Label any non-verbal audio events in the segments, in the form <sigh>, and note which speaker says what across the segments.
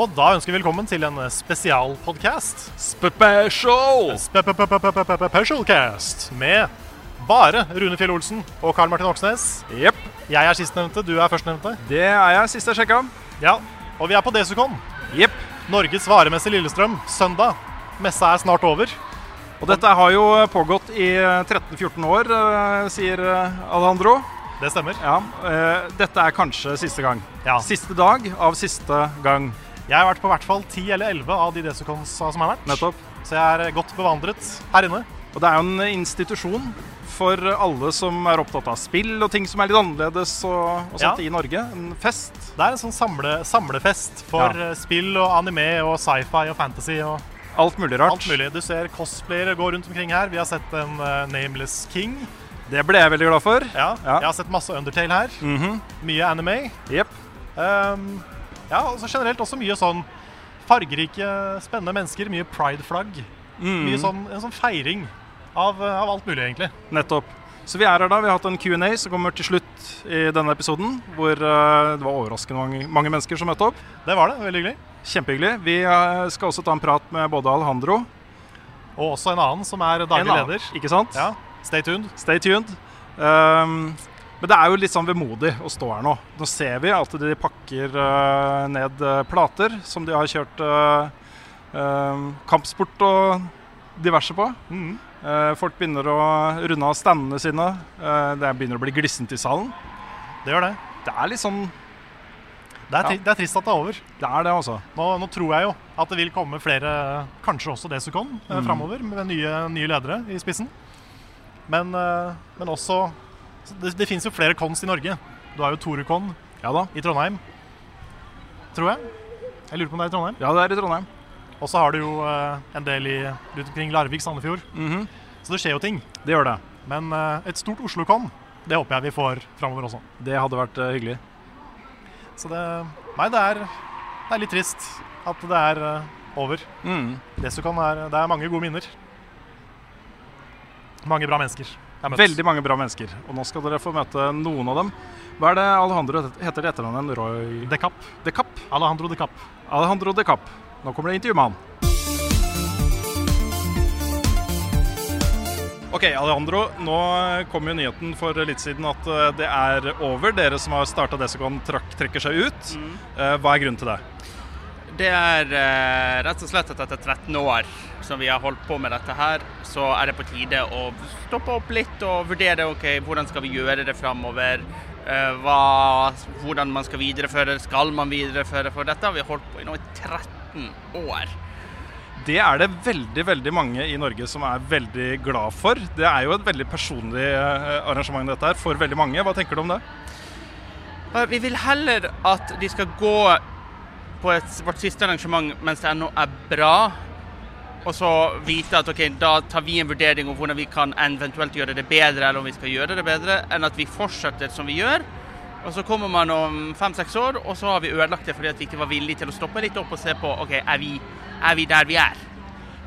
Speaker 1: Og da ønsker vi velkommen til en spesialpodcast.
Speaker 2: Special!
Speaker 1: Specialcast med bare Rune Fjell Olsen og Karl Martin Oksnes.
Speaker 2: Jepp.
Speaker 1: Jeg er sistnevnte, du er førstnevnte.
Speaker 2: Det er jeg sist jeg sjekka.
Speaker 1: Ja, og vi er på Desicon.
Speaker 2: Jepp.
Speaker 1: Norges varemesse Lillestrøm, søndag. Messa er snart over.
Speaker 2: Og dette har jo pågått i 13-14 år, eh, sier eh, Alejandro.
Speaker 1: Det stemmer.
Speaker 2: Ja, eh, Dette er kanskje siste gang.
Speaker 1: Ja.
Speaker 2: Siste dag av siste gang.
Speaker 1: Jeg har vært på hvert fall 10 eller 11 av de Desicons som har vært.
Speaker 2: Nettopp.
Speaker 1: Så jeg er godt bevandret her inne.
Speaker 2: Og det er jo en institusjon for alle som er opptatt av spill og ting som er litt annerledes og, og
Speaker 1: Ja.
Speaker 2: sånt i Norge. En fest.
Speaker 1: Det er en sånn samle, samlefest for
Speaker 2: Ja.
Speaker 1: eh, spill og anime og sci-fi og fantasy og
Speaker 2: Alt mulig rart.
Speaker 1: alt mulig. Du ser cosplayere gå rundt omkring her. Vi har sett en eh, Nameless King.
Speaker 2: Det ble jeg veldig glad for.
Speaker 1: Ja,
Speaker 2: Ja. Mhm.
Speaker 1: Jeg har sett masse Undertale her. Mye anime.
Speaker 2: Jepp.
Speaker 1: Ehm, ja, og så generelt også mye sånn fargerike, spennende mennesker. Mye pride-flagg. Mye
Speaker 2: Mhm.
Speaker 1: sånn, En sånn feiring av, eh, av alt mulig, egentlig.
Speaker 2: Nettopp. Så vi er her da, vi har hatt en Q&A som kommer til slutt i denne episoden, hvor eh, det var overraskende mange, mange mennesker som møtte opp.
Speaker 1: Det var det. Veldig hyggelig.
Speaker 2: Kjempehyggelig. Vi eh, skal også ta en prat med både Alejandro
Speaker 1: Og også en annen som er
Speaker 2: en
Speaker 1: daglig
Speaker 2: annen,
Speaker 1: leder.
Speaker 2: Ikke sant?
Speaker 1: Ja, Stay tuned.
Speaker 2: Stay tuned. Ehm, men det er jo litt sånn vemodig å stå her nå. Nå ser vi at de pakker eh, ned eh, plater som de har kjørt eh, eh, kampsport og diverse på.
Speaker 1: Mhm.
Speaker 2: Eh, folk begynner å runde av standene sine. Eh, det begynner å bli glissent i salen.
Speaker 1: Det gjør det.
Speaker 2: Det er litt sånn
Speaker 1: Det er,
Speaker 2: Ja.
Speaker 1: tri det er trist at det er over.
Speaker 2: Det er det, altså.
Speaker 1: Nå, nå tror jeg jo at det vil komme flere, kanskje også Desicon, mm. framover med nye, nye ledere i spissen. Men, eh, men også så Det, det finnes jo flere cons i Norge. Du har jo Torucon,
Speaker 2: Ja da.
Speaker 1: i Trondheim. Tror jeg. Jeg lurer på om det er i Trondheim.
Speaker 2: Ja, det er i Trondheim.
Speaker 1: Og så har du jo eh, en del i, rundt omkring Larvik, Sandefjord.
Speaker 2: Mhm.
Speaker 1: Så det skjer jo ting.
Speaker 2: Det gjør det.
Speaker 1: Men eh, et stort Oslo-kon, det håper jeg vi får framover også.
Speaker 2: Det hadde vært eh, hyggelig.
Speaker 1: Så det Nei, det er, det er litt trist at det er eh, over.
Speaker 2: Mm.
Speaker 1: Dessucon er Det er mange gode minner. Mange bra mennesker. Jeg har møtt.
Speaker 2: Veldig mange bra mennesker. Og nå skal dere få møte noen av dem. Hva er det Alejandro het- heter det etternavnet? Roy
Speaker 1: De Kapp.
Speaker 2: De Kapp?
Speaker 1: Alejandro De Kapp.
Speaker 2: Alejandro De Kapp. Nå kommer det intervju med han. Ok, Alejandro, nå kom jo nyheten for litt siden at eh, det er over. Dere som har starta Desicon, trakk- trekker seg ut. Eh, Hva er grunnen til det?
Speaker 3: Det er eh, rett og slett at etter 13 år som vi har holdt på med dette her, så er det på tide å stoppe opp litt og vurdere ok, hvordan skal vi gjøre det framover. Eh, hva, hvordan man skal videreføre, skal man videreføre? For dette har vi holdt på i nå i 13 år.
Speaker 2: Det er det veldig veldig mange i Norge som er veldig glad for. Det er jo et veldig personlig eh, arrangement dette her for veldig mange. Hva tenker du om det?
Speaker 3: Eh, Vi vil heller at de skal gå på et, vårt siste arrangement mens det ennå er bra, og så vite at ok, da tar vi en vurdering om hvordan vi kan eventuelt gjøre det bedre, eller om vi skal gjøre det bedre, enn at vi fortsetter som vi gjør. Og så kommer man om fem-seks år, og så har vi ødelagt det fordi at vi ikke var villige til å stoppe litt opp og se på ok, er vi, er vi der vi er.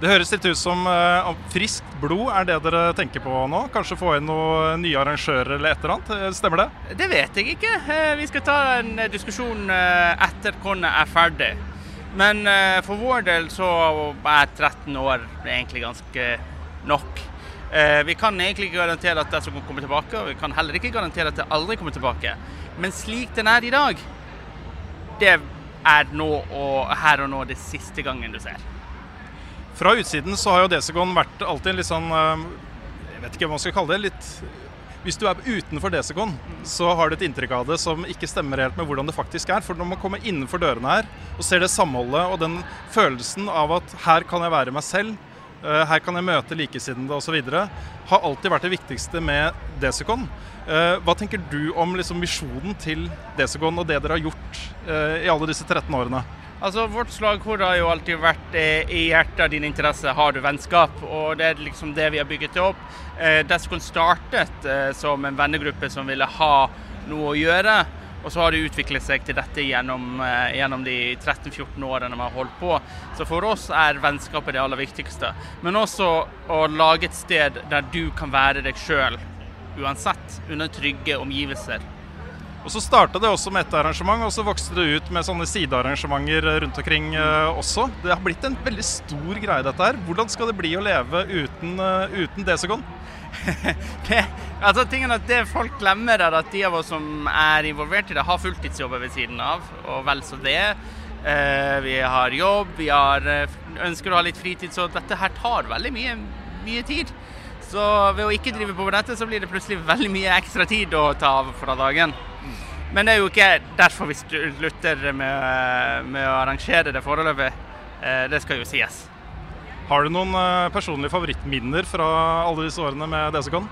Speaker 2: Det høres litt ut som eh, om friskt blod er det dere tenker på nå? Kanskje få inn noen nye arrangører eller et eller annet? Eh, Stemmer det?
Speaker 3: Det vet jeg ikke. Eh, Vi skal ta en eh, diskusjon eh, etter kornet er ferdig. Men eh, for vår del så er 13 år egentlig ganske nok. Eh, Vi kan egentlig ikke garantere at det som kommer tilbake, og vi kan heller ikke garantere at det aldri kommer tilbake. Men slik den er i dag, det er nå og her og nå det siste gangen du ser.
Speaker 2: Fra utsiden så har jo Desicon vært alltid en litt sånn eh, Jeg vet ikke hva man skal kalle det. Litt Hvis du er utenfor Desikon, så har du et inntrykk av det som ikke stemmer helt med hvordan det faktisk er. For når man kommer innenfor dørene her og ser det samholdet og den følelsen av at her kan jeg være meg selv, eh, her kan jeg møte likesinnede osv., har alltid vært det viktigste med Desikon. Eh, Hva tenker du om liksom visjonen til Desikon og det dere har gjort eh, i alle disse 13 årene?
Speaker 3: Altså, Vårt slagord har jo alltid vært eh, 'i hjertet av din interesse har du vennskap'. og Det er liksom det vi har bygget det opp. Eh, Descon startet eh, som en vennegruppe som ville ha noe å gjøre. Og så har det utviklet seg til dette gjennom, eh, gjennom de 13-14 årene vi har holdt på. Så for oss er vennskapet det aller viktigste. Men også å lage et sted der du kan være deg sjøl uansett, under trygge omgivelser.
Speaker 2: Og Så starta det også med ett arrangement, og så vokste det ut med sånne sidearrangementer rundt omkring eh, også. Det har blitt en veldig stor greie, dette her. Hvordan skal det bli å leve uten, uh, uten Desogon?
Speaker 3: <laughs> det, altså tingen er at det folk glemmer er at de av oss som er involvert i det, har fulltidsjobber ved siden av, og vel så det. Eh, vi har jobb, vi har, eh, ønsker å ha litt fritid, så dette her tar veldig mye, mye tid. Så ved å ikke drive på med dette, så blir det plutselig veldig mye ekstra tid å ta av fra dagen. Men det er jo ikke derfor vi slutter med, med å arrangere det foreløpig. Eh, det skal jo sies.
Speaker 2: Har du noen eh, personlige favorittminner fra alle disse årene med Desogon?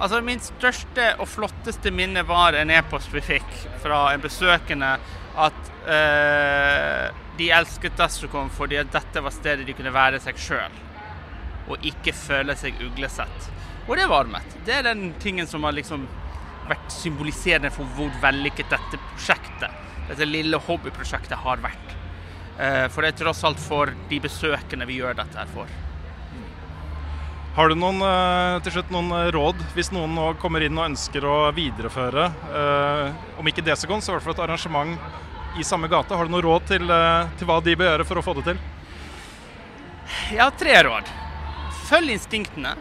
Speaker 3: Altså, Min største og flotteste minne var en e-post vi fikk fra en besøkende at eh, de elsket Destrocom fordi at dette var stedet de kunne være seg sjøl, og ikke føle seg uglesett. Og det varmet. Det er den tingen som har liksom vært symboliserende for hvor vellykket dette prosjektet, dette lille hobbyprosjektet, har vært. Eh, for det er tross alt for de besøkende vi gjør dette her for.
Speaker 2: Har du noen, eh, til slutt noen eh, råd hvis noen nå kommer inn og ønsker å videreføre, eh, om ikke Desogon, så i hvert fall et arrangement i samme gate? Har du noen råd til, eh, til hva de bør gjøre for å få det til?
Speaker 3: Jeg har tre råd. Følg instinktene.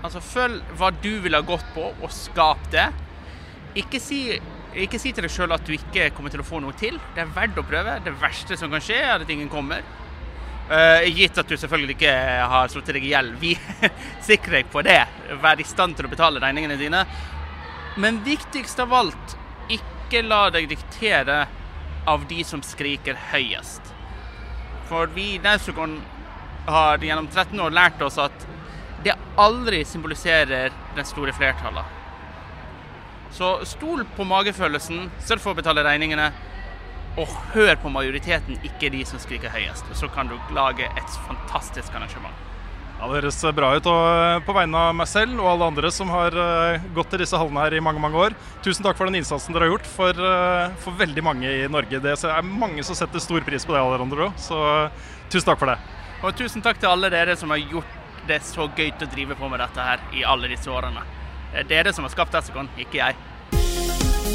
Speaker 3: Altså følg hva du ville ha gått på, og skap det. Ikke si, ikke si til deg sjøl at du ikke kommer til å få noe til. Det er verdt å prøve. Det verste som kan skje, er at ingen kommer. Eh, gitt at du selvfølgelig ikke har slått deg i gjeld. Vi <laughs> sikrer deg på det. Vær i stand til å betale regningene dine. Men viktigst av alt, ikke la deg diktere av de som skriker høyest. For vi i Nausicaan har gjennom 13 år lært oss at det aldri symboliserer den store flertallet. Så stol på magefølelsen, sørg for å betale regningene, og hør på majoriteten, ikke de som skriker høyest. Så kan du lage et fantastisk arrangement.
Speaker 2: Ja, Det høres bra ut. Og eh, på vegne av meg selv og alle andre som har eh, gått til disse hallene her i mange mange år, tusen takk for den innsatsen dere har gjort for, eh, for veldig mange i Norge. Det er mange som setter stor pris på det, alle andre òg. Så eh, tusen takk for det.
Speaker 3: Og tusen takk til alle dere som har gjort det så gøy å drive på med dette her i alle disse årene. Det er dere som har skapt Essecon, ikke jeg.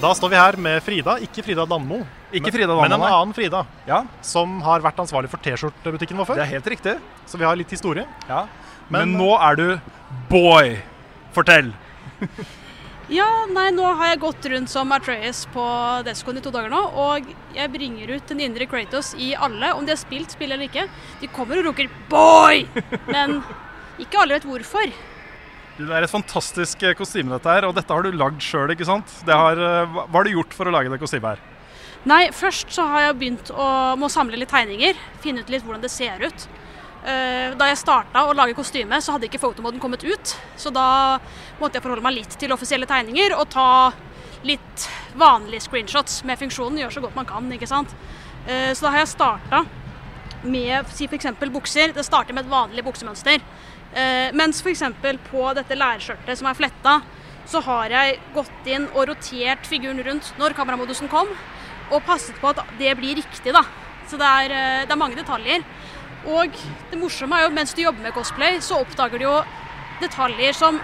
Speaker 1: Da står vi her med Frida, ikke Frida Danmo.
Speaker 2: Ikke
Speaker 1: men-
Speaker 2: Frida Danmo,
Speaker 1: Men en
Speaker 2: nei.
Speaker 1: annen Frida,
Speaker 2: Ja,
Speaker 1: som har vært ansvarlig for T-skjortebutikken vår før.
Speaker 2: det er helt riktig.
Speaker 1: Så vi har litt historie.
Speaker 2: Ja. Men,
Speaker 1: Men-
Speaker 2: nå er du boy. Fortell.
Speaker 4: Ja, nei, nå har jeg gått rundt som Atreas på Descon i to dager nå, og jeg bringer ut den indre Kratos i alle, om de har spilt spill eller ikke. De kommer og roker 'boy', men ikke alle vet hvorfor.
Speaker 2: Du, Det er et fantastisk eh, kostyme, dette her. Og dette har du lagd sjøl, ikke sant? Det har, eh, hva hva har du gjort for å lage det kostymet her?
Speaker 4: Nei, først så har jeg begynt å må samle litt tegninger, finne ut litt hvordan det ser ut. Eh, Da jeg starta å lage kostyme, så hadde ikke fotomoden kommet ut, så da måtte jeg forholde meg litt til offisielle tegninger og ta litt vanlige screenshots med funksjonen, gjøre så godt man kan, ikke sant. Eh, Så da har jeg starta med si f.eks. bukser. Det starter med et vanlig buksemønster. Eh, mens f.eks. på dette lærskjørtet som er fletta, så har jeg gått inn og rotert figuren rundt når kameramodusen kom, og passet på at det blir riktig. da. Så det er, eh, det er mange detaljer. Og det morsomme er jo mens du jobber med cosplay, så oppdager du jo detaljer som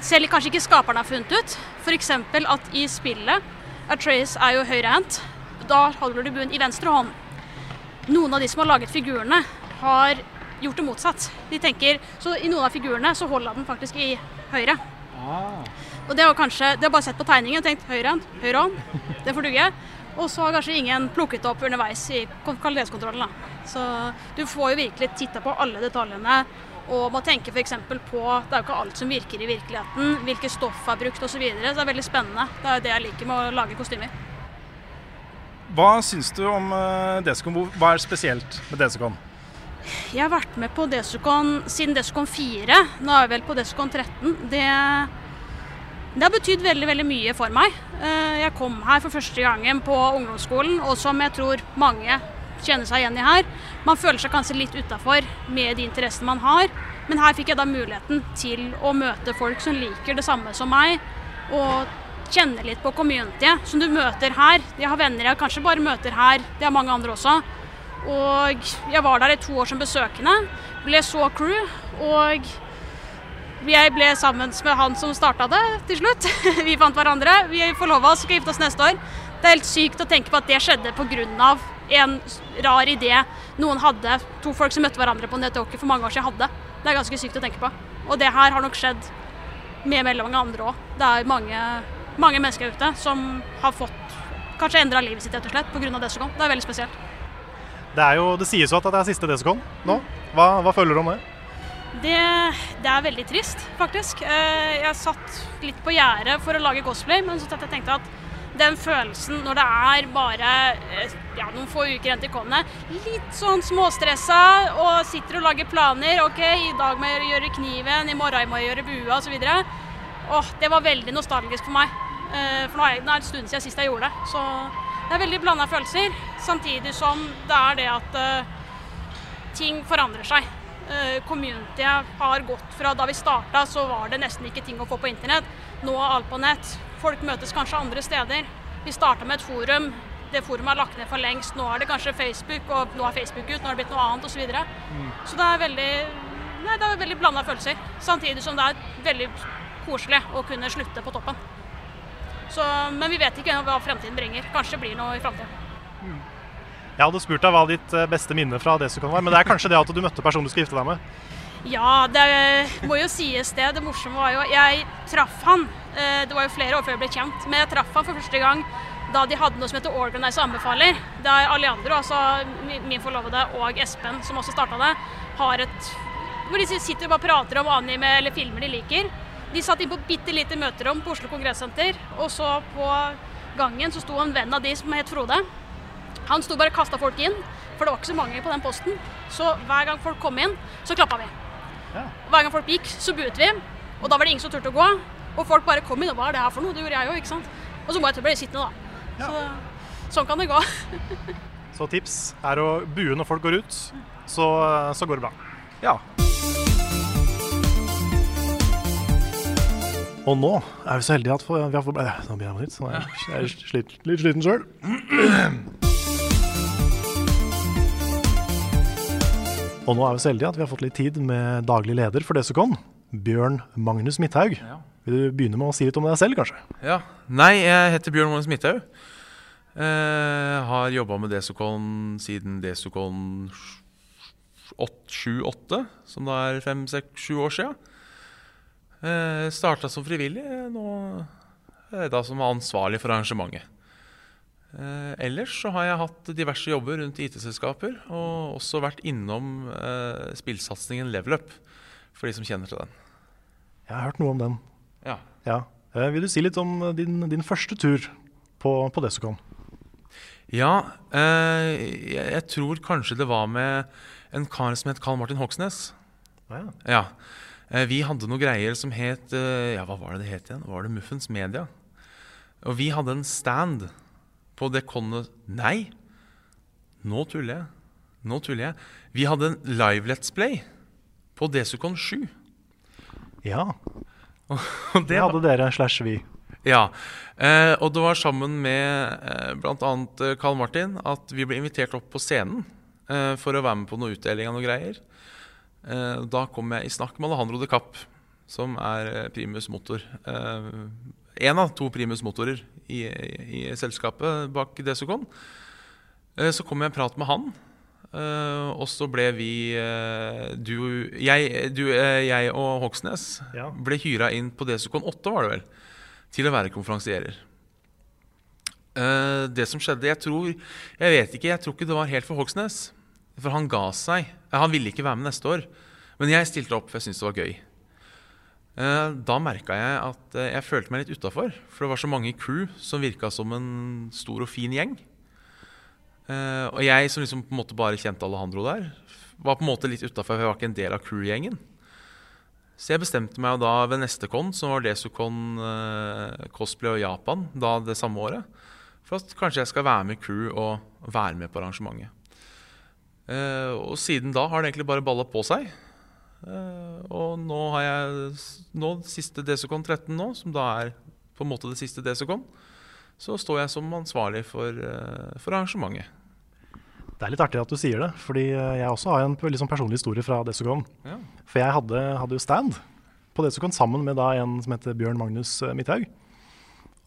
Speaker 4: selv kanskje ikke skaperen har funnet ut. F.eks. at i spillet Atreas er jo høyrehendt. Da holder du buen i venstre hånd noen av de som har laget figurene, har gjort det motsatt. De tenker, så I noen av figurene så holder han den faktisk i høyre. Og det har kanskje, De har bare sett på tegningen og tenkt høyre hånd, høyre hånd, det får duge. Og så har kanskje ingen plukket det opp underveis i kon- kvalitetskontrollen. da. Så du får jo virkelig titta på alle detaljene Og man tenker f.eks. på Det er jo ikke alt som virker i virkeligheten. Hvilke stoff er brukt osv. Så videre. så det er veldig spennende. Det er jo det jeg liker med å lage kostymer.
Speaker 2: Hva syns du om eh, Desicon? Hvor- Hva er spesielt med Desicon?
Speaker 4: Jeg har vært med på Desicon siden Desicon 4. Nå er jeg vel på Desicon 13. Det, det har betydd veldig veldig mye for meg. Eh, Jeg kom her for første gangen på ungdomsskolen, og som jeg tror mange kjenner seg igjen i her. Man føler seg kanskje litt utafor med de interessene man har, men her fikk jeg da muligheten til å møte folk som liker det samme som meg, og kjenne litt på communityet som du møter her. Jeg har venner jeg kanskje bare møter her, det har mange andre også. Og jeg var der i to år som besøkende, ble så crew, og jeg ble sammen med han som starta det til slutt. <laughs> Vi fant hverandre, vi forlova oss, skal gifte oss neste år. Det er helt sykt å tenke på at det skjedde pga. en rar idé noen hadde, to folk som møtte hverandre på Netoki for mange år siden hadde. Det er ganske sykt å tenke på. Og det her har nok skjedd med mellom mange andre òg. Det er mange, mange mennesker ute som har fått kanskje endra livet sitt rett og slett pga. det som kom. Det er veldig spesielt.
Speaker 1: Det, er jo, det sies jo at det er siste Desicon nå. Hva, hva føler du om det?
Speaker 4: Det, det er veldig trist, faktisk. Eh, Jeg satt litt på gjerdet for å lage cosplay, men så tenkte jeg tenkte at den følelsen når det er bare eh, ja, noen få uker igjen til kommende, litt sånn småstressa og sitter og lager planer. OK, i dag må jeg gjøre kniven, i morgen må jeg gjøre bua osv. Åh, det var veldig nostalgisk for meg. Eh, For nå er det- nå er det en stund siden sist jeg gjorde det. Så det er veldig blanda følelser. Samtidig som det er det at eh, ting forandrer seg. Eh, Communityet har gått fra da vi starta, så var det nesten ikke ting å få på internett. Nå er alt på nett. Folk møtes kanskje andre steder. Vi starta med et forum. Det forumet er lagt ned for lengst. Nå er det kanskje Facebook, og nå er Facebook ut, nå har det blitt noe annet osv. Så, videre. så det er veldig Nei, det er veldig blanda følelser. Samtidig som det er veldig koselig å kunne slutte på toppen. Så, men vi vet ikke hva fremtiden bringer. Kanskje det blir noe i fremtiden.
Speaker 1: Jeg hadde spurt deg hva ditt eh, beste minne fra Desicon var, men det er kanskje det at du møtte personen du skal gifte deg med.
Speaker 4: Ja, det må jo sies det. Det morsomme var jo Jeg traff han. eh, Det var jo flere år før jeg ble kjent, men jeg traff han for første gang da de hadde noe som heter Organize anbefaler. Der Alejandro, altså mi- min forlovede, og Espen, som også starta det, har et Hvor de sitter og bare prater om anime eller filmer de liker. De satt inn på et bitte lite møterom på Oslo Kongressenter, og så på gangen så sto en venn av de som het Frode. Han sto bare og kasta folk inn, for det var ikke så mange på den posten. Så hver gang folk kom inn, så klappa vi. Hver gang folk gikk, så buet vi. Og da var det ingen som turte å gå. Og folk bare kom inn og hva er det her for noe? Det gjorde jeg jo, ikke sant. Og så må jeg til å bli sittende, da. Så, sånn kan det gå.
Speaker 1: Så tips er å bue når folk går ut, så, så går det bra.
Speaker 2: Ja.
Speaker 1: Og nå er vi så heldige at vi har fått eh, Nå begynner jeg på nytt, så nå er jeg- jeg er slit, litt sliten sjøl. Og nå er vi så heldige at vi har fått litt tid med daglig leder for Desicon, Bjørn Magnus Midthaug. Vil du begynne med å si litt om deg selv, kanskje?
Speaker 5: Ja. Nei, jeg heter Bjørn Moen Smithaug. Eh, har jobba med Desocon siden Desocon 7-8, som da er 5-6-7 år sia. Eh, Starta som frivillig, eh, nå er jeg da som ansvarlig for arrangementet. Eh, ellers så har jeg hatt diverse jobber rundt IT-selskaper, og også vært innom eh, spillsatsingen Level Up, for de som kjenner til den.
Speaker 1: Jeg har hørt noe om den.
Speaker 5: Ja.
Speaker 1: Eh, Vil du si litt om eh, din, din første tur på, på Desicon?
Speaker 5: Ja, eh, jeg, jeg tror kanskje det var med en kar som het Karl Martin Hoksnes.
Speaker 1: Ja.
Speaker 5: Eh, vi hadde noen greier som het eh, Ja, hva var det det het igjen? Var det Muffens Media? Og vi hadde en stand på Deconne Nei, nå tuller jeg. Nå tuller jeg. Vi hadde en live Let's Play på Desucon 7.
Speaker 1: Ja.
Speaker 5: Og
Speaker 1: <laughs> Det hadde dere slash vi.
Speaker 5: Ja, eh, og det var sammen med eh, bl.a. eh, Carl Martin at vi ble invitert opp på scenen eh, for å være med på noe utdeling av noen greier. Eh, da kom jeg i snakk med Alejandro de Kapp, som er eh, primus motor. Eh, en av to primus motorer i, i, i selskapet bak Desocon. Eh, så kom jeg i prat med han. eh, og så ble vi eh, du, jeg, du, eh, jeg og Hoksnes
Speaker 1: Ja.
Speaker 5: ble hyra inn på Desocon 8, var det vel, til å være konferansierer. Eh, det som skjedde Jeg tror Jeg vet ikke, jeg tror ikke det var helt for Hoksnes. For han ga seg. Eh, Han ville ikke være med neste år. Men jeg stilte opp, for jeg syntes det var gøy. Eh, Da merka jeg at eh, jeg følte meg litt utafor, for det var så mange i crew som virka som en stor og fin gjeng. Eh, Og jeg som liksom på en måte bare kjente Alejandro der, var på en måte litt utafor, for jeg var ikke en del av crew-gjengen. Så jeg bestemte meg jo da ved neste con, som var Desocon eh, cosplay og Japan, da det samme året, for at kanskje jeg skal være med i crew og være med på arrangementet. Eh, og siden da har det egentlig bare balla på seg. Eh, og nå har jeg s- nå, siste Desocon 13 nå, som da er på en måte det siste Desocon, så står jeg som ansvarlig for, eh, for arrangementet.
Speaker 1: Det er litt artig at du sier det, fordi eh, jeg også har en p- litt sånn personlig historie fra Desicon.
Speaker 5: Ja.
Speaker 1: For jeg hadde, hadde jo stand på Desicon sammen med da en som heter Bjørn Magnus eh, Midthaug.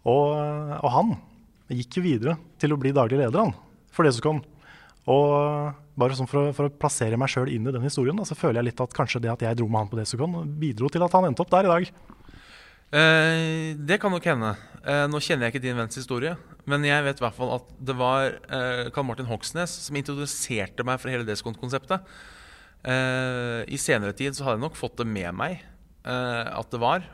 Speaker 1: Og, eh, og han gikk jo videre til å bli daglig leder han, for Desicon. Og eh, bare sånn for å, for å plassere meg sjøl inn i den historien, da, så føler jeg litt at kanskje det at jeg dro med han på Desicon, bidro til at han endte opp der i dag.
Speaker 5: Eh, det kan nok hende. Eh, nå kjenner jeg ikke din venns historie, men jeg vet i hvert fall at det var eh, Karl Martin Hoksnes som introduserte meg for hele Descont-konseptet. Eh, I senere tid så hadde jeg nok fått det med meg eh, at det var.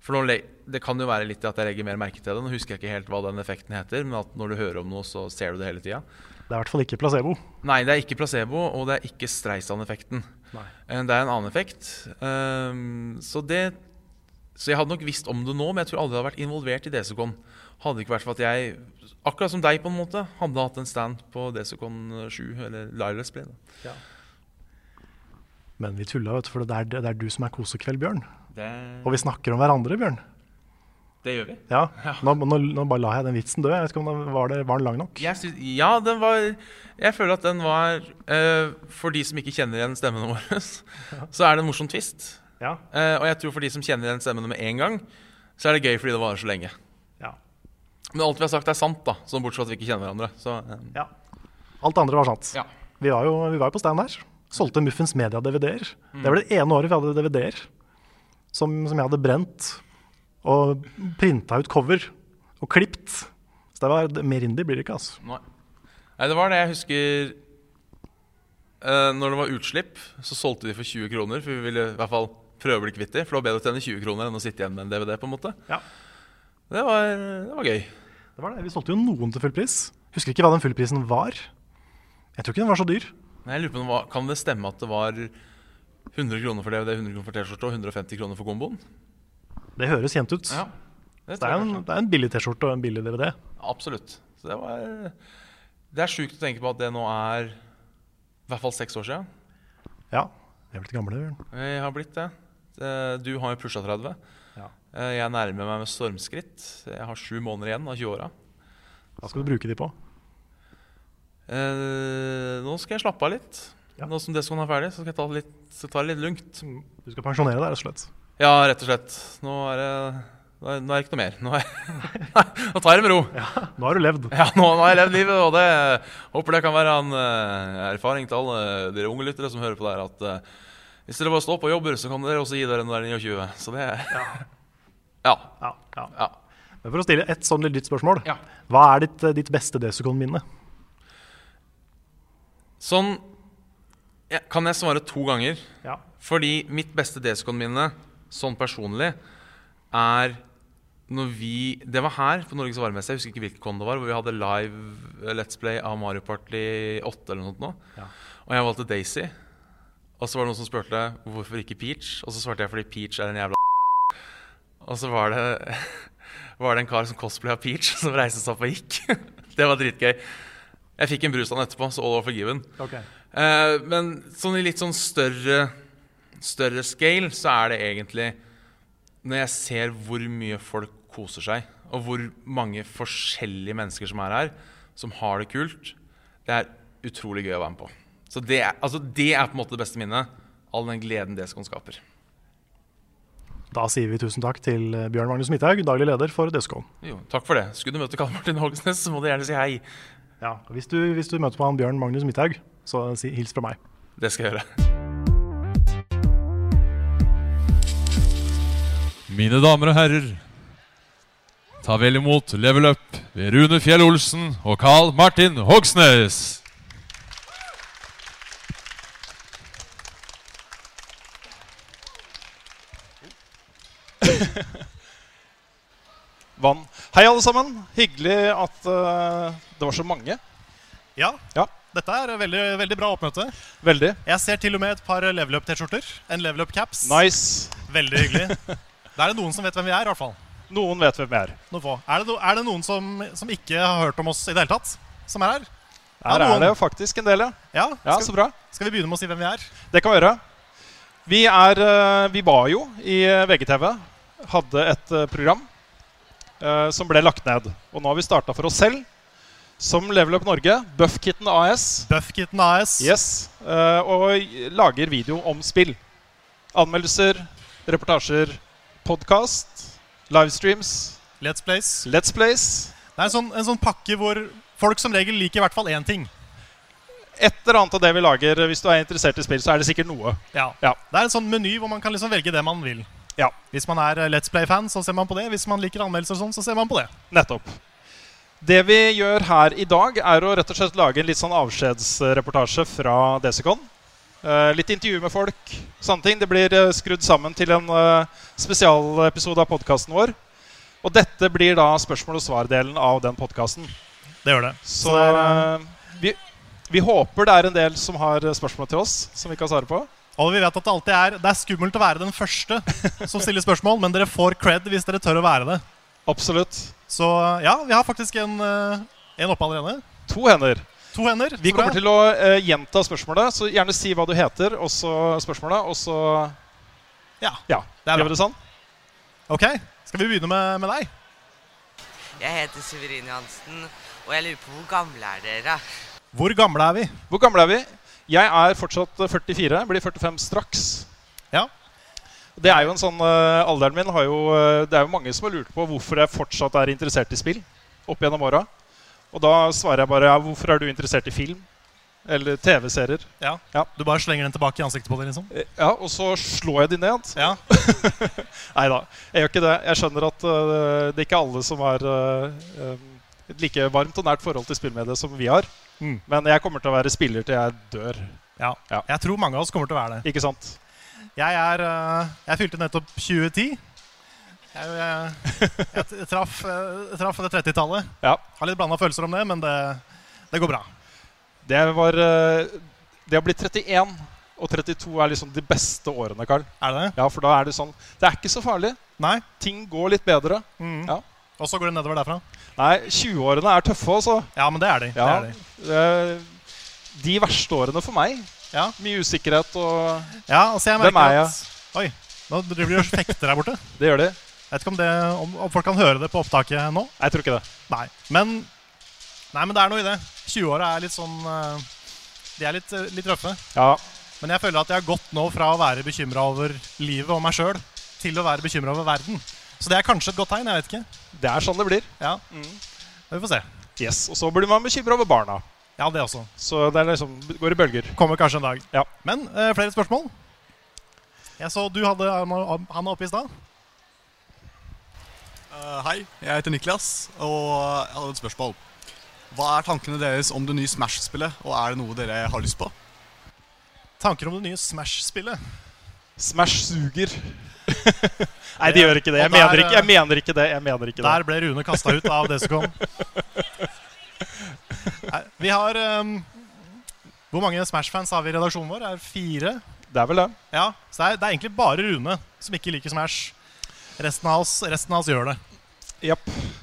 Speaker 5: For nå, le- Det kan jo være litt at jeg legger mer merke til det. Nå husker jeg ikke helt hva den effekten heter, men at når du hører om noe, så ser du det hele tida.
Speaker 1: Det er i hvert fall ikke placebo.
Speaker 5: Nei, det er ikke placebo, og det er ikke Streisand-effekten. Eh, Det er en annen effekt. Ehm, så det Så jeg hadde nok visst om det nå, men jeg tror aldri jeg hadde vært involvert i Desicon. Hadde det ikke vært for at jeg, akkurat som deg på en måte, hadde hatt en stand på Desicon 7, eller Lyle Play. Da.
Speaker 1: Men vi tulla, vet du, for det er, det er du som er kosekveld, Bjørn.
Speaker 5: Det-
Speaker 1: Og vi snakker om hverandre, Bjørn.
Speaker 5: Det gjør vi.
Speaker 1: Ja, nå, nå, nå bare la jeg den vitsen dø. Jeg vet ikke om den var, det, var den lang nok.
Speaker 5: Jeg synes, ja, den var Jeg føler at den var eh, For de som ikke kjenner igjen stemmene våre, <laughs> så er det en morsom twist. Eh, og jeg tror for de som kjenner igjen stemmene med en gang, så er det gøy fordi det varer så lenge.
Speaker 1: Ja.
Speaker 5: Men alt vi har sagt, er sant, da. Sånn bortsett fra at vi ikke kjenner hverandre. Så, eh,
Speaker 1: Alt det andre var sant.
Speaker 5: Ja.
Speaker 1: Vi var jo vi var jo på stand der. Solgte Muffens Media-DVD-er.
Speaker 5: Mm.
Speaker 1: Det var det ene året vi hadde DVD-er som, som jeg hadde brent og printa ut cover og klipt. Så det var mer indie blir det ikke, altså.
Speaker 5: Nei. Nei, det var det. Jeg husker eh, Når det var utslipp, så solgte de for 20 kroner. For vi ville i hvert fall prøve å bli kvitt dem. For det var bedre å tjene 20 kroner enn å sitte igjen med en DVD. på en måte Det, var, det var gøy.
Speaker 1: Det var det. Vi solgte jo noen til full pris. Husker ikke hva den fullprisen var. Jeg tror ikke den var så dyr.
Speaker 5: Nei, jeg lurer på om det var- Kan det stemme at det var 100 kroner for DVD, 100 kroner for T-skjorte og 150 kroner for komboen?
Speaker 1: Det høres kjent ut.
Speaker 5: Ja, det
Speaker 1: det, er en, det er en billig T-skjorte og en billig DVD.
Speaker 5: Absolutt. Så det var eh, Det er sjukt å tenke på at det nå er i hvert fall seks år siden.
Speaker 1: Ja, vi er blitt gamle, Bjørn.
Speaker 5: Jeg har blitt det. Eh, Du har jo pusha 30.
Speaker 1: Ja.
Speaker 5: Eh, Jeg nærmer meg med stormskritt. Jeg har sju måneder igjen av 20-åra.
Speaker 1: Hva skal du bruke de på?
Speaker 5: Eh, Nå skal jeg slappe av litt. Nå som Descon er ferdig, så skal jeg ta det litt, så ta det litt lungt.
Speaker 1: Du skal pensjonere deg, rett og slett.
Speaker 5: Ja, rett og slett. Nå er det nå er, nå er det ikke noe mer. Nå, er, Nei, nå tar jeg <laughs> det med ro.
Speaker 1: nå har du levd.
Speaker 5: Ja, nå, nå har jeg levd livet, og det håper det kan være en eh, erfaring til alle dere unge lyttere som hører på der, at eh, hvis dere bare står på og jobber, så kan dere også gi dere når dere er 29. Så det Ja. <laughs> ja.
Speaker 1: Men for å stille et sånn litt dypt spørsmål, hva er ditt, eh, ditt beste Desicon-minne?
Speaker 5: Sånn ja, kan jeg svare to ganger.
Speaker 1: Ja.
Speaker 5: Fordi mitt beste Desicon-minne, sånn personlig, er når vi Det var her på Norges varmeste, jeg husker ikke hvilken kon det var, hvor vi hadde live eh, Let's Play av Mario Party 8 eller noe sånt nå.
Speaker 1: Ja.
Speaker 5: Og jeg valgte Daisy. Og så var det noen som spurte hvorfor ikke Peach, og så svarte jeg fordi Peach er en jævla <laughs> Og så var det, <laughs> var det en kar som cosplaya Peach, <laughs> som reiste seg opp og gikk. <laughs> Det var dritgøy. Jeg fikk en brus av han etterpå, så all over forgiven.
Speaker 1: Ok.
Speaker 5: Eh, men sånn i litt sånn større, større scale så er det egentlig når jeg ser hvor mye folk koser seg, og hvor mange forskjellige mennesker som er her, som har det kult, det er utrolig gøy å være med på. Så det er, altså det er på en måte det beste minnet. All den gleden det skal skaper.
Speaker 1: Da sier vi tusen takk til eh, Bjørn Magnus Midthaug, daglig leder for Desicon.
Speaker 5: Jo, takk for det. Skulle du møte Karl Martin Hogsnes, så må du gjerne si hei.
Speaker 1: Ja. Hvis du, hvis du møter på han Bjørn Magnus Midthaug, så si, hils fra meg.
Speaker 5: Det skal jeg gjøre.
Speaker 6: Mine damer og herrer, ta vel imot Level Up ved Rune Fjell Olsen og Carl Martin Hogsnes.
Speaker 2: vann. Hei, alle sammen. Hyggelig at eh, det var så mange.
Speaker 1: Ja. Dette er veldig, veldig bra oppmøte.
Speaker 2: Veldig.
Speaker 1: Jeg ser til og med et par level up-T-skjorter. En level up-caps.
Speaker 2: Nice.
Speaker 1: Veldig hyggelig. Da er det noen som vet hvem vi er, i hvert fall.
Speaker 2: Noen vet hvem vi er.
Speaker 1: Noen få. Er det, no- er det noen som, som ikke har hørt om oss i det hele tatt, som er her?
Speaker 2: Her
Speaker 1: noen.
Speaker 2: er det jo faktisk en del, ja.
Speaker 1: Ja,
Speaker 2: Ja,
Speaker 1: skal-
Speaker 2: så bra.
Speaker 1: Skal vi begynne med å si hvem vi er?
Speaker 2: Det kan vi gjøre. Vi, er, eh, vi var jo i eh, VGTV. Hadde et eh, program eh, som ble lagt ned. Og nå har vi starta for oss selv som Level Up Norge. Buffkitten AS.
Speaker 1: Buffkitten AS.
Speaker 2: Yes. eh, og lager video om spill. Anmeldelser, reportasjer, podkast, livestreams.
Speaker 1: Let's Plays.
Speaker 2: Let's Plays.
Speaker 1: Det er en sånn, en sånn pakke hvor folk som regel liker i hvert fall én ting.
Speaker 2: Et eller annet av det vi lager. eh, Hvis du er interessert i spill, så er det sikkert noe.
Speaker 1: Ja.
Speaker 2: Ja.
Speaker 1: Det er en sånn meny hvor man kan liksom velge det man vil. Hvis man er eh, Let's Play-fan, så ser man på det. Hvis man liker anmeldelser og sånn, så ser man på det.
Speaker 2: Nettopp. Det vi gjør her i dag, er å rett og slett lage en litt sånn avskjedsreportasje fra Desicon. Eh, litt intervju med folk, sånne ting. Det blir eh, skrudd sammen til en eh, spesialepisode av podkasten vår. Og dette blir da spørsmål og svar-delen av den podkasten.
Speaker 1: Det gjør det.
Speaker 2: Så eh, vi, vi håper det er en del som har eh, spørsmål til oss som vi kan svare på.
Speaker 1: Og vi vet at det alltid er Det er skummelt å være den første som stiller spørsmål, men dere får cred hvis dere tør å være det.
Speaker 2: Absolutt.
Speaker 1: Så ja, vi har faktisk en, eh, en oppe allerede.
Speaker 2: To hender.
Speaker 1: To hender.
Speaker 2: Vi kommer til å eh, gjenta spørsmålet, så gjerne si hva du heter, og så spørsmålet, og så
Speaker 1: Ja.
Speaker 2: det er gjør vi det sånn?
Speaker 1: Ok, skal vi begynne med, med deg?
Speaker 7: Jeg heter Severin Johansen, og jeg lurer på hvor gamle er dere?
Speaker 1: Hvor gamle er vi?
Speaker 2: Hvor gamle er vi? Jeg er fortsatt eh, 44, blir 45 straks.
Speaker 1: Ja.
Speaker 2: Det er jo en sånn, eh, Alderen min har jo eh, Det er jo mange som har lurt på hvorfor jeg fortsatt er interessert i spill. opp gjennom åra. Og da svarer jeg bare ja, hvorfor er du interessert i film? Eller TV-serier.
Speaker 1: Ja. Du bare slenger den tilbake i ansiktet på deg, liksom?
Speaker 2: Eh, Ja, og så slår jeg de ned. <laughs>
Speaker 1: Ja.
Speaker 2: Nei da, jeg gjør ikke det. Jeg skjønner at eh, det er ikke alle som har eh, eh, et like varmt og nært forhold til spillmediet som vi har.
Speaker 1: Mm.
Speaker 2: Men jeg kommer til å være spiller til jeg dør.
Speaker 1: Ja. Jeg tror mange av oss kommer til å være det.
Speaker 2: Ikke sant?
Speaker 1: Jeg er eh, Jeg fylte nettopp 2010. Jeg, er jo, eh, jeg, t- jeg traff, eh, jeg traff det 30-tallet.
Speaker 2: Ja.
Speaker 1: Har litt blanda følelser om det, men det, det går bra.
Speaker 2: Det var eh, Det å bli 31 og 32 er liksom de beste årene, Karl.
Speaker 1: Er det?
Speaker 2: Ja, for da er det sånn Det er ikke så farlig.
Speaker 1: Nei.
Speaker 2: Ting går litt bedre.
Speaker 1: Mm.
Speaker 2: Ja.
Speaker 1: Og så går det nedover derfra?
Speaker 2: Nei, 20-årene er tøffe, altså.
Speaker 1: Ja, men det er de. Det
Speaker 2: Ja,
Speaker 1: er de.
Speaker 2: eh, de verste årene for meg. Mye usikkerhet og
Speaker 1: Ja, altså jeg merker
Speaker 2: Hvem er jeg?
Speaker 1: At, oi, nå driver de og fekter der borte.
Speaker 2: Det gjør de.
Speaker 1: Jeg vet ikke om, det, om, om folk kan høre det på opptaket nå.
Speaker 2: Jeg tror ikke det.
Speaker 1: Nei, men, nei, men det er noe i det. 20-åra er litt sånn eh, De er litt, eh, litt røffe.
Speaker 2: Ja.
Speaker 1: Men jeg føler at jeg har gått nå fra å være bekymra over livet og meg sjøl, til å være bekymra over verden. Så det er kanskje et godt tegn. jeg vet ikke.
Speaker 2: Det er sånn det blir.
Speaker 1: Ja, Vi får se.
Speaker 2: Yes, Og så blir man bekymra over barna.
Speaker 1: Ja, det også.
Speaker 2: Så det er liksom, det går i bølger.
Speaker 1: Kommer kanskje en dag.
Speaker 2: Ja.
Speaker 1: Men eh, flere spørsmål? Jeg så du hadde han oppe i stad.
Speaker 8: Eh, hei, jeg heter Niklas, og jeg hadde et spørsmål. Hva er tankene deres om det nye Smash-spillet, og er det noe dere har lyst på?
Speaker 1: Tanker om det nye Smash-spillet?
Speaker 2: Smash <laughs> suger. Nei, de gjør ikke det. Jeg
Speaker 1: Og der,
Speaker 2: mener ikke, jeg mener ikke det. jeg mener ikke det.
Speaker 1: Der ble Rune kasta ut av Desicon. Nei, Vi har ehm, Hvor mange Smash-fans har vi i redaksjonen vår? Er fire?
Speaker 2: Det er vel det.
Speaker 1: Ja, Så det er, det er egentlig bare Rune som ikke liker Smash. Resten av oss, resten av oss gjør det.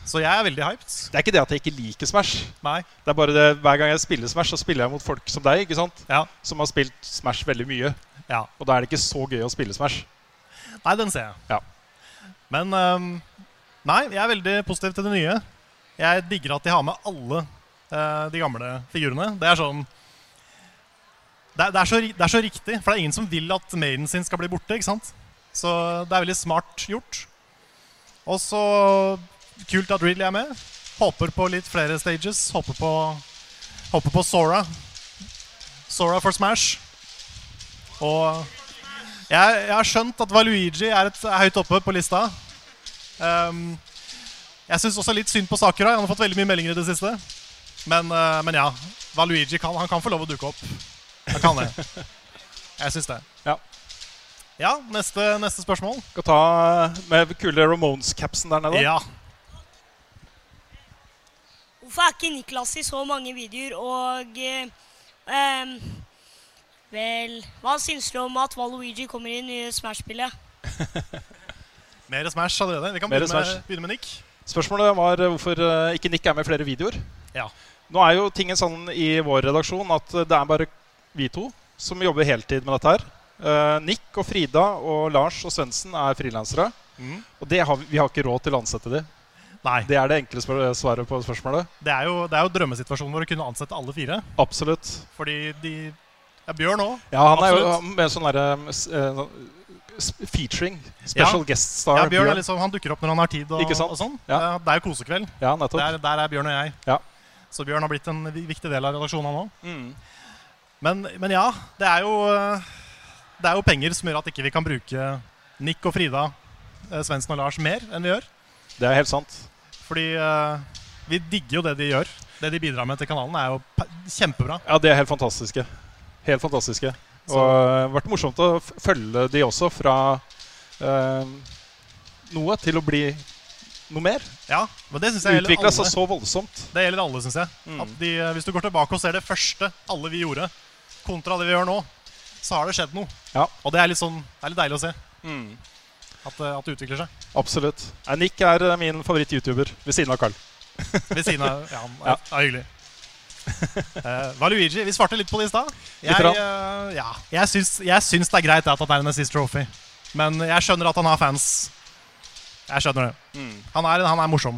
Speaker 1: Så jeg er veldig hyped.
Speaker 2: Det er ikke det at jeg ikke liker Smash.
Speaker 1: Nei.
Speaker 2: Det er bare det, Hver gang jeg spiller Smash, så spiller jeg mot folk som deg, ikke sant?
Speaker 1: Ja.
Speaker 2: som har spilt Smash veldig mye.
Speaker 1: Ja.
Speaker 2: Og da er det ikke så gøy å spille Smash.
Speaker 1: Nei, den ser jeg.
Speaker 2: Ja.
Speaker 1: Men ehm, Nei, jeg er veldig positiv til det nye. Jeg digger at de har med alle eh, de gamle figurene. Det er sånn det er, det, er så, ri- det er så riktig, for det er ingen som vil at maiden sin skal bli borte. ikke sant? Så det er veldig smart gjort. Og så kult at Ridley er med. Håper på litt flere stages. Håper på, håper på Sora. Sora for Smash. Og jeg, jeg har skjønt at Valuigi er, et, er høyt oppe på lista. Ehm, jeg syns også litt synd på Sakura. Han har fått veldig mye meldinger i det siste. Men, eh, men ja, Valuigi kan, han kan få lov å dukke opp. Han kan
Speaker 2: <laughs>
Speaker 1: det. Jeg syns det.
Speaker 2: Ja.
Speaker 1: Ja, neste, neste spørsmål.
Speaker 2: Skal ta eh, med kule Ramones-capsen der nede.
Speaker 1: Ja.
Speaker 9: Hvorfor er ikke Niklas i så mange videoer? Og eh, ehm, Vel, hva syns du om at Waluigi kommer i nye Smash-spillet?
Speaker 1: Mer Smash allerede. Vi kan
Speaker 2: Mer
Speaker 1: begynne med,
Speaker 2: Smash.
Speaker 1: begynne med Nick.
Speaker 2: Spørsmålet var eh, hvorfor eh, ikke Nick er med i flere videoer.
Speaker 1: Ja.
Speaker 2: Nå er jo tingen sånn i vår redaksjon at eh, det er bare vi to som jobber heltid med dette her. Eh, Nick og Frida og Lars og Svendsen er frilansere.
Speaker 1: Mhm.
Speaker 2: Og det har vi, vi har ikke råd til å ansette de. Det er det enkle spør- svaret på spørsmålet.
Speaker 1: Det er, jo, det er jo drømmesituasjonen vår å kunne ansette alle fire.
Speaker 2: Absolutt.
Speaker 1: Fordi de ja, Bjørn òg.
Speaker 2: Ja, han er jo han- med sånn derre mm, s- eh, sånn, s- Featuring. Special guest star.
Speaker 1: Ja, Bjørn er liksom, han dukker opp når han har tid. Og,
Speaker 2: Ikke sant?
Speaker 1: og sånn.
Speaker 2: Ja.
Speaker 1: Eh, Det er jo kosekveld.
Speaker 2: Ja, nettopp.
Speaker 1: der, der er Bjørn og jeg.
Speaker 2: Ja.
Speaker 1: Så Bjørn har blitt en vi- viktig del av redaksjonen, han òg.
Speaker 2: Mm.
Speaker 1: Men, men ja, det er, jo, eh, det er jo penger som gjør at ikke vi kan bruke Nick og Frida, eh, Svendsen og Lars mer enn vi gjør.
Speaker 2: Det er helt sant.
Speaker 1: Fordi eh, vi digger jo det de gjør. Det de bidrar med til kanalen, er jo pe- kjempebra.
Speaker 2: Ja, det er helt fantastiske. Helt fantastiske. Og eh,
Speaker 1: Så-
Speaker 2: det har vært morsomt å f- følge de også fra eh, noe til å bli noe mer.
Speaker 1: Ja, men det synes jeg gjelder
Speaker 2: Utvikla seg
Speaker 1: alle.
Speaker 2: så Mm. voldsomt.
Speaker 1: Det gjelder alle, syns jeg. At de, eh, hvis du går tilbake og ser det første alle vi gjorde, kontra det vi gjør nå, så har det skjedd noe.
Speaker 2: Ja.
Speaker 1: Og det er litt, sånn, det er litt deilig å se.
Speaker 2: Mm.
Speaker 1: At, eh, at det utvikler seg.
Speaker 2: Absolutt. Nei, Nick er eh, min favoritt-YouTuber ved siden av Carl.
Speaker 1: Ved siden av Ja, han er,
Speaker 2: Ja.
Speaker 1: er hyggelig. Eh, Valuigi, vi svarte litt på det i stad.
Speaker 2: Litt
Speaker 1: Jeg, eh, ja, jeg, syns- jeg syns det er greit at det er en assist trophy, men jeg skjønner at han har fans. Jeg skjønner det.
Speaker 2: Mm.
Speaker 1: Han, er, han er morsom.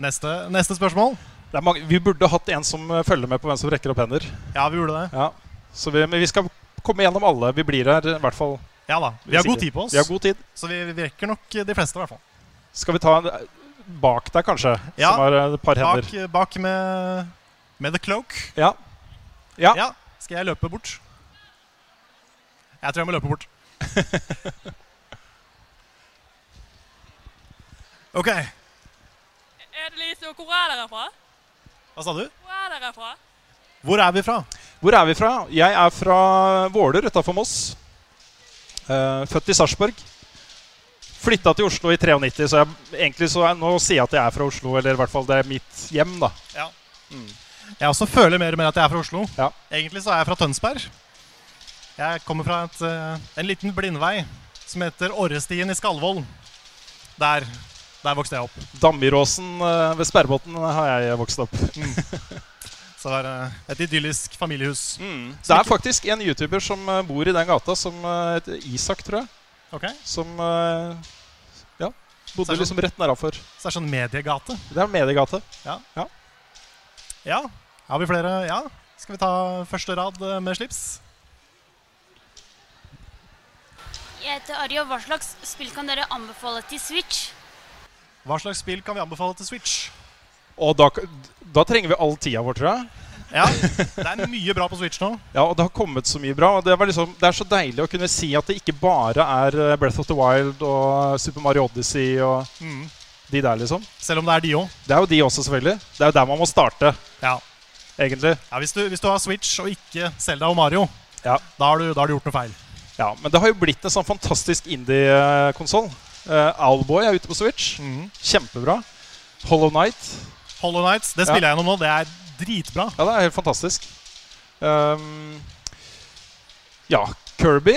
Speaker 1: Neste, neste spørsmål.
Speaker 2: Det er mange, vi burde hatt en som eh, følger med på hvem som rekker opp hender.
Speaker 1: Ja, vi gjorde det.
Speaker 2: Ja. Så vi, men vi skal komme gjennom alle. Vi blir her i hvert fall.
Speaker 1: Ja da. Vi har god tid på oss,
Speaker 2: Vi har god tid.
Speaker 1: så vi, vi rekker nok de fleste, i hvert fall.
Speaker 2: Skal vi ta en eh, bak deg, kanskje?
Speaker 1: Ja,
Speaker 2: Som har eh, et par hender.
Speaker 1: Bak, bak med, med The Cloak.
Speaker 2: Ja. Ja.
Speaker 1: Skal jeg løpe bort? Jeg tror jeg må løpe bort. <laughs> OK.
Speaker 10: Er det Lise, og hvor er dere fra?
Speaker 1: Hva sa du?
Speaker 10: Hvor er dere fra?
Speaker 1: Hvor er vi fra?
Speaker 2: Hvor er vi fra? Jeg er fra Våler utafor Moss. Eh, født i Sarpsborg. Flytta til Oslo i 93, så jeg, egentlig så er, nå sier jeg at jeg er fra Oslo. Eller i hvert fall det er mitt hjem, da.
Speaker 1: Ja. Jeg også føler mer og mer at jeg er fra Oslo. Egentlig så er jeg fra Tønsberg. Jeg kommer fra et, eh, en liten blindvei som heter Orrestien i Skalvoll. Der, der vokste jeg opp.
Speaker 2: Dambyråsen eh, ved Sperrebotn har jeg vokst opp.
Speaker 1: Så det var eh, et idyllisk familiehus.
Speaker 2: Det er faktisk en YouTuber som eh, bor i den gata, som eh, heter Isak, tror jeg.
Speaker 1: Ok.
Speaker 2: Som eh,
Speaker 1: Så
Speaker 2: ja,
Speaker 1: er
Speaker 2: bodde
Speaker 1: det
Speaker 2: liksom
Speaker 1: sånn-
Speaker 2: rett nedafor.
Speaker 1: Så det er sånn mediegate.
Speaker 2: Det er en mediegate.
Speaker 1: Ja.
Speaker 2: Ja.
Speaker 1: ja. Har vi flere? Ja. Skal vi ta første rad eh, med slips?
Speaker 11: Jeg heter Ari, og hva slags spill kan dere anbefale til Switch?
Speaker 1: Hva slags spill kan vi anbefale til Switch?
Speaker 2: Og da, da trenger vi all tida vår, tror jeg.
Speaker 1: Ja, <laughs> Det er mye bra på Switch nå.
Speaker 2: Ja, og det har kommet så mye bra. Og det, var liksom, det er så deilig å kunne si at det ikke bare er eh, Breath of the Wild og Super Mario Odyssey og
Speaker 1: Mm.
Speaker 2: de der, liksom.
Speaker 1: Selv om det er de òg.
Speaker 2: Det er jo de også, selvfølgelig. Det er jo der man må starte,
Speaker 1: Ja.
Speaker 2: egentlig.
Speaker 1: Ja, hvis, du, hvis du har Switch og ikke Selda og Mario, da, har du, da har du gjort noe feil.
Speaker 2: Ja, Men det har jo blitt en sånn fantastisk indie-konsoll. Eh, Owlboy er ute på Switch.
Speaker 1: Mm.
Speaker 2: Kjempebra. Hollow Night.
Speaker 1: Hollow Nights, det spiller jeg gjennom nå. Det er dritbra.
Speaker 2: Ja, det er helt fantastisk. Ehm, ja, Kirby.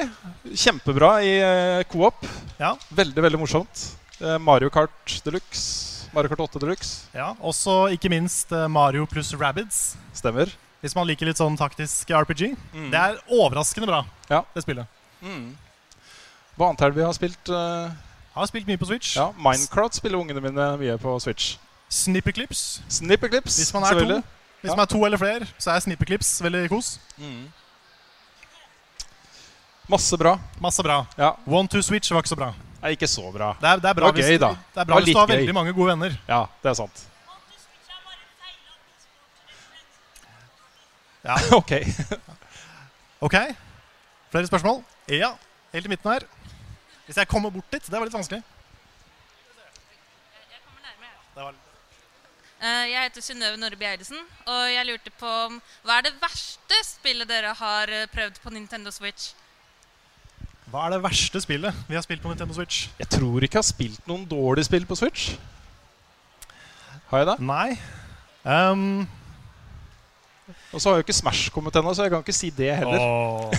Speaker 2: Kjempebra i eh, co-op. Veldig, veldig morsomt. Eh, Mario Kart Deluxe. Mario Kart 8 Deluxe.
Speaker 1: Ja, Også ikke minst eh, Mario pluss Rabbids.
Speaker 2: Stemmer.
Speaker 1: Hvis man liker litt sånn taktisk RPG.
Speaker 2: Mm.
Speaker 1: Det er overraskende bra, det spillet.
Speaker 2: Hva annet er det vi har spilt? eh?
Speaker 1: Har spilt mye på Switch.
Speaker 2: Ja, Minecraft spiller ungene mine mye på Switch.
Speaker 1: Snipperclips.
Speaker 2: Snipperclips,
Speaker 1: Hvis man er to,
Speaker 2: selvfølgelig.
Speaker 1: hvis
Speaker 2: Ja.
Speaker 1: man er to eller flere, så er snipperclips veldig kos.
Speaker 2: Masse bra.
Speaker 1: Masse bra. One to switch var ikke så bra.
Speaker 2: Nei, ikke så bra.
Speaker 1: Det er, det er bra
Speaker 2: Det var
Speaker 1: hvis,
Speaker 2: gøy, da.
Speaker 1: Det er
Speaker 2: Det var
Speaker 1: bra hvis
Speaker 2: litt
Speaker 1: du har
Speaker 2: gøy.
Speaker 1: veldig mange gode venner.
Speaker 2: Ja, det er sant.
Speaker 1: Ja.
Speaker 2: ok.
Speaker 1: ok. Flere spørsmål? Ja. Helt i midten her. Hvis jeg kommer bort dit, det var litt vanskelig. Det var
Speaker 12: Eh, Jeg heter Synnøve Nordby Eidesen, og jeg lurte på om- hva er det verste spillet dere har eh, prøvd på Nintendo Switch?
Speaker 1: Hva er det verste spillet vi har spilt på Nintendo Switch?
Speaker 2: Jeg tror ikke jeg har spilt noen dårlige spill på Switch. Har jeg det?
Speaker 1: Nei. Um,
Speaker 2: og så har jo ikke Smash kommet ennå, så jeg kan ikke si det heller.
Speaker 1: Åh.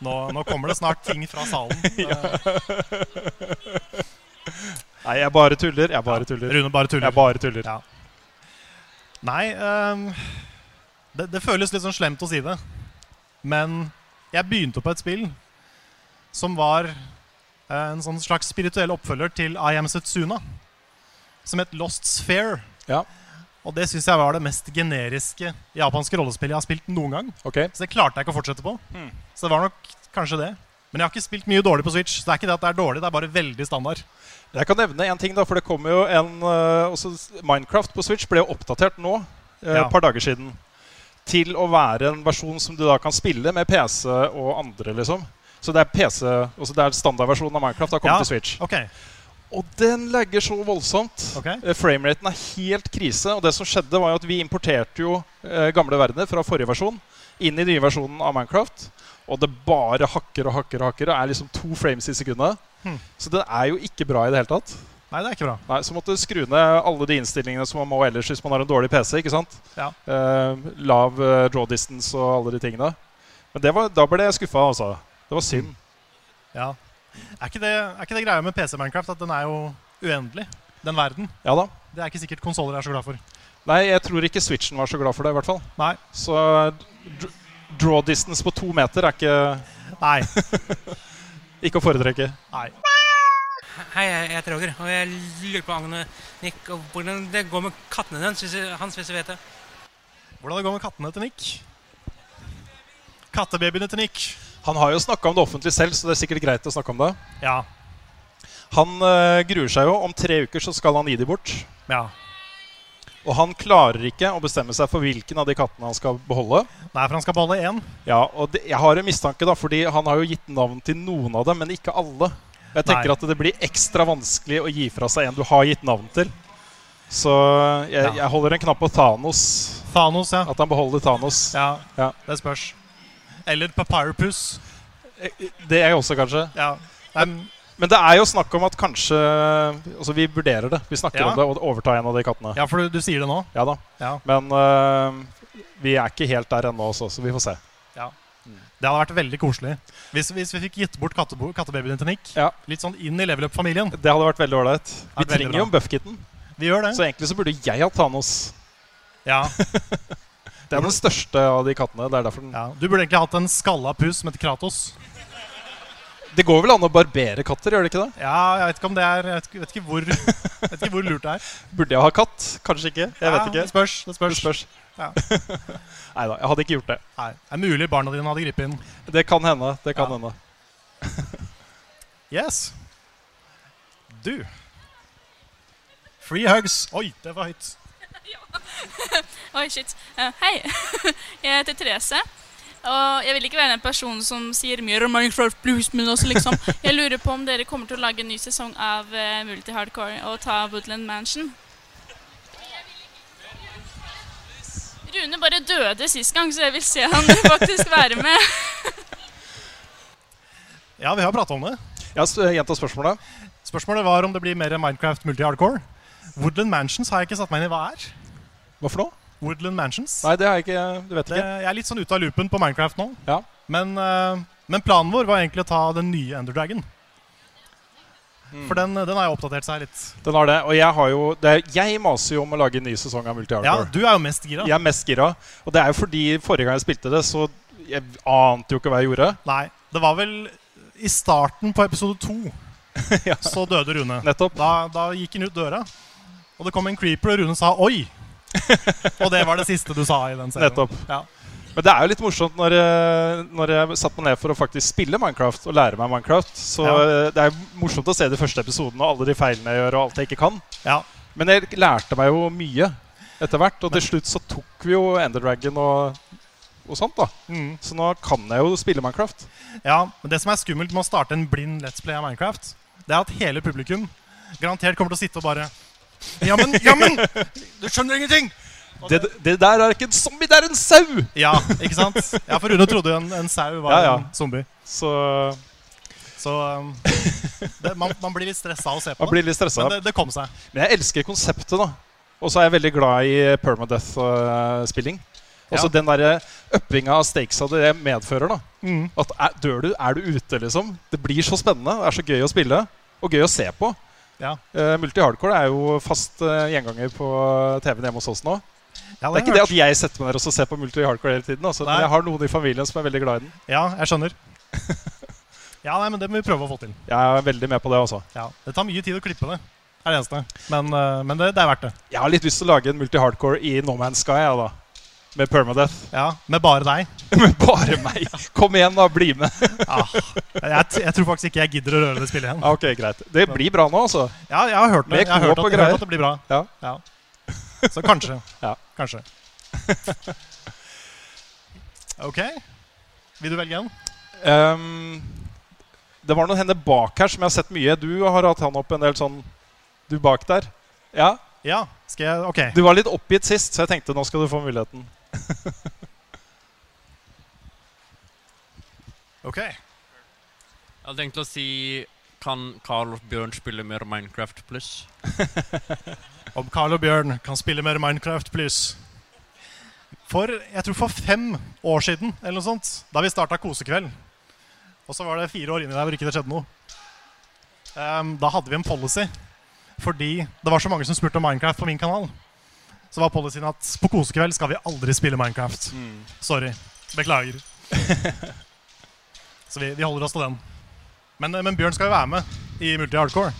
Speaker 1: Nå, nå kommer det snart ting fra
Speaker 2: <laughs>
Speaker 1: salen.
Speaker 2: Ja. Nei, jeg bare tuller. Jeg bare tuller.
Speaker 1: Rune bare tuller.
Speaker 2: Jeg bare tuller.
Speaker 1: Nei ehm, det, det føles litt sånn slemt å si det. Men jeg begynte på et spill som var eh, en sånn slags spirituell oppfølger til I Am Setsuna. Som het Lost Sphere. Og det syns jeg var det mest generiske japanske rollespillet jeg har spilt noen gang. Så det klarte jeg ikke å fortsette på.
Speaker 2: Hmm.
Speaker 1: Så det var nok kanskje det. Men jeg har ikke spilt mye dårlig på Switch. Så det er ikke det at det er dårlig, det er bare veldig standard.
Speaker 2: Jeg kan nevne en ting, da, for det kommer jo en eh, også s- Minecraft på Switch ble jo oppdatert nå, eh, et
Speaker 1: Ja.
Speaker 2: par dager siden, til å være en versjon som du da kan spille med PC og andre, liksom. Så det er PC, også det er standardversjonen av Minecraft har kommet
Speaker 1: Ja,
Speaker 2: til Switch.
Speaker 1: ok.
Speaker 2: Og den lagger så voldsomt. Eh, Frameraten er helt krise. Og det som skjedde, var jo at vi importerte jo eh, gamle verdener fra forrige versjon inn i den nye versjonen av Minecraft. Og det bare hakker og hakker og hakker. Det er liksom to frames i sekundet.
Speaker 1: Hmm.
Speaker 2: Så den er jo ikke bra i det hele tatt.
Speaker 1: Nei, det er ikke bra.
Speaker 2: Nei, Så måtte du skru ned alle de innstillingene som man må ellers hvis man har en dårlig PC. ikke sant?
Speaker 1: Ja.
Speaker 2: Eh, lav eh, draw distance og alle de tingene. Men det var, da ble jeg skuffa, altså. Det var synd.
Speaker 1: Hmm. Ja. Er ikke det, er ikke det greia med PC Minecraft at den er jo uendelig, den verden?
Speaker 2: Ja da.
Speaker 1: Det er ikke sikkert konsoller er så glad
Speaker 2: <laughs>
Speaker 1: for.
Speaker 2: Nei, jeg tror ikke Switchen var så glad for det, i hvert fall.
Speaker 1: Nei.
Speaker 2: Så dr draw distance på to meter er ikke
Speaker 1: Nei.
Speaker 2: ikke å foretrekke.
Speaker 1: Nei.
Speaker 13: Hei, jeg heter Roger, og jeg lurer på angående Nick og hvordan det går med kattene hans, hvis jeg- hans, hvis jeg vet det.
Speaker 1: Hvordan det går med kattene til Nick? Kattebabyene til Nick.
Speaker 2: Han har jo snakka om det offentlig selv, så det er sikkert greit å snakke om det.
Speaker 1: Ja.
Speaker 2: Han eh, gruer seg jo. Om tre uker så skal han gi de bort.
Speaker 1: Ja.
Speaker 2: Og han klarer ikke å bestemme seg for hvilken av de kattene han skal beholde.
Speaker 1: Nei, for han skal beholde én.
Speaker 2: Ja, og det, jeg har en mistanke, da, fordi han har jo gitt navn til noen av dem, men ikke alle. Jeg tenker
Speaker 1: Nei.
Speaker 2: at det blir ekstra vanskelig å gi fra seg en du har gitt navn til. Så jeg,
Speaker 1: Ja.
Speaker 2: jeg holder en knapp på Thanos.
Speaker 1: Thanos, ja.
Speaker 2: At han beholder Thanos.
Speaker 1: Ja,
Speaker 2: ja.
Speaker 1: det spørs. Eller Papyrupus.
Speaker 2: Det er jeg også, kanskje.
Speaker 1: Ja.
Speaker 2: Men, men det er jo snakk om at kanskje Altså, vi vurderer det. Vi snakker
Speaker 1: Ja.
Speaker 2: om det og overtar en av de kattene.
Speaker 1: Ja, for du, du sier det nå?
Speaker 2: Ja da.
Speaker 1: Ja.
Speaker 2: Men øh, vi er ikke helt der ennå også, så vi får se.
Speaker 1: Ja. Det hadde vært veldig koselig hvis, hvis vi fikk gitt bort kattebo- kattebabyene til Nick. Litt sånn inn i level up-familien.
Speaker 2: Det hadde vært veldig ålreit. Vi
Speaker 1: veldig
Speaker 2: trenger
Speaker 1: bra.
Speaker 2: jo en buffkitten.
Speaker 1: Vi gjør det.
Speaker 2: Så egentlig så burde jeg hatt Thanos.
Speaker 1: Ja.
Speaker 2: Det er den største av de kattene. Det er derfor den
Speaker 1: Du burde egentlig hatt en skalla pus som heter Kratos.
Speaker 2: Det går vel an å barbere katter, gjør det ikke det?
Speaker 1: Ja, jeg vet ikke om det er Jeg vet ikke, vet ikke, hvor, jeg vet ikke hvor lurt det er.
Speaker 2: Burde jeg ha katt? Kanskje ikke. Jeg
Speaker 1: Ja,
Speaker 2: vet ikke.
Speaker 1: det spørs, det spørs.
Speaker 2: <laughs>
Speaker 1: Ja.
Speaker 2: Nei da, jeg hadde ikke gjort det.
Speaker 1: Nei, Det er mulig barna dine hadde gripet inn.
Speaker 2: Det kan hende. Det kan hende.
Speaker 1: Yes. Du. Free hugs. Oi, det var høyt.
Speaker 14: Oi, shit. Eh, hei. <laughs> jeg heter Therese. Og jeg vil ikke være den personen som sier mye om Minecraft Blues, men også liksom Jeg lurer på om dere kommer til å lage en ny sesong av eh, Multi Hardcore og ta Woodland Mansion. Rune bare døde sist gang, så jeg vil se han <laughs> faktisk være med.
Speaker 1: Ja, vi har prata om det.
Speaker 2: Ja, Gjenta spørsmålet.
Speaker 1: Spørsmålet var om det blir mer Minecraft multi-hardcore. Woodland Mansions har jeg ikke satt meg inn i hva er.
Speaker 2: Hva for noe?
Speaker 1: Woodland Mansions.
Speaker 2: Nei, det har jeg ikke Du vet
Speaker 1: Det,
Speaker 2: ikke.
Speaker 1: jeg er litt sånn ute av loopen på Minecraft nå.
Speaker 2: Ja.
Speaker 1: Men, eh, men planen vår var egentlig å ta den nye Ender Dragon.
Speaker 2: Hmm.
Speaker 1: For den, den har jo oppdatert seg litt.
Speaker 2: Den har det. Og jeg, har jo, det er, jeg maser jo om å lage en ny sesong av Multi-Hardcore.
Speaker 1: Ja, du er jo mest gira.
Speaker 2: Jeg er mest gira. Og det er jo fordi forrige gang jeg spilte det, så jeg ante jo ikke hva jeg gjorde.
Speaker 1: Nei, det var vel i starten på episode
Speaker 2: <laughs>
Speaker 1: to så døde Rune. Da, da gikk han ut døra, og det kom en creeper, og Rune sa
Speaker 2: <laughs>
Speaker 1: 'oi'. og det var det siste du sa i den serien.
Speaker 2: Nettopp.
Speaker 1: Ja.
Speaker 2: Men det er jo litt morsomt når, eh, når jeg satte meg ned for å faktisk spille Minecraft og lære meg Minecraft. Så
Speaker 1: Ja.
Speaker 2: eh, det er morsomt å se de første episodene og alle de feilene jeg gjør, og alt jeg ikke kan.
Speaker 1: Ja.
Speaker 2: Men jeg lærte meg jo mye etter hvert, og til slutt så tok vi jo Ender Dragon og, og sånt, da. Så nå kan jeg jo spille Minecraft.
Speaker 1: Ja, men Det som er skummelt med å starte en blind Let's Play av Minecraft, det er at hele publikum garantert kommer til å sitte og bare Jammen, jammen! Du skjønner ingenting!
Speaker 2: Det, det der er ikke en zombie, det er en sau!
Speaker 1: Ja, ikke sant? Ja, For Rune trodde jo en, en sau var
Speaker 2: Ja, ja.
Speaker 1: en zombie.
Speaker 2: Mm. Så,
Speaker 1: um, det, man, man blir litt stressa av å se på
Speaker 2: Man blir litt stresset.
Speaker 1: Men det, det kom seg.
Speaker 2: Men jeg elsker konseptet, da. Og så er jeg veldig glad i eh, permadeath-spilling. Altså
Speaker 1: Ja.
Speaker 2: den derre uppinga av stakesa det medfører. da.
Speaker 1: Mm.
Speaker 2: At er, dør du, er du ute, liksom. Det blir så spennende. Det er så gøy å spille. Og gøy å se på.
Speaker 1: Ja.
Speaker 2: Eh, Multi-hardcore er jo fast eh, gjenganger på TV-en hjemme hos oss nå.
Speaker 1: Ja, det har
Speaker 2: det er
Speaker 1: jeg
Speaker 2: ikke det at jeg setter meg ned og så ser på multi-hardcore hele tiden. Altså, men
Speaker 1: Nei.
Speaker 2: jeg har noen i familien som er veldig glad i den.
Speaker 1: Ja, jeg skjønner. Ja, nei, men det må vi prøve å få til.
Speaker 2: Jeg er veldig med på det. altså. Også.
Speaker 1: Ja, Det tar mye tid å klippe det. Det er det eneste. Men, eh, men det, det er verdt det.
Speaker 2: Jeg har litt lyst til å lage en multi-hardcore i No Man's Sky. Ja, da. Med permadeath. <laughs>
Speaker 1: Ja, Med bare deg.
Speaker 2: med bare meg. Kom igjen, da. Bli med. Ah.
Speaker 1: Jeg, t jeg tror faktisk ikke jeg gidder å røre det spillet igjen.
Speaker 2: Ja, ok, greit. Det blir bra nå, altså.
Speaker 1: Ja, jeg har hørt det.
Speaker 2: Med
Speaker 1: Jeg har
Speaker 2: knop
Speaker 1: hørt at,
Speaker 2: og
Speaker 1: jeg har
Speaker 2: greier.
Speaker 1: hørt at det blir bra.
Speaker 2: Ja.
Speaker 1: Så kanskje.
Speaker 2: <laughs> Ja.
Speaker 1: Kanskje.
Speaker 2: <laughs>
Speaker 1: OK. Vil du velge en?
Speaker 2: Ehm, det var noen hender bak her som jeg har sett mye. Du har hatt han opp en del sånn Du bak der. Ja?
Speaker 1: Ja, skal jeg, ok.
Speaker 2: Du var litt oppgitt sist, så jeg tenkte nå skal du få muligheten.
Speaker 1: Ok.
Speaker 15: Jeg hadde tenkt å si Kan Carl og Bjørn spille mer Minecraft pluss?
Speaker 1: <laughs> Om Carl og Bjørn kan spille mer Minecraft, please. For jeg tror for fem år siden, eller noe sånt, da vi starta Kosekveld Og så var det fire år inni der hvor ikke det skjedde noe. Ehm, da hadde vi en policy. Fordi det var så mange som spurte om Minecraft på min kanal. Så var policyen at på Kosekveld skal vi aldri spille Minecraft. Sorry. Beklager. så vi, vi holder oss til den. Men, eh, men Bjørn skal jo være med i multi-hardcore.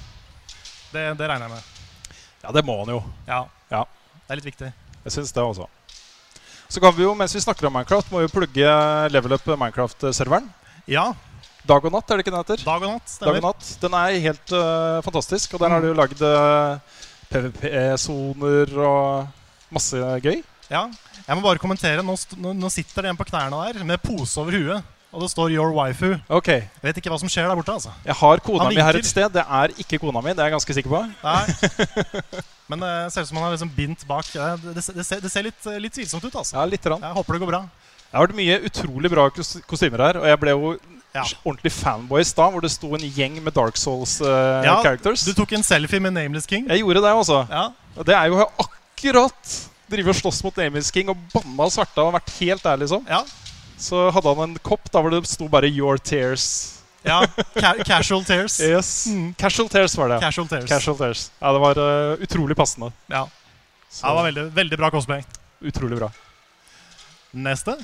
Speaker 1: Det, det regner jeg med.
Speaker 2: Ja, det må han jo.
Speaker 1: Ja.
Speaker 2: Ja.
Speaker 1: Det er litt viktig.
Speaker 2: Jeg syns det også. Så kan vi jo, mens vi snakker om Minecraft, må vi plugge level up Minecraft-serveren.
Speaker 1: Ja.
Speaker 2: Dag og natt, er det ikke den heter?
Speaker 1: Dag og natt, Mm.
Speaker 2: Dag
Speaker 1: stemmer.
Speaker 2: og natt. Den er helt øh, fantastisk, og der har du jo lagd øh, PVP-soner og masse gøy.
Speaker 1: Ja, jeg må bare kommentere. Nå, st nå- nå sitter det en på knærne der med pose over huet. Og det står 'Your waifu'.
Speaker 2: Ok.
Speaker 1: Jeg vet ikke hva som skjer der borte. altså.
Speaker 2: Jeg har kona
Speaker 1: Han
Speaker 2: mi her
Speaker 1: vinker.
Speaker 2: et sted. Det er ikke kona mi, det er jeg ganske sikker på. <laughs>
Speaker 1: Nei. Men det ser ut som han er liksom bindt bak. Ja, Det, det, det, ser, det ser litt, litt tvilsomt ut. altså.
Speaker 2: Ja, Eh, litt rann.
Speaker 1: Jeg håper det går bra.
Speaker 2: Det har vært mye utrolig bra kos- kostymer her, og jeg ble jo ordentlig fanboy i stad, hvor det sto en gjeng med Dark
Speaker 1: Ja,
Speaker 2: Souls-characters.
Speaker 1: Du tok en selfie med Nameless King.
Speaker 2: jeg gjorde det, altså.
Speaker 1: Ja.
Speaker 2: Og det er jo akkurat Drive og slåss mot Nameless King og banna og sverta og vært helt ærlig, liksom. Så hadde han en kopp der hvor det sto bare 'Your Tears'.
Speaker 1: Ja, ca Casual Tears.
Speaker 2: Yes. Casual Tears var det.
Speaker 1: Casual Tears.
Speaker 2: Tears. Ja, det var eh, utrolig passende.
Speaker 1: Ja. Ja, det var veldig, veldig bra cosplay.
Speaker 2: Utrolig bra.
Speaker 1: Neste.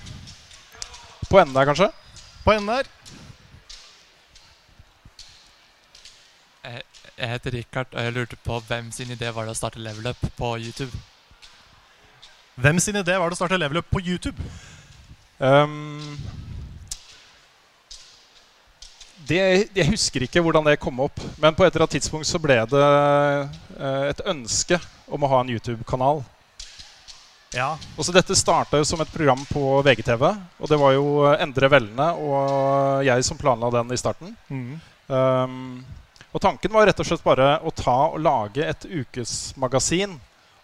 Speaker 2: På enden der, kanskje?
Speaker 1: På enden der.
Speaker 16: Jeg jeg heter Richard, og jeg lurte på hvem sin idé var det å starte Level Up på YouTube.
Speaker 1: Hvem sin idé var det å starte level up på YouTube?
Speaker 2: Um, det, jeg husker ikke hvordan det kom opp, men på et eller annet tidspunkt så ble det eh, et ønske om å ha en YouTube-kanal.
Speaker 1: Ja.
Speaker 2: Og så Dette starta som et program på VGTV, og det var jo Endre Vellene og jeg som planla den i starten.
Speaker 1: Mhm.
Speaker 2: Um, og tanken var rett og slett bare å ta og lage et ukesmagasin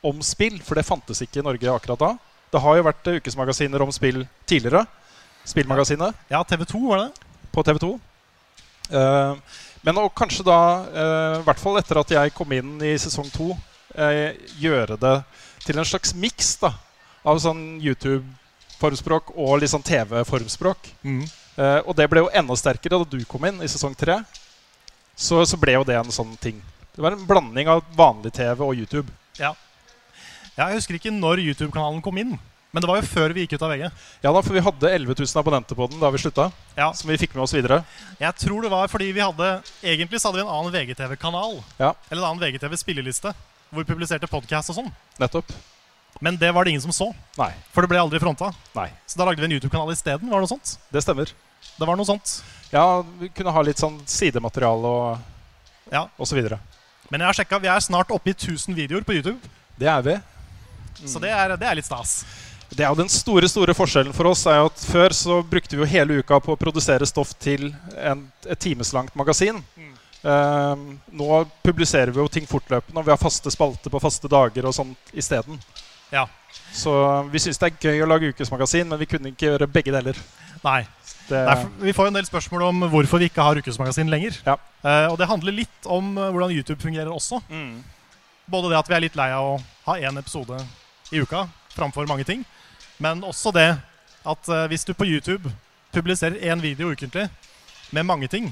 Speaker 2: om spill, for det fantes ikke i Norge akkurat da. Det har jo vært eh, ukesmagasiner om spill tidligere. Spillmagasinet.
Speaker 1: Ja, TV2 var det.
Speaker 2: På TV2. Eh, men å kanskje da, eh, i hvert fall etter at jeg kom inn i sesong to, eh, gjøre det til en slags miks da, av sånn YouTube-formspråk og litt sånn TV-formspråk.
Speaker 1: Mhm.
Speaker 2: Eh, og det ble jo enda sterkere da du kom inn i sesong tre. Så, så ble jo det en sånn ting. Det var en blanding av vanlig TV og YouTube.
Speaker 1: Ja. Ja, Jeg husker ikke når YouTube-kanalen kom inn, men det var jo før vi gikk ut av VG.
Speaker 2: Ja da, for vi hadde 11 000 abonnenter på den da vi slutta.
Speaker 1: Ja.
Speaker 2: Som vi fikk med oss videre.
Speaker 1: Jeg tror det var fordi vi hadde Egentlig så hadde vi en annen VGTV-kanal.
Speaker 2: Ja,
Speaker 1: Eller en annen VGTV-spilleliste. Hvor vi publiserte podkast og sånn.
Speaker 2: nettopp.
Speaker 1: Men det var det ingen som så.
Speaker 2: Nei.
Speaker 1: For det ble aldri fronta.
Speaker 2: Nei.
Speaker 1: Så da lagde vi en YouTube-kanal isteden. Var det noe sånt?
Speaker 2: Det stemmer.
Speaker 1: Det var noe sånt.
Speaker 2: Ja, vi kunne ha litt sånn sidemateriale og,
Speaker 1: ja.
Speaker 2: og så videre.
Speaker 1: Men jeg har sjekket, vi er snart oppe i 1000 videoer på YouTube.
Speaker 2: Det er vi.
Speaker 1: Så det er, det er litt stas.
Speaker 2: Det er jo Den store store forskjellen for oss er jo at før så brukte vi jo hele uka på å produsere stoff til en, et timeslangt magasin.
Speaker 1: Mm.
Speaker 2: Ehm, nå publiserer vi jo ting fortløpende, og vi har faste spalter på faste dager og sånt isteden.
Speaker 1: Ja.
Speaker 2: Så eh, vi syns det er gøy å lage ukesmagasin, men vi kunne ikke gjøre begge deler.
Speaker 1: Nei.
Speaker 2: Det,
Speaker 1: Derfor, vi får jo en del spørsmål om hvorfor vi ikke har ukesmagasin lenger.
Speaker 2: Ja.
Speaker 1: Eh, og det handler litt om eh, hvordan YouTube fungerer også. Både det at vi er litt lei av å ha én episode i uka framfor mange ting, men også det at eh, hvis du på YouTube publiserer én video ukentlig med mange ting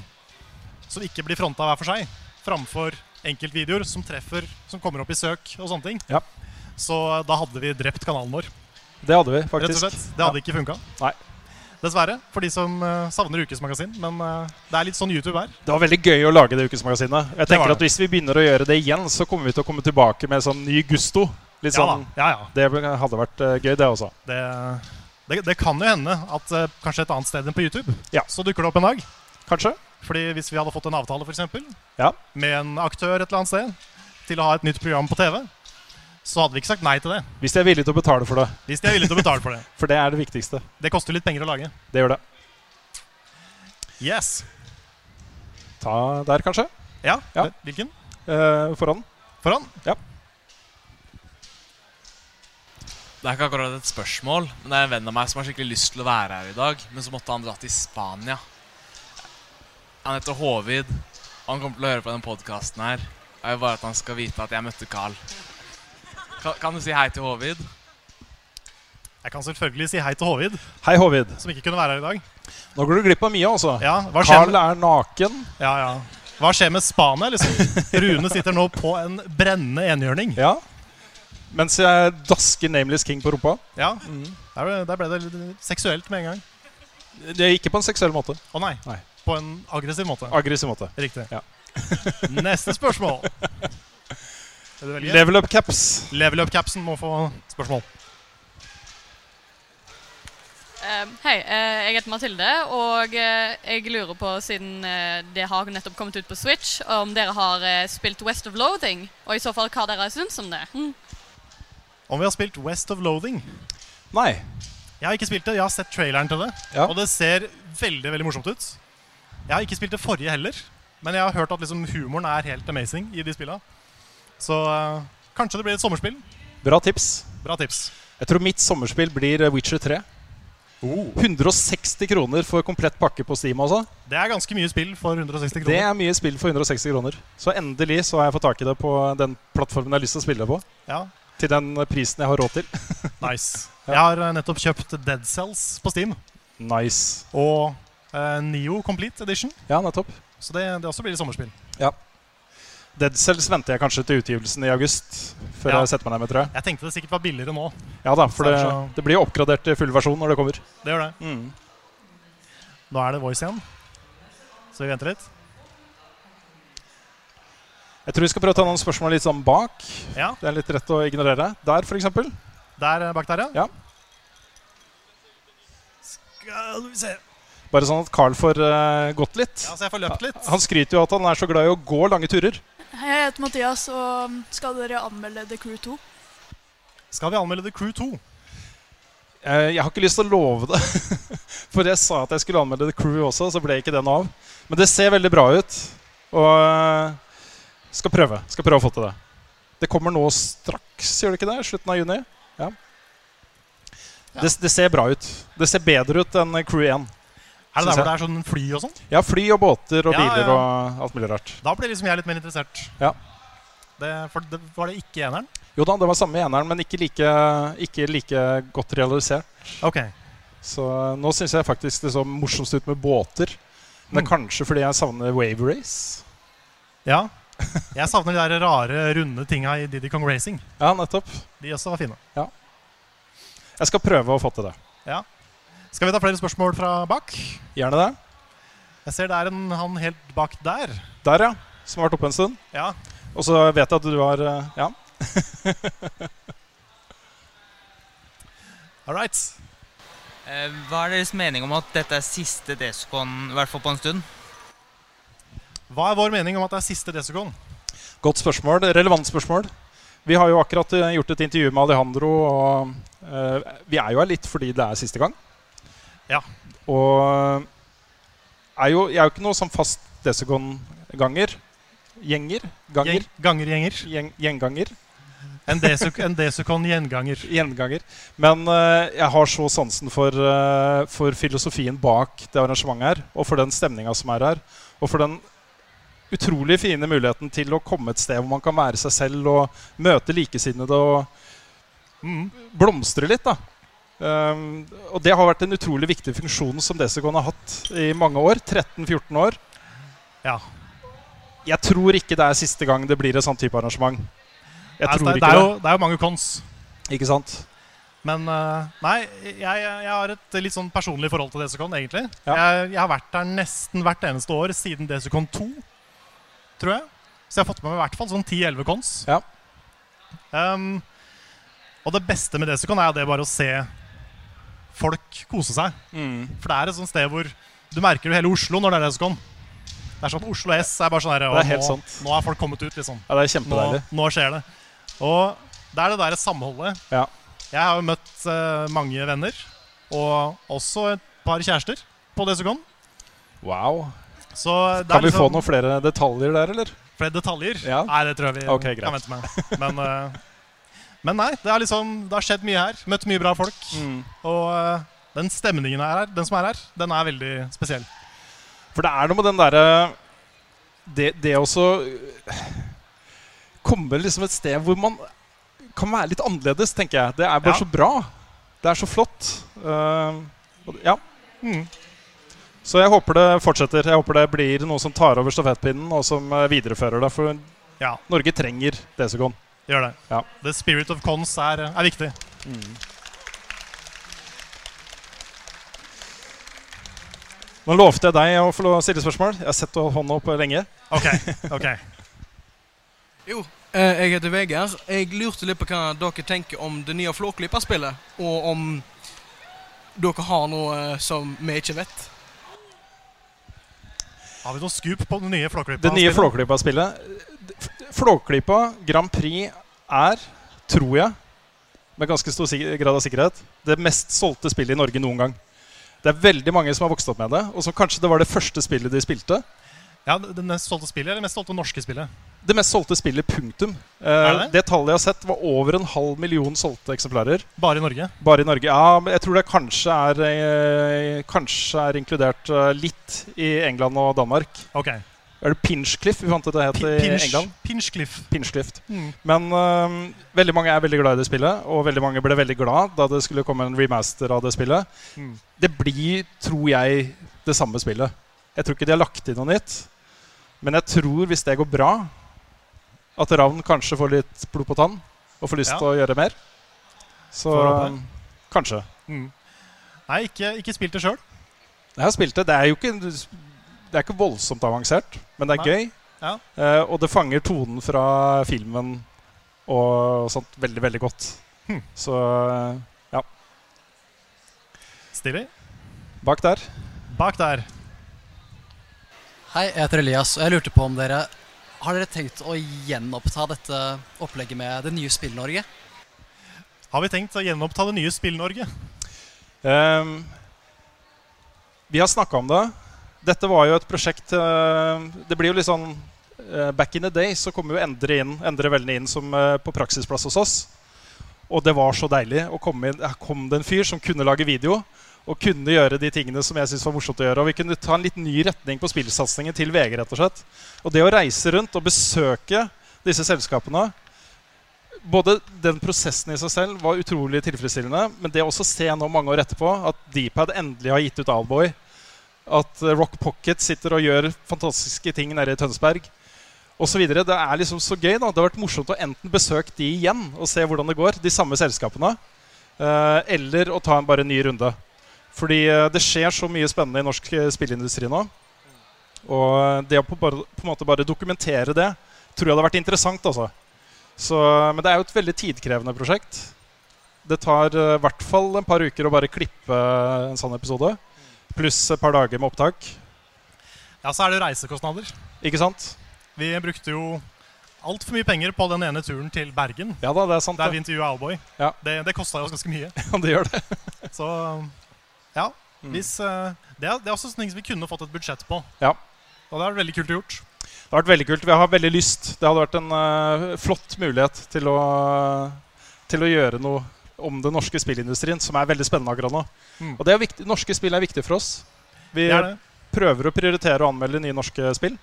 Speaker 1: som ikke blir fronta hver for seg, framfor enkeltvideoer som treffer, som kommer opp i søk og sånne ting, så eh, da hadde vi drept kanalen vår.
Speaker 2: Det hadde vi, faktisk.
Speaker 1: Rett og slett. Det hadde ikke funka. Dessverre, for de som eh, savner ukesmagasin. Men eh, det er litt sånn YouTube er.
Speaker 2: Det var veldig gøy å lage det ukesmagasinet. Jeg
Speaker 1: Det var
Speaker 2: tenker at
Speaker 1: det.
Speaker 2: Hvis vi begynner å gjøre det igjen, så kommer vi til å komme tilbake med sånn ny gusto. Litt
Speaker 1: Ja
Speaker 2: sånn,
Speaker 1: da, ja, ja.
Speaker 2: Det ble- hadde vært eh, gøy, det også.
Speaker 1: Det, det, det kan jo hende at eh, kanskje et annet sted enn på YouTube så dukker det opp en dag.
Speaker 2: Kanskje.
Speaker 1: Fordi hvis vi hadde fått en avtale for eksempel,
Speaker 2: Ja.
Speaker 1: med en aktør et eller annet sted til å ha et nytt program på TV, så hadde vi ikke sagt nei til det.
Speaker 2: Hvis de er villige til å betale for det.
Speaker 1: Hvis de er villige til å betale for det.
Speaker 2: For det er det viktigste.
Speaker 1: Det koster litt penger å lage.
Speaker 2: Det gjør det.
Speaker 1: Yes.
Speaker 2: Ta der, kanskje. Eh,
Speaker 1: Ja, Hvilken?
Speaker 2: foran.
Speaker 1: Foran?
Speaker 2: Ja.
Speaker 17: Det er ikke akkurat et spørsmål, men det er en venn av meg som har skikkelig lyst til å være her i dag, men så måtte han dra til Spania. Han heter Håvid, og han kommer til å høre på denne podkasten her. Jeg vil bare at han skal vite at jeg møtte Carl. Kan, kan du si hei til Håvid?
Speaker 1: Jeg kan selvfølgelig si hei til Håvid,
Speaker 2: Hei, Håvid.
Speaker 1: som ikke kunne være her i dag.
Speaker 2: Nå går du glipp av mye, altså.
Speaker 1: Ja, hva skjer
Speaker 2: Carl
Speaker 1: med-
Speaker 2: er naken.
Speaker 1: Ja, ja. Hva skjer med Spania, liksom? Rune sitter nå på en brennende enhjørning.
Speaker 2: Ja. Mens jeg dasker Nameless King på rumpa.
Speaker 1: Ja, der, ble- der ble det litt seksuelt med en gang.
Speaker 2: Det er Ikke på en seksuell måte.
Speaker 1: Å nei. På en aggressiv måte.
Speaker 2: Aggressiv måte.
Speaker 1: Riktig.
Speaker 2: Ja.
Speaker 1: <laughs> Neste spørsmål. Vil du velge?
Speaker 2: Level up caps.
Speaker 1: Level up capsen må få spørsmål.
Speaker 18: Eh, hei, eh, jeg heter Mathilde, og eh, jeg lurer på, siden eh, det har nettopp kommet ut på Switch, om dere har eh, spilt West of Loathing, og i så fall hva dere syns om det.
Speaker 1: Om vi har spilt West of Loathing?
Speaker 2: Nei.
Speaker 1: Jeg har ikke spilt det. Jeg har sett traileren til det, og det ser veldig veldig morsomt ut. Jeg har ikke spilt det forrige heller, men jeg har hørt at liksom, humoren er helt amazing i de spilla. Så eh, kanskje det blir et sommerspill.
Speaker 2: Bra tips.
Speaker 1: Bra tips.
Speaker 2: Jeg tror mitt sommerspill blir eh, Witcher 3.
Speaker 1: Oh.
Speaker 2: 160 kroner for komplett pakke på Steam. altså
Speaker 1: Det er ganske mye spill for 160
Speaker 2: Det
Speaker 1: kroner.
Speaker 2: er mye spill for 160 kroner. Så endelig så har jeg fått tak i det på den plattformen jeg har lyst til å spille det på.
Speaker 1: Ja.
Speaker 2: Til den eh, prisen jeg har råd til.
Speaker 1: Nice. Jeg har eh, nettopp kjøpt Dead Cells på Steam.
Speaker 2: Nice.
Speaker 1: Og eh, Neo Complete Edition.
Speaker 2: Ja, nettopp.
Speaker 1: Så det, det også blir et sommerspill.
Speaker 2: Ja. Dead Cells venter jeg kanskje til utgivelsen i august. Før
Speaker 1: Ja.
Speaker 2: jeg setter meg ned med, tror jeg.
Speaker 1: Jeg tenkte det sikkert var billigere nå.
Speaker 2: Ja da, for
Speaker 1: Så er
Speaker 2: det,
Speaker 1: det så-
Speaker 2: det blir jo oppgradert til full versjon når det kommer.
Speaker 1: Det gjør det.
Speaker 2: Mm.
Speaker 1: Nå er det Voice igjen. Så vi venter litt.
Speaker 2: Jeg tror vi skal prøve å ta noen spørsmål litt sånn bak.
Speaker 1: Ja.
Speaker 2: Det er litt rett å ignorere. Der, for eksempel.
Speaker 1: Der eh, bak der,
Speaker 2: ja.
Speaker 1: Skal vi se.
Speaker 2: Bare sånn at Carl får eh, gått litt.
Speaker 1: Ja, så jeg får løpt litt.
Speaker 2: Han skryter jo av at han er så glad i å gå lange turer.
Speaker 19: Hei, jeg heter Mathias, og um, skal dere anmelde The Crew 2?
Speaker 1: Skal vi anmelde The Crew 2?
Speaker 2: Eh, jeg har ikke lyst til å love det. <laughs> For jeg sa at jeg skulle anmelde The Crew også, så ble ikke det noe av. Men det ser veldig bra ut. Og eh, skal prøve. Skal prøve å få til det. Det kommer nå straks, gjør det ikke det? Slutten av juni? Ja. Det, det ser bra ut. Det ser bedre ut enn Crew 1.
Speaker 1: Er det der
Speaker 2: synes
Speaker 1: hvor det
Speaker 2: jeg.
Speaker 1: er sånn fly og sånn?
Speaker 2: Ja, fly og båter og
Speaker 1: Ja,
Speaker 2: biler
Speaker 1: ja.
Speaker 2: og alt mulig rart.
Speaker 1: Da blir liksom jeg litt mer interessert.
Speaker 2: Ja.
Speaker 1: Det, for det, var det ikke eneren?
Speaker 2: Jo da, det var samme eneren, men ikke like, ikke like godt realisert.
Speaker 1: Ok.
Speaker 2: Så eh, nå syns jeg faktisk det så morsomst ut med båter. Men det er kanskje fordi jeg savner wave race.
Speaker 1: Ja. Jeg savner de der rare, runde tinga i Didi Kong Racing.
Speaker 2: Ja, nettopp.
Speaker 1: De også var fine.
Speaker 2: Ja. Jeg skal prøve å få til det.
Speaker 1: Ja. Skal vi ta flere spørsmål fra bak?
Speaker 2: Gjerne det.
Speaker 1: Jeg ser det er en han helt bak der.
Speaker 2: Der, ja. Som har vært oppe en stund.
Speaker 1: Ja.
Speaker 2: Og så vet jeg at du har eh, Ja.
Speaker 1: All right.
Speaker 20: Eh, Hva er deres mening om at dette er siste Descon, i hvert fall på en stund?
Speaker 1: Hva er vår mening om at det er siste Desicon?
Speaker 2: Godt spørsmål. Relevant spørsmål. Vi har jo akkurat eh, gjort et intervju med Alejandro, og eh, vi er jo her litt fordi det er siste gang.
Speaker 1: Ja.
Speaker 2: Og er jo, jeg er jo ikke noe sånn fast Desicon-ganger. Gjenger? Ganger?
Speaker 1: Ganger-gjenger.
Speaker 2: Gjeng, gjenganger.
Speaker 1: En Desic- en Desicon-gjenganger.
Speaker 2: Gjenganger. Men eh, jeg har så sansen for, eh, for filosofien bak det arrangementet her, og for den stemninga som er her, og for den utrolig fine muligheten til å komme et sted hvor man kan være seg selv og møte likesinnede og blomstre litt. da. Um, og det har vært en utrolig viktig funksjon som Desicon har hatt i mange år. 13-14 år.
Speaker 1: Ja.
Speaker 2: Jeg tror ikke det er siste gang det blir et sånt type arrangement. Jeg
Speaker 1: Nei,
Speaker 2: tror
Speaker 1: Altså, det, det,
Speaker 2: ikke
Speaker 1: er jo, det er jo mange cons.
Speaker 2: Ikke sant?
Speaker 1: Men eh, nei, jeg, jeg har et litt sånn personlig forhold til Desicon, egentlig. Jeg, jeg har vært der nesten hvert eneste år siden Desicon 2, tror jeg. Så jeg har fått med meg i hvert fall sånn 10-11 cons. Ehm, og det beste med Desicon er jo det bare å se folk kose seg.
Speaker 2: Mm.
Speaker 1: For det er et sånt sted hvor du merker jo hele Oslo når det er Desicon. Det er sånn Oslo S er bare sånn her,
Speaker 2: Det er helt
Speaker 1: nå,
Speaker 2: sant.
Speaker 1: nå er folk kommet ut, liksom.
Speaker 2: Ja, det er kjempedeilig.
Speaker 1: Nå, nå skjer det. Og det er det der samholdet.
Speaker 2: Ja.
Speaker 1: Jeg har jo møtt eh, mange venner, og også et par kjærester på Desicon.
Speaker 2: Wow.
Speaker 1: Så det
Speaker 2: Kan
Speaker 1: er
Speaker 2: vi få
Speaker 1: liksom-
Speaker 2: noen flere detaljer der, eller?
Speaker 1: Flere detaljer?
Speaker 2: Ja.
Speaker 1: Nei, det tror jeg vi
Speaker 2: Ok,
Speaker 1: kan
Speaker 2: greit.
Speaker 1: vente med. Men, eh, men nei, det, er liksom, det har skjedd mye her. Møtt mye bra folk.
Speaker 2: Mm.
Speaker 1: Og eh, den stemningen her, den som er her, den er veldig spesiell.
Speaker 2: For det er noe med den derre det, det å så eh, komme liksom et sted hvor man kan være litt annerledes, tenker jeg. Det er bare
Speaker 1: Ja.
Speaker 2: så bra. Det er så flott. Eh, og- ja. Så jeg håper det fortsetter. Jeg håper det blir noe som tar over stafettpinnen, og som eh, viderefører det. For
Speaker 1: Ja.
Speaker 2: Norge trenger Desicon.
Speaker 1: Gjør det.
Speaker 2: Ja.
Speaker 1: The spirit of cons er, er viktig.
Speaker 2: Nå lovte jeg deg å få lov å stille spørsmål. Jeg har sett du har hånda opp lenge.
Speaker 1: Ok,
Speaker 2: <laughs>
Speaker 1: ok.
Speaker 21: Jo, eh, jeg heter Vegard. Jeg lurte litt på hva dere tenker om det nye Flåklypa-spillet, og om dere har noe eh, som vi ikke vet.
Speaker 1: Har vi noe scoop på den nye Flåklypa?
Speaker 2: Det nye Flåklypa-spillet. Flåklypa Grand Prix er, tror jeg, med ganske stor sik- grad av sikkerhet, det mest solgte spillet i Norge noen gang. Det er veldig mange som har vokst opp med det, og som kanskje det var det første spillet de spilte.
Speaker 1: Ja, det det mest solgte spillet, eller det mest solgte norske spillet?
Speaker 2: Det mest solgte spillet, punktum. Eh,
Speaker 1: Er det?
Speaker 2: det? tallet jeg har sett, var over en halv million solgte eksemplarer.
Speaker 1: Bare i Norge?
Speaker 2: Bare i Norge, Ja, men jeg tror det kanskje er, eh, kanskje er inkludert eh, litt i England og Danmark.
Speaker 1: Ok.
Speaker 2: Er det Pinchcliffe vi fant ut det het i
Speaker 1: Pinch-
Speaker 2: England?
Speaker 1: Pinchcliffe.
Speaker 2: Pinchcliffe.
Speaker 1: Mm.
Speaker 2: Men øhm, veldig mange er veldig glad i det spillet, og veldig mange ble veldig glad da det skulle komme en remaster av det spillet.
Speaker 1: Mm.
Speaker 2: Det blir, tror jeg, det samme spillet. Jeg tror ikke de har lagt inn noe nytt. Men jeg tror, hvis det går bra, at Ravn kanskje får litt blod på tann og får lyst
Speaker 1: Ja.
Speaker 2: til å gjøre mer. Så
Speaker 1: Får håpe det.
Speaker 2: øhm, kanskje.
Speaker 1: Mm. Nei, ikke, ikke spilt det sjøl.
Speaker 2: Jeg har spilt det. Det er jo ikke, det er ikke voldsomt avansert, men det er
Speaker 1: Nei.
Speaker 2: gøy.
Speaker 1: Ja.
Speaker 2: Eh, og det fanger tonen fra filmen og sånt veldig, veldig godt.
Speaker 1: Hmm.
Speaker 2: Så eh, ja.
Speaker 1: Stilig.
Speaker 2: Bak der.
Speaker 1: Bak der.
Speaker 22: Hei, jeg heter Elias, og jeg lurte på om dere har dere tenkt å gjenoppta dette opplegget med det nye Spill-Norge?
Speaker 1: Har vi tenkt å gjenoppta det nye Spill-Norge?
Speaker 2: Ehm, vi har snakka om det. Dette var jo et prosjekt eh, Det blir jo litt sånn eh, Back in the day så kom jo Endre inn Endre Velne inn som eh, på praksisplass hos oss. Og det var så deilig. å komme inn, her kom det en fyr som kunne lage video. Og kunne gjøre de tingene som jeg syntes var morsomt å gjøre. Og vi kunne ta en litt ny retning på spillsatsingen til VG. rett Og slett. Og det å reise rundt og besøke disse selskapene både den prosessen i seg selv var utrolig tilfredsstillende, men det å også se nå mange år etterpå at Dpad endelig har gitt ut Alboy, at eh, Rock Pocket sitter og gjør fantastiske ting nede i Tønsberg osv. Det er liksom så gøy. da. Det har vært morsomt å enten besøke de igjen og se hvordan det går, de samme selskapene, eh, eller å ta en bare ny runde. Fordi eh, det skjer så mye spennende i norsk eh, spillindustri nå. Og eh, det å på, bare, på en måte bare dokumentere det tror jeg hadde vært interessant. altså. Så, men det er jo et veldig tidkrevende prosjekt. Det tar eh, i hvert fall en par uker å bare klippe en sånn episode. Pluss et par dager med opptak.
Speaker 1: Ja, så er det jo reisekostnader.
Speaker 2: Ikke sant?
Speaker 1: Vi brukte jo altfor mye penger på den ene turen til Bergen.
Speaker 2: Ja da, det er sant,
Speaker 1: Der
Speaker 2: det.
Speaker 1: vi intervjuet Alboy.
Speaker 2: Ja.
Speaker 1: Det, det kosta oss ganske mye.
Speaker 2: Ja, <laughs> det gjør det.
Speaker 1: Så ja.
Speaker 2: Mm.
Speaker 1: Hvis, eh, det, er, det er også sånne ting som vi kunne fått et budsjett på.
Speaker 2: Ja.
Speaker 1: Og det er veldig kult gjort.
Speaker 2: Det har vært veldig kult. Vi har veldig lyst. Det hadde vært en eh, flott mulighet til å, eh, til å gjøre noe om den norske spillindustrien, som er veldig spennende akkurat nå.
Speaker 1: Mm.
Speaker 2: Og det er viktig, norske spill er viktig for oss. Vi
Speaker 1: Det er det.
Speaker 2: prøver å prioritere å anmelde nye norske spill.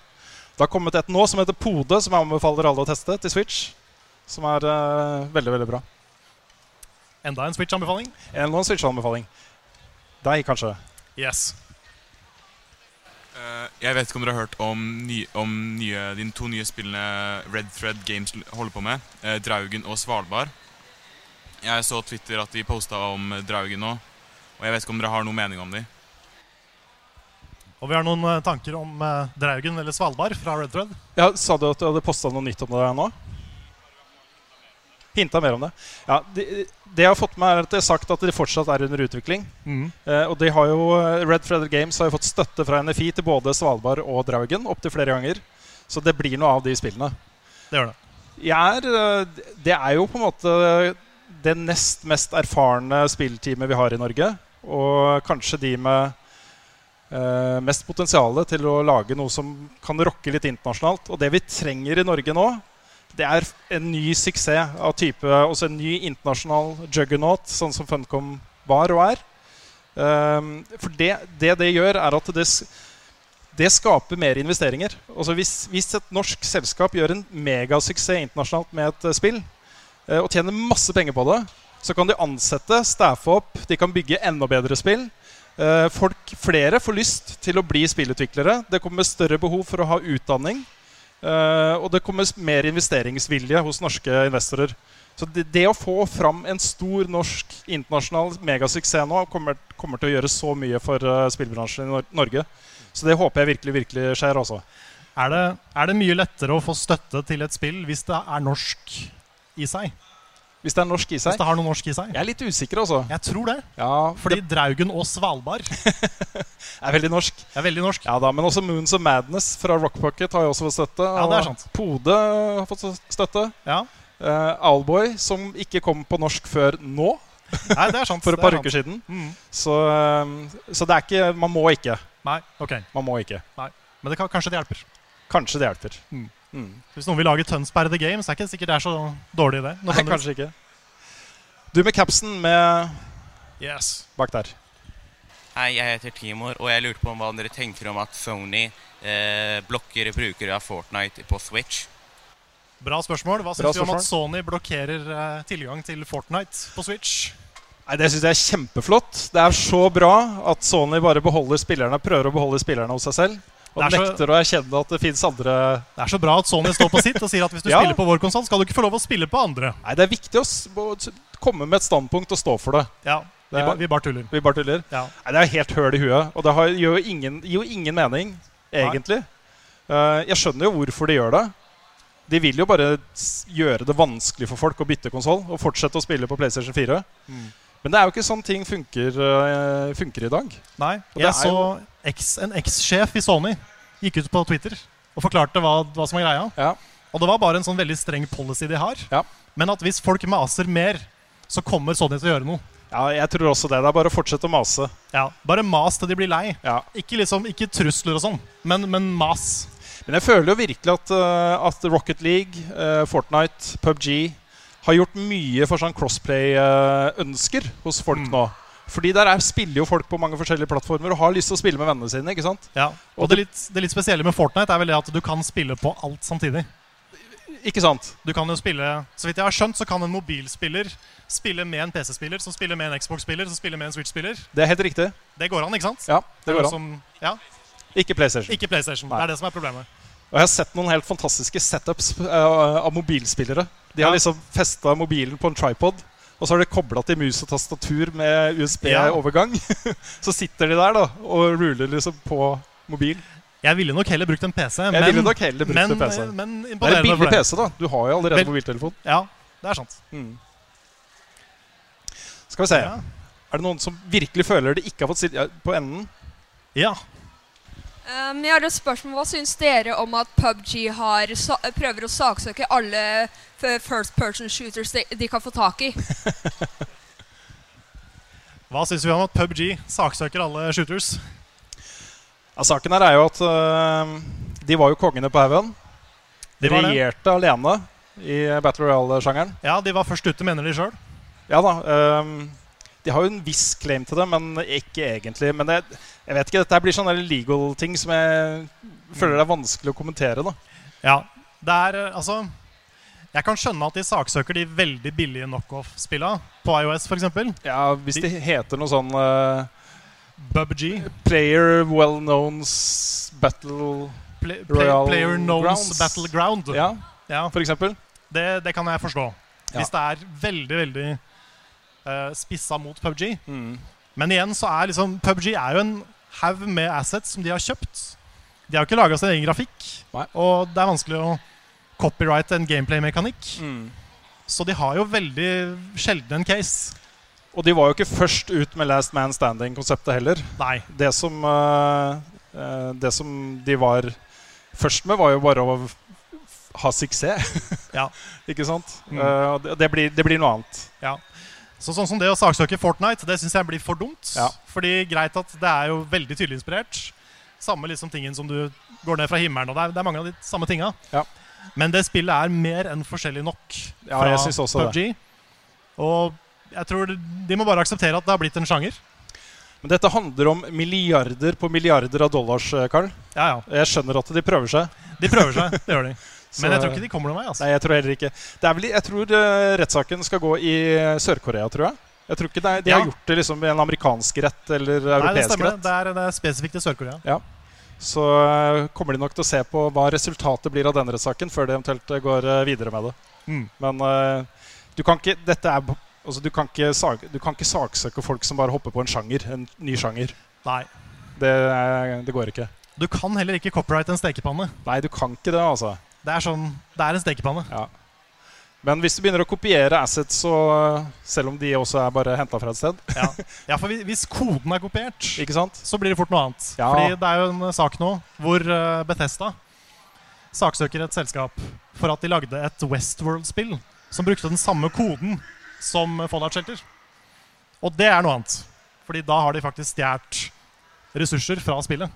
Speaker 2: Det har kommet et nå som heter Pode, som jeg anbefaler alle å teste til Switch. Som er eh, veldig, veldig bra.
Speaker 1: Enda en Switch-anbefaling.
Speaker 2: Enda en Switch-anbefaling. Deg, kanskje.
Speaker 1: Yes.
Speaker 4: Eh, jeg vet ikke om dere har hørt om, ny, om nye, de to nye spillene Red Thread Games l- holder på med. eh, Draugen og Svalbard. Jeg så Twitter at de posta om eh, Draugen nå. Og jeg vet ikke om dere har noen mening om de.
Speaker 1: Og vi har noen eh, tanker om eh, Draugen eller Svalbard fra Red Thread.
Speaker 2: Ja, sa du at du hadde posta noe nytt om det her nå? Hinta mer om det. Ja, de, det jeg har fått med er at det er sagt at de fortsatt er under utvikling.
Speaker 1: Mhm.
Speaker 2: Eh, og de har jo, Red Feather Games har jo fått støtte fra NFI til både Svalbard og Draugen opptil flere ganger. Så det blir noe av de spillene.
Speaker 1: Det gjør det.
Speaker 2: Jeg er, eh, det er jo på en måte det nest mest erfarne spillteamet vi har i Norge. Og kanskje de med eh, mest potensial til å lage noe som kan rocke litt internasjonalt. Og det vi trenger i Norge nå, det er en ny suksess av type Også en ny internasjonal juggernaut, sånn som Funcom var og er. Ehm, for det, det det gjør, er at det, s- det skaper mer investeringer. Altså hvis, hvis et norsk selskap gjør en megasuksess internasjonalt med et eh, spill, eh, og tjener masse penger på det, så kan de ansette, staffe opp, de kan bygge enda bedre spill. Eh, folk, flere får lyst til å bli spillutviklere. Det kommer større behov for å ha utdanning. eh, og det kommer s- mer investeringsvilje hos norske investorer. Så det, det å få fram en stor norsk internasjonal megasuksess nå kommer, kommer til å gjøre så mye for eh, spillbransjen i Nor Norge. Så det håper jeg virkelig virkelig skjer. altså.
Speaker 1: Er det, er det mye lettere å få støtte til et spill hvis det er norsk i seg?
Speaker 2: Hvis det er norsk i seg?
Speaker 1: Hvis det har noe norsk i seg?
Speaker 2: Jeg er litt usikker, altså.
Speaker 1: Jeg tror det.
Speaker 2: Ja,
Speaker 1: Fordi Draugen og Svalbard
Speaker 2: er veldig norsk.
Speaker 1: Er veldig norsk.
Speaker 2: <laughs> Ja da, Men også Moons of Madness fra Rock Pocket har jo også fått støtte.
Speaker 1: Ja, det er
Speaker 2: og
Speaker 1: sant.
Speaker 2: Pode har fått støtte.
Speaker 1: Ja.
Speaker 2: Alboy, som ikke kom på norsk før nå.
Speaker 1: Nei, det er sant.
Speaker 2: For et
Speaker 1: det
Speaker 2: par
Speaker 1: er sant.
Speaker 2: uker siden.
Speaker 1: Mhm.
Speaker 2: Så, eh, så det er ikke Man må ikke.
Speaker 1: Nei, ok.
Speaker 2: Man må ikke.
Speaker 1: Nei. Men det kan, kanskje det hjelper.
Speaker 2: Kanskje det hjelper. Mm.
Speaker 1: Hvis noen vil lage Tønsberg The Game, så er ikke sikkert det er så dårlig idé.
Speaker 2: Nei, kanskje ikke. Du med capsen med
Speaker 1: Yes.
Speaker 2: bak der.
Speaker 23: Hei, jeg heter Timor, og jeg lurte på om hva dere tenker om at Sony eh, blokker brukere av Fortnite på Switch.
Speaker 1: Bra spørsmål. Hva
Speaker 2: Bra
Speaker 1: syns du om
Speaker 2: spørsmål.
Speaker 1: at Sony blokkerer eh, tilgang til Fortnite på Switch?
Speaker 2: Nei, Det syns jeg er kjempeflott. Det er så bra at Sony bare beholder spillerne, prøver å beholde spillerne hos seg selv. Og
Speaker 1: Det er så-
Speaker 2: nekter å erkjenne at det fins andre
Speaker 1: Det er så bra at Sony står på sitt og sier at hvis du
Speaker 2: Ja.
Speaker 1: spiller på vår konsoll, skal du ikke få lov å spille på andre.
Speaker 2: Nei, det er viktig å s- å komme med et standpunkt og stå for det.
Speaker 1: Ja,
Speaker 2: Det
Speaker 1: vi,
Speaker 2: er-
Speaker 1: ba, Eh, vi bare tuller.
Speaker 2: Vi bare tuller?
Speaker 1: Ja.
Speaker 2: Nei, det er helt høl i huet. Og det har, gir, jo ingen, gir jo ingen mening, egentlig. Eh, jeg skjønner jo hvorfor de gjør det. De vil jo bare s- gjøre det vanskelig for folk å bytte konsoll og fortsette å spille på PlayStation 4.
Speaker 1: Mm.
Speaker 2: Men det er jo ikke sånn ting funker, eh, funker i dag.
Speaker 1: Nei,
Speaker 2: Og det
Speaker 1: jeg
Speaker 2: er
Speaker 1: så
Speaker 2: jo-
Speaker 1: eks- en eks-sjef i Sony gikk ut på Twitter og forklarte hva, hva som var greia. Og det var bare en sånn veldig streng policy de har. Men at hvis folk maser mer, så kommer Sony til å gjøre noe.
Speaker 2: Ja, jeg tror også det. Det er bare å fortsette å mase.
Speaker 1: Ja, Bare mas til de blir lei. Ikke, liksom, ikke trusler og sånn, men, men mas.
Speaker 2: Men jeg føler jo virkelig at, eh, at Rocket League, eh, Fortnite, PubG har gjort mye for sånn crossplay-ønsker eh, hos folk nå. Fordi der er, spiller jo folk på mange forskjellige plattformer og har lyst til å spille med vennene sine. ikke sant?
Speaker 1: Ja, Og det litt, det litt spesielle med Fortnite er vel det at du kan spille på alt samtidig.
Speaker 2: Ikke sant?
Speaker 1: Du kan jo spille, Så vidt jeg har skjønt, så kan en mobilspiller spille med en PC-spiller, som spiller med en Xbox-spiller, som spiller med en Switch-spiller.
Speaker 2: Det er helt riktig.
Speaker 1: Det går an, ikke sant?
Speaker 2: Ja, det
Speaker 1: er
Speaker 2: går
Speaker 1: jo
Speaker 2: an.
Speaker 1: som- ja.
Speaker 2: Ikke PlayStation.
Speaker 1: Ikke PlayStation.
Speaker 2: Nei.
Speaker 1: Det er det som er problemet.
Speaker 2: Og jeg har sett noen helt fantastiske setups eh, av mobilspillere. De har
Speaker 1: Ja.
Speaker 2: liksom festa mobilen på en tripod, og så har de kobla til mus og tastatur med USB-overgang. <laughs> så sitter de der da og ruler liksom på mobil.
Speaker 1: Jeg ville nok heller brukt en PC.
Speaker 2: Jeg ville nok heller brukt
Speaker 1: men,
Speaker 2: en PC.
Speaker 1: Men imponerende
Speaker 2: det er en billig
Speaker 1: for det.
Speaker 2: PC, da. Du har jo allerede
Speaker 1: Vel-
Speaker 2: mobiltelefon.
Speaker 1: Ja, det er sant.
Speaker 2: Skal vi se.
Speaker 1: Ja.
Speaker 2: Er det noen som virkelig føler de ikke har fått sitt ja, på enden?
Speaker 1: Ja.
Speaker 24: Um, jeg har et spørsmål. Hva syns dere om at PubG har, sa prøver å saksøke alle f- first person shooters de, de kan få tak i?
Speaker 1: Hva syns vi om at PubG saksøker alle shooters?
Speaker 2: Ja, saken her er jo at øh, de var jo kongene på haugen. De
Speaker 1: De var det.
Speaker 2: regjerte alene i Battle Royale-sjangeren.
Speaker 1: Ja, de var først ute, mener de sjøl.
Speaker 2: Ja da. øhm, ehm, De har jo en viss claim til det, men ikke egentlig. Men jeg, jeg vet ikke, dette her blir sånne legal-ting som jeg føler det er vanskelig å kommentere. da.
Speaker 1: Ja, det er eh, altså Jeg kan skjønne at de saksøker de veldig billige knockoff-spillene på iOS, f.eks.
Speaker 2: Ja, hvis de heter noe sånn
Speaker 1: BubG.
Speaker 2: Player Well Knowns Battle
Speaker 1: Play,
Speaker 2: Royale
Speaker 1: Player Knows
Speaker 2: Grounds.
Speaker 1: Battleground.
Speaker 2: Ja,
Speaker 1: Ja.
Speaker 2: for eksempel.
Speaker 1: Det, det kan jeg forstå.
Speaker 2: Ja.
Speaker 1: Hvis det er veldig, veldig eh, spissa mot PubG.
Speaker 2: Mm,
Speaker 1: Men igjen så er liksom PubG er jo en haug med assets som de har kjøpt. De har jo ikke laga sin egen grafikk, og det er vanskelig å copyrighte en gameplay-mekanikk.
Speaker 2: mm.
Speaker 1: Så de har jo veldig sjelden en case.
Speaker 2: Og de var jo ikke først ut med Last Man Standing-konseptet heller.
Speaker 1: Nei.
Speaker 2: Det som, eh, eh, det som de var først med, var jo bare å ha suksess. <laughs>
Speaker 1: Ja.
Speaker 2: ikke sant?
Speaker 1: Mm.
Speaker 2: Eh, og det, det, blir, det blir noe annet.
Speaker 1: Ja. Så sånn som det å saksøke Fortnite, det syns jeg blir for dumt.
Speaker 2: Ja.
Speaker 1: Fordi greit at det er jo veldig tydelig inspirert. Samme liksom tingen som du går ned fra himmelen, og det er, det er mange av de samme tinga. Men det spillet er mer enn forskjellig nok
Speaker 2: Ja,
Speaker 1: fra
Speaker 2: jeg synes også det.
Speaker 1: PUBG. Og jeg tror de må bare akseptere at det har blitt en sjanger.
Speaker 2: Men dette handler om milliarder på milliarder av dollars, eh, Carl.
Speaker 1: Ja,
Speaker 2: Jeg skjønner at de prøver seg.
Speaker 1: De prøver seg, det gjør de.
Speaker 2: <laughs> Så-
Speaker 1: Men jeg tror ikke de kommer noen vei. altså.
Speaker 2: Nei, jeg tror heller ikke. Det er vel, jeg tror eh, rettssaken skal gå i Sør-Korea, tror jeg. Jeg tror ikke det er, De
Speaker 1: Ja.
Speaker 2: har gjort det liksom i en amerikansk rett eller
Speaker 1: Nei, det
Speaker 2: europeisk
Speaker 1: stemmer.
Speaker 2: rett.
Speaker 1: Det er, det er spesifikt i Sør-Korea.
Speaker 2: Ja. Så eh, kommer de nok til å se på hva resultatet blir av den rettssaken, før de eventuelt eh, går eh, videre med det.
Speaker 1: Mm.
Speaker 2: Men eh, du kan ikke dette er, b- altså, du, kan ikke sag, du kan ikke saksøke folk som bare hopper på en sjanger, en ny sjanger.
Speaker 1: Nei.
Speaker 2: Det, er- det går ikke.
Speaker 1: Du kan heller ikke copyrighte en stekepanne.
Speaker 2: Nei, du kan ikke det, altså.
Speaker 1: Det er sånn, det er en stekepanne.
Speaker 2: Men hvis du begynner å kopiere assets, så eh, selv om de også er bare henta fra et sted
Speaker 1: Ja, for hvis- hvis koden er kopiert,
Speaker 2: Ikke sant?
Speaker 1: så blir det fort noe annet.
Speaker 2: Ja.
Speaker 1: Fordi det er jo en eh, sak nå hvor eh, Bethesda saksøker et selskap for at de lagde et Westworld-spill som brukte den samme koden som Fallout Shelter. Og det er noe annet. Fordi da har de faktisk stjålet ressurser fra spillet.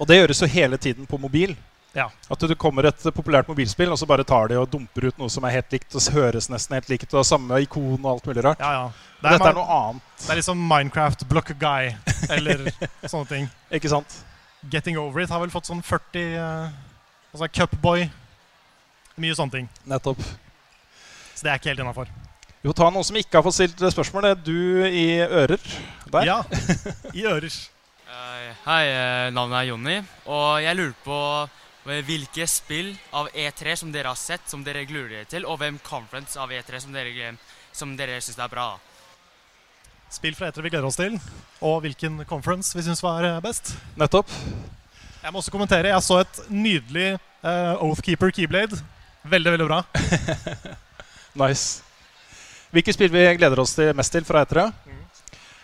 Speaker 2: Og det gjøres jo hele tiden på mobil.
Speaker 1: Ja.
Speaker 2: At det kommer et populært mobilspill, og så bare tar de og dumper ut noe som er helt likt, og s- høres nesten helt likt, og har samme ikon og alt mulig rart.
Speaker 1: Ja, ja.
Speaker 2: Og dette er
Speaker 1: man-
Speaker 2: noe annet.
Speaker 1: Det er liksom Minecraft Block Guy eller <laughs> sånne ting.
Speaker 2: Ikke sant?
Speaker 1: Getting Over It har vel fått sånn 40 eh, Altså Cupboy. Mye sånne ting.
Speaker 2: Nettopp.
Speaker 1: Så det er ikke helt innafor.
Speaker 2: Vi får ta noen som ikke har fått stilt spørsmål. Det er du i ører der.
Speaker 1: Ja. I ører.
Speaker 3: Eh, Hei, eh, navnet er Jonny, og jeg lurer på eh, hvilke spill av E3 som dere har sett, som dere glurer dere til, og hvem conference av E3 som dere, som dere syns er bra.
Speaker 1: Spill fra etere vi gleder oss til, og hvilken conference vi syns var eh, best.
Speaker 2: Nettopp.
Speaker 1: Jeg må også kommentere. Jeg så et nydelig eh, Oathkeeper Keyblade. Veldig, veldig bra.
Speaker 2: Nice. Hvilke spill vi gleder oss til mest til fra E3?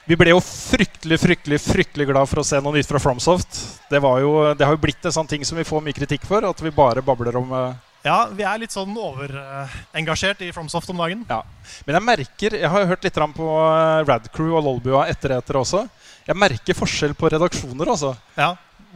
Speaker 2: Vi ble jo fryktelig fryktelig, fryktelig glad for å se noe nytt fra Fromsoft. Det, var jo, det har jo blitt en sånn ting som vi får mye kritikk for, at vi bare babler om eh,
Speaker 1: Ja, vi er litt sånn overengasjert i Fromsoft om dagen.
Speaker 2: Ja. Men jeg merker, jeg har jo hørt litt grann på eh, Radcrew og Lolbua etter etter også. Jeg merker forskjell på redaksjoner, altså.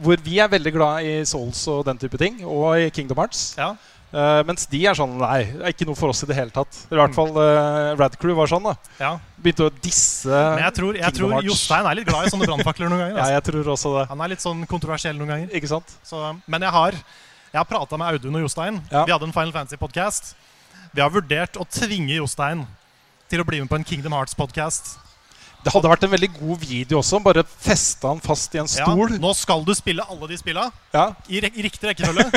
Speaker 2: Hvor vi er veldig glad i Souls og den type ting, og i Kingdom Hearts. Eh, mens de er sånn Nei, det er ikke noe for oss i det hele tatt. I
Speaker 1: Mm.
Speaker 2: hvert fall eh, Radcrew var sånn, da.
Speaker 1: Ja.
Speaker 2: Begynte å disse
Speaker 1: Men jeg tror, jeg
Speaker 2: Kingdom
Speaker 1: tror
Speaker 2: Hearts.
Speaker 1: Jostein er litt glad i sånne brannfakler noen ganger. altså.
Speaker 2: ja, jeg tror også det.
Speaker 1: Han er litt sånn kontroversiell noen ganger.
Speaker 2: Ikke sant?
Speaker 1: Så, men jeg har, jeg har prata med Audun og Jostein. Vi hadde en Final Fantasy-podkast. Vi har vurdert å tvinge Jostein til å bli med på en Kingdom Hearts-podkast.
Speaker 2: Det hadde vært en veldig god video også. Bare festa han fast i en stol.
Speaker 1: nå skal du spille alle de spilla
Speaker 2: Ja.
Speaker 1: i, rek- i riktig
Speaker 2: <laughs>
Speaker 1: rekkefølge.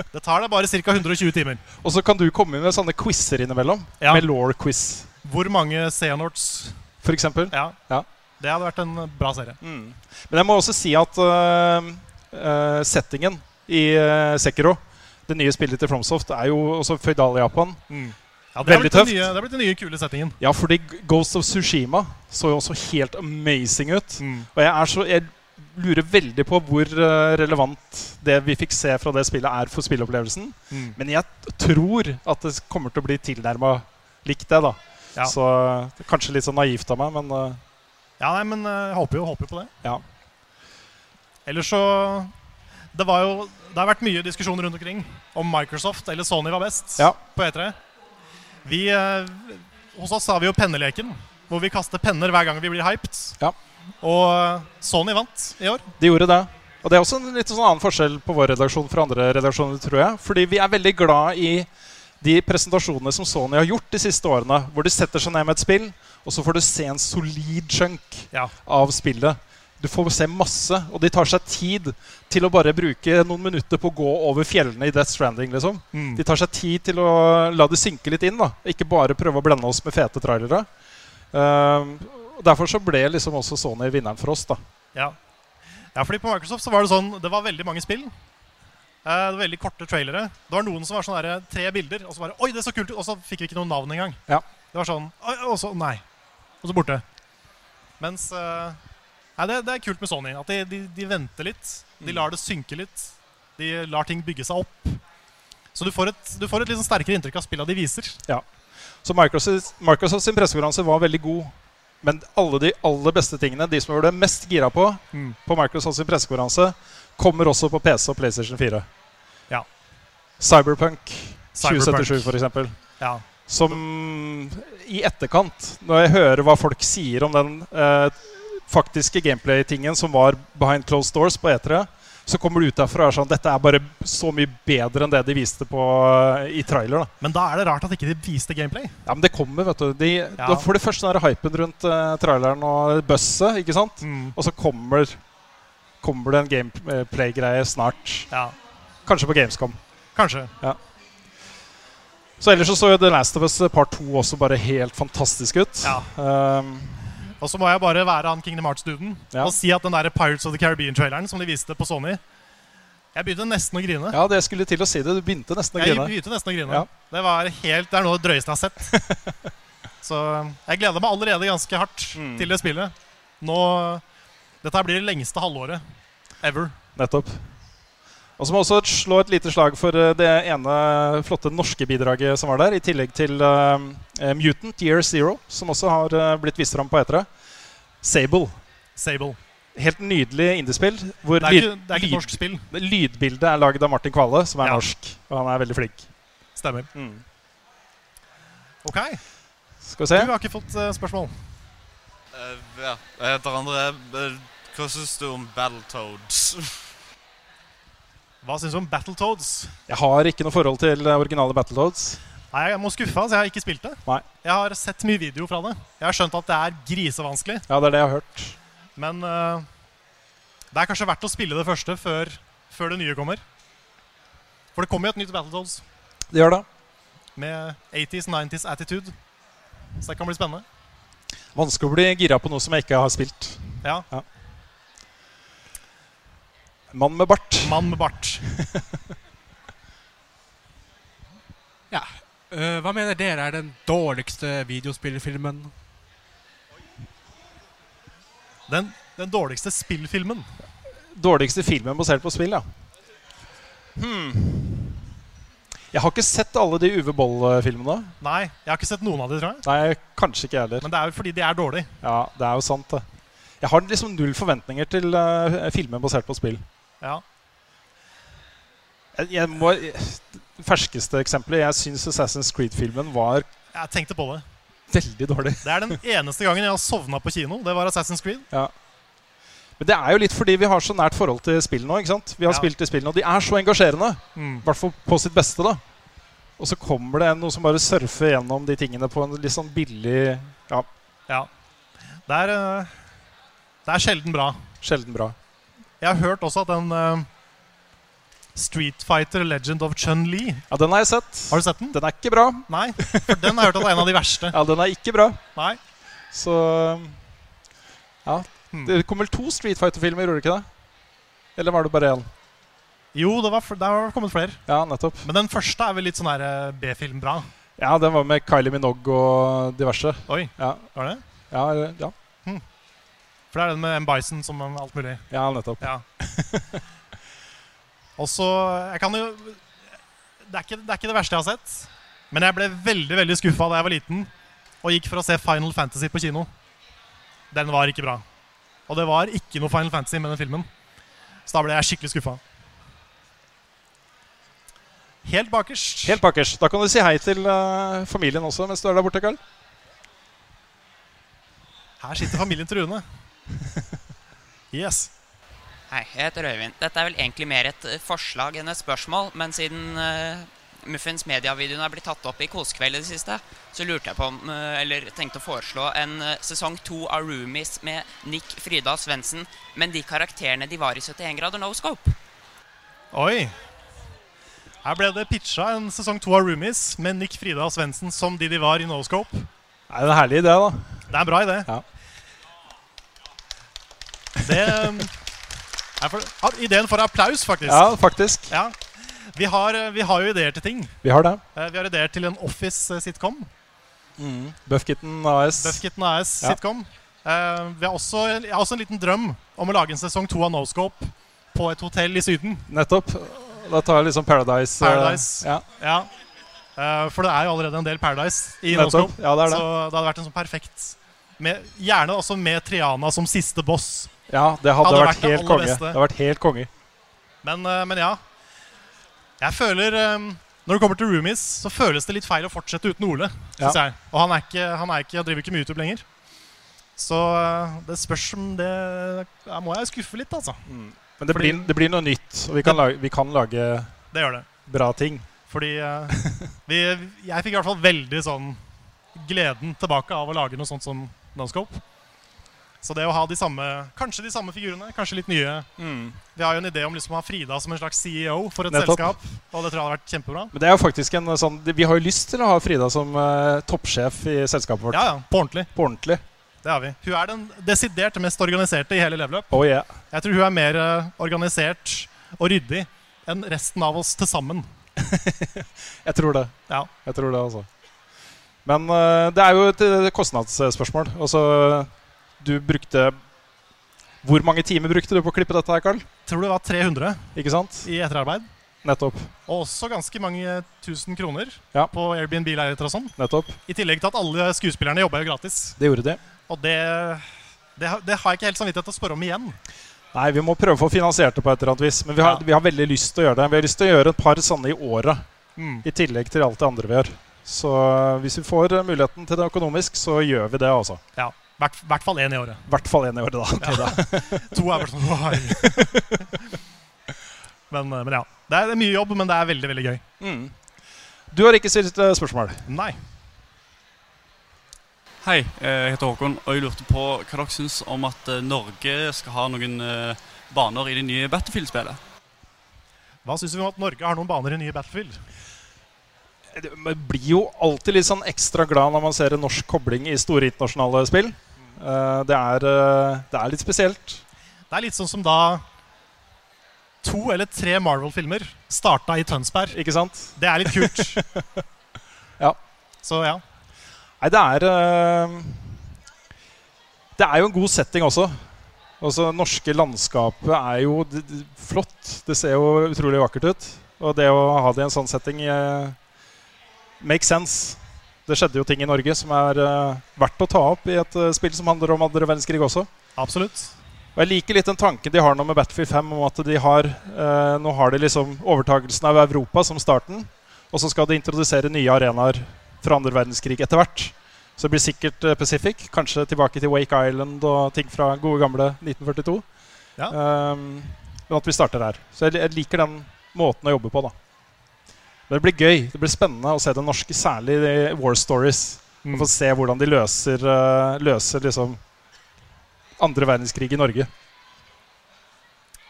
Speaker 1: Det tar deg bare ca. 120 timer.
Speaker 2: Og så kan du komme med sånne quizer innimellom.
Speaker 1: Ja.
Speaker 2: Med law-quiz,
Speaker 1: Hvor mange Xehanorts?
Speaker 2: for eksempel.
Speaker 1: Ja.
Speaker 2: Ja.
Speaker 1: Det hadde vært en eh, bra serie.
Speaker 2: Mm. Men jeg må også si at øh, øh, settingen i øh, Sekiro, det nye spillet til Fromsoft, er jo også føydal i Japan.
Speaker 1: Mm. Ja, det, har
Speaker 2: Veldig
Speaker 1: blitt den
Speaker 2: tøft.
Speaker 1: nye, det har blitt den nye kule settingen.
Speaker 2: Ja, fordi Ghost of Sushima så jo også helt amazing ut. Og jeg, er så, jeg lurer veldig på hvor eh, relevant det vi fikk se fra det spillet, er for spilleopplevelsen.
Speaker 1: Mm.
Speaker 2: Men jeg tror at det kommer til å bli tilnærma likt det, da.
Speaker 1: Ja.
Speaker 2: Så det er kanskje litt sånn naivt av meg, men eh,
Speaker 1: Ja, nei, men eh, jeg håper jo, håper jo på det.
Speaker 2: ja.
Speaker 1: Ellers så Det var jo Det har vært mye diskusjon rundt omkring om Microsoft eller Sony var best E
Speaker 2: Ja.
Speaker 1: på E3. Vi eh, Hos oss har vi jo penneleken. hvor vi kaster penner hver gang vi blir hyped. Og eh, Sony vant i år.
Speaker 2: De gjorde det. Og det er også en litt sånn annen forskjell på vår redaksjon fra andre redaksjoner, tror jeg. Fordi vi er veldig glad i de presentasjonene som Sony har gjort de siste årene, hvor de setter seg ned med et spill, og så får du se en solid chunk av spillet. Du får se masse, og de tar seg tid til å bare bruke noen minutter på å gå over fjellene i Death Stranding. liksom.
Speaker 1: Mm.
Speaker 2: De tar seg tid til å la det synke litt inn, da. ikke bare prøve å blende oss med fete trailere. Ehm, og derfor så ble liksom også Sony vinneren for oss. da.
Speaker 1: Ja. ja, fordi på Microsoft så var det sånn Det var veldig mange spill. Eh, det var veldig korte trailere. Det var noen som var sånn der, tre bilder, og så bare Oi, det så kult ut! Og så fikk vi ikke noe navn engang.
Speaker 2: Ja.
Speaker 1: Det var sånn «Oi», Og så Nei. Og så borte. Mens eh, Nei, det, det er kult med Sony. At de, de, de venter litt. De lar det synke litt. De lar ting bygge seg opp. Så du får et, du får et litt sånn sterkere inntrykk av spillene de viser.
Speaker 2: Ja. Så Microsoft, Microsoft sin pressekonferanse var veldig god. Men alle de aller beste tingene, de som var det mest gira på,
Speaker 1: Mm.
Speaker 2: på Microsoft sin pressekonferanse, kommer også på PC og PlayStation 4.
Speaker 1: Ja.
Speaker 2: Cyberpunk
Speaker 1: Cyberpunk.
Speaker 2: 2077, f.eks.
Speaker 1: Ja.
Speaker 2: Som i etterkant, når jeg hører hva folk sier om den eh, faktiske gameplay-tingen som var behind closed doors på E3, så kommer du ut derfra og er sånn Dette er bare så mye bedre enn det de viste på eh, i trailer. da.
Speaker 1: Men da er det rart at ikke de viste gameplay.
Speaker 2: Ja, men det kommer, vet du. De, Da får du først den der hypen rundt eh, traileren og busset, ikke sant? Og så kommer, kommer det en gameplay-greie snart. Kanskje på Gamescom.
Speaker 1: Kanskje.
Speaker 2: Ja. Så ellers så, så jo The Last of Us eh, Part 2 også bare helt fantastisk ut. Ehm,
Speaker 1: Og så må jeg bare være han Kingdom Hearts-duden og si at den der Pirates of the Caribbean-traileren som de viste på Sony Jeg begynte nesten å grine.
Speaker 2: ja, det jeg skulle til å si det. Du begynte nesten å
Speaker 1: jeg
Speaker 2: grine.
Speaker 1: begynte nesten å grine.
Speaker 2: Ja.
Speaker 1: Det var helt, det er noe av det drøyeste jeg har
Speaker 2: <laughs>
Speaker 1: sett. så jeg gleder meg allerede ganske hardt
Speaker 2: Mm.
Speaker 1: til det spillet. Nå, dette her blir det lengste halvåret ever.
Speaker 2: Nettopp. Og så må jeg også slå et lite slag for eh, det ene flotte norske bidraget som var der, i tillegg til eh, Mutant Year Zero, som også har eh, blitt vist fram på etere. Sable.
Speaker 1: Sable.
Speaker 2: Helt nydelig indiespill. Hvor
Speaker 1: Det er ikke-
Speaker 2: lyd-
Speaker 1: det er ikke et
Speaker 2: lyd-
Speaker 1: norsk spill.
Speaker 2: Lydbildet er lagd av Martin Kvale, som er norsk. Og han er veldig flink.
Speaker 1: Stemmer.
Speaker 2: Mm.
Speaker 1: Ok.
Speaker 2: Skal vi se.
Speaker 1: Du har ikke fått eh, spørsmål.
Speaker 25: Eh, ja, jeg heter André. Eh, Hva syns du om Battletoads?
Speaker 1: <laughs> Hva syns du om Battletoads?
Speaker 2: Jeg har ikke noe forhold til eh, originale Battletoads.
Speaker 1: Nei, Jeg må skuffe, altså. Jeg har ikke spilt det.
Speaker 2: Nei.
Speaker 1: Jeg har sett mye video fra det. Jeg har skjønt at det er grisevanskelig.
Speaker 2: Ja, det er det jeg har hørt.
Speaker 1: Men eh, det er kanskje verdt å spille det første før, før det nye kommer. For det kommer jo et nytt Battletoads
Speaker 2: Det gjør det.
Speaker 1: med 80s, 90s attitude. Så det kan bli spennende.
Speaker 2: Vanskelig å bli gira på noe som jeg ikke har spilt.
Speaker 1: Ja.
Speaker 2: Mann med bart.
Speaker 1: Mann med bart.
Speaker 5: Ja. eh, hva mener dere er den dårligste videospillfilmen?
Speaker 1: Den, den dårligste spillfilmen.
Speaker 2: Dårligste filmen basert på spill, ja. Hmm. Jeg har ikke sett alle de Uwe Boll-filmene.
Speaker 1: Nei, jeg har ikke sett noen av de, tror jeg.
Speaker 2: Nei, kanskje ikke jeg heller.
Speaker 1: Men det er jo fordi de er dårlige.
Speaker 2: Ja, det er jo sant, det. Jeg har liksom null forventninger til eh, filmer basert på spill.
Speaker 1: Ja.
Speaker 2: Jeg, jeg må, det ferskeste eksempelet Jeg syns Assassin's Creed-filmen var
Speaker 1: Jeg tenkte på det.
Speaker 2: veldig dårlig.
Speaker 1: Det <laughs> er den eneste gangen jeg har sovna på kino. Det var Assassin's Creed.
Speaker 2: Ja. Men det er jo litt fordi vi har så nært forhold til spill nå. ikke sant? Vi har
Speaker 1: Ja.
Speaker 2: spilt i spillene, og de er så engasjerende. I
Speaker 1: Mm.
Speaker 2: hvert fall på sitt beste, da. Og så kommer det noe som bare surfer gjennom de tingene på en litt sånn billig Ja,
Speaker 1: Ja. Det er, eh, det er sjelden bra.
Speaker 2: sjelden bra.
Speaker 1: Jeg har hørt også at den eh, Street Fighter Legend of Chun-Li
Speaker 2: Ja, den har jeg sett.
Speaker 1: Har du sett den?
Speaker 2: Den er ikke bra.
Speaker 1: Nei, for den har jeg hørt at er en av de <laughs> verste.
Speaker 2: Ja, den er ikke bra.
Speaker 1: Nei.
Speaker 2: Så eh, Ja.
Speaker 1: Hm.
Speaker 2: Det kom vel to Street Fighter-filmer, gjorde det ikke det? Eller var det bare én?
Speaker 1: Jo, det, var, fl- det har kommet flere.
Speaker 2: Ja, nettopp.
Speaker 1: Men den første er vel litt sånn her eh, B-film bra.
Speaker 2: Ja, den var med Kylie Minogue og diverse.
Speaker 1: Oi,
Speaker 2: ja.
Speaker 1: var det?
Speaker 2: Ja, ja.
Speaker 1: For det er den med M. Bison som er alt mulig.
Speaker 2: Ja, nettopp.
Speaker 1: Ja. Og så Jeg kan jo det er, ikke, det er ikke det verste jeg har sett. Men jeg ble veldig veldig skuffa da jeg var liten og gikk for å se Final Fantasy på kino. Den var ikke bra. Og det var ikke noe Final Fantasy med den filmen. Så da ble jeg skikkelig skuffa. Helt bakerst.
Speaker 2: Helt bakerst. Da kan du si hei til eh, familien også mens du er der borte, Karl.
Speaker 1: Her sitter familien til Rune. Yes.
Speaker 3: Hei, jeg heter Øyvind. Dette er vel egentlig mer et eh, forslag enn et spørsmål, men siden eh, Muffins Media-videoen er blitt tatt opp i Kosekveld i det siste, så lurte jeg på om, eh, eller tenkte å foreslå en eh, sesong to av Roomies med Nick, Frida og Svendsen, men de karakterene de var i 71 grader no scope.
Speaker 1: Oi. Her ble det pitcha en sesong to av Roomies med Nick, Frida og Svendsen som de de var i Noscope.
Speaker 2: Det er en herlig idé, da.
Speaker 1: Det er en bra idé.
Speaker 2: Ja.
Speaker 1: Det um, er for, ja, Ideen får applaus, faktisk.
Speaker 2: Ja, faktisk.
Speaker 1: Ja. Vi, har, eh, vi har jo ideer til ting.
Speaker 2: Vi har det.
Speaker 1: Eh, Vi har ideer til en eh, Office-sitcom.
Speaker 2: Buffkitten AS.
Speaker 1: Buffkitten AS
Speaker 2: Ja.
Speaker 1: sitcom. Eh, vi har også, jeg har også en liten drøm om å lage en sesong to av Noscope på et hotell i Syden.
Speaker 2: Nettopp. Da tar jeg liksom Paradise. eh,
Speaker 1: Paradise.
Speaker 2: ja.
Speaker 1: Ja. Eh, for det er jo allerede en del Paradise i
Speaker 2: Nettopp.
Speaker 1: Noscope.
Speaker 2: Ja, det er det.
Speaker 1: Så det hadde vært en sånn perfekt med, Gjerne også med Triana som siste boss.
Speaker 2: ja, det hadde, vært,
Speaker 1: det
Speaker 2: helt
Speaker 1: aller
Speaker 2: konge.
Speaker 1: beste.
Speaker 2: Det hadde vært helt konge.
Speaker 1: Men, eh, men ja. Jeg føler eh, Når det kommer til roomies, så føles det litt feil å fortsette uten Ole.
Speaker 2: Ja.
Speaker 1: Synes jeg. Og han, er ikke, han er ikke, han driver ikke med YouTube lenger. Så eh, det spørs om det Der må jeg skuffe litt, altså.
Speaker 2: Men det,
Speaker 1: Fordi-
Speaker 2: blir, det blir noe nytt, og vi kan lage, vi kan lage
Speaker 1: Det gjør det.
Speaker 2: bra ting.
Speaker 1: Fordi eh, vi, jeg fikk i hvert fall veldig sånn gleden tilbake av å lage noe sånt som Noscope. Så det å ha de samme, kanskje de samme figurene, kanskje litt nye Vi har jo en idé om liksom å ha Frida som en slags CEO for et
Speaker 2: Mm. Nettopp.
Speaker 1: selskap. Og det tror jeg hadde vært kjempebra.
Speaker 2: Men det er jo faktisk en eh, sånn Vi har jo lyst til å ha Frida som eh, toppsjef i selskapet vårt.
Speaker 1: Ja, ja, På ordentlig.
Speaker 2: På ordentlig.
Speaker 1: Det har vi. Hun er den desidert mest organiserte i hele Level Up.
Speaker 2: Oh, yeah.
Speaker 1: Jeg tror hun er mer eh, organisert og ryddig enn resten av oss til sammen.
Speaker 2: Jeg tror det.
Speaker 1: Ja.
Speaker 2: Jeg tror det, altså. Men eh, det er jo et eh, kostnadsspørsmål. Altså, du brukte Hvor mange timer brukte du på å klippe dette her, Carl?
Speaker 1: Tror det var 300
Speaker 2: Ikke sant?
Speaker 1: i etterarbeid.
Speaker 2: Nettopp.
Speaker 1: Og også ganske mange tusen kroner
Speaker 2: Ja.
Speaker 1: på Airbnb-leiligheter og sånn.
Speaker 2: Nettopp.
Speaker 1: I tillegg til at alle skuespillerne jobba jo gratis.
Speaker 2: Det gjorde de.
Speaker 1: Og det, det, har- det har jeg ikke helt samvittighet til å spørre om igjen.
Speaker 2: Nei, vi må prøve å få finansiert det på et eller annet vis. Men vi har, vi har veldig lyst til å gjøre det. Vi har lyst til å gjøre et par sånne i året.
Speaker 1: Mm.
Speaker 2: I tillegg til alt det andre vi gjør. Så hvis vi får eh, muligheten til det økonomisk, så gjør vi det, altså.
Speaker 1: Ja, I hvert, hvert fall én i året.
Speaker 2: I hvert fall én i året, da.
Speaker 1: Ja. To er bare sånn «Åh, <laughs> herregud». men, eh, men ja. Det er mye jobb, men det er veldig, veldig gøy.
Speaker 2: <laughs> Du har ikke stilt eh, spørsmål?
Speaker 1: Nei.
Speaker 26: Hei, eh, jeg heter Håkon, og jeg lurte på hva dere syns om at eh, Norge skal ha noen eh, baner i det nye Battlefield-spillet.
Speaker 1: Hva syns vi om at Norge har noen baner i nye Battlefield?
Speaker 2: Eh, Man blir jo alltid litt sånn ekstra glad når man ser en norsk kobling i store internasjonale spill. Eh, Det er, eh, det er litt spesielt.
Speaker 1: Det er litt sånn som da to eller tre Marvel-filmer starta i Tønsberg.
Speaker 2: Ikke sant?
Speaker 1: Det er litt kult.
Speaker 2: <laughs> Ja.
Speaker 1: Så ja.
Speaker 2: Nei, det er eh, Det er jo en god setting også. Altså, det norske landskapet er jo d- d- flott. Det ser jo utrolig vakkert ut. Og det å ha det i en sånn setting eh, makes sense. Det skjedde jo ting i Norge som er eh, verdt å ta opp i et eh, spill som handler om andre verdenskrig også.
Speaker 1: Absolutt.
Speaker 2: Og Jeg liker litt den tanken de har nå med Battlefield 5, om at de har, eh, nå har de liksom overtagelsen av Europa som starten, og så skal de introdusere nye arenaer fra andre verdenskrig etter hvert. Så det blir sikkert eh, Pacific, kanskje tilbake til Wake Island og ting fra gode gamle 1942. Ehm, men at vi starter her. Så jeg, jeg liker den måten å jobbe på, da. Men det blir gøy. Det blir spennende å se det norske, særlig i War Stories. Og få se hvordan de løser, eh, løser liksom andre verdenskrig i Norge.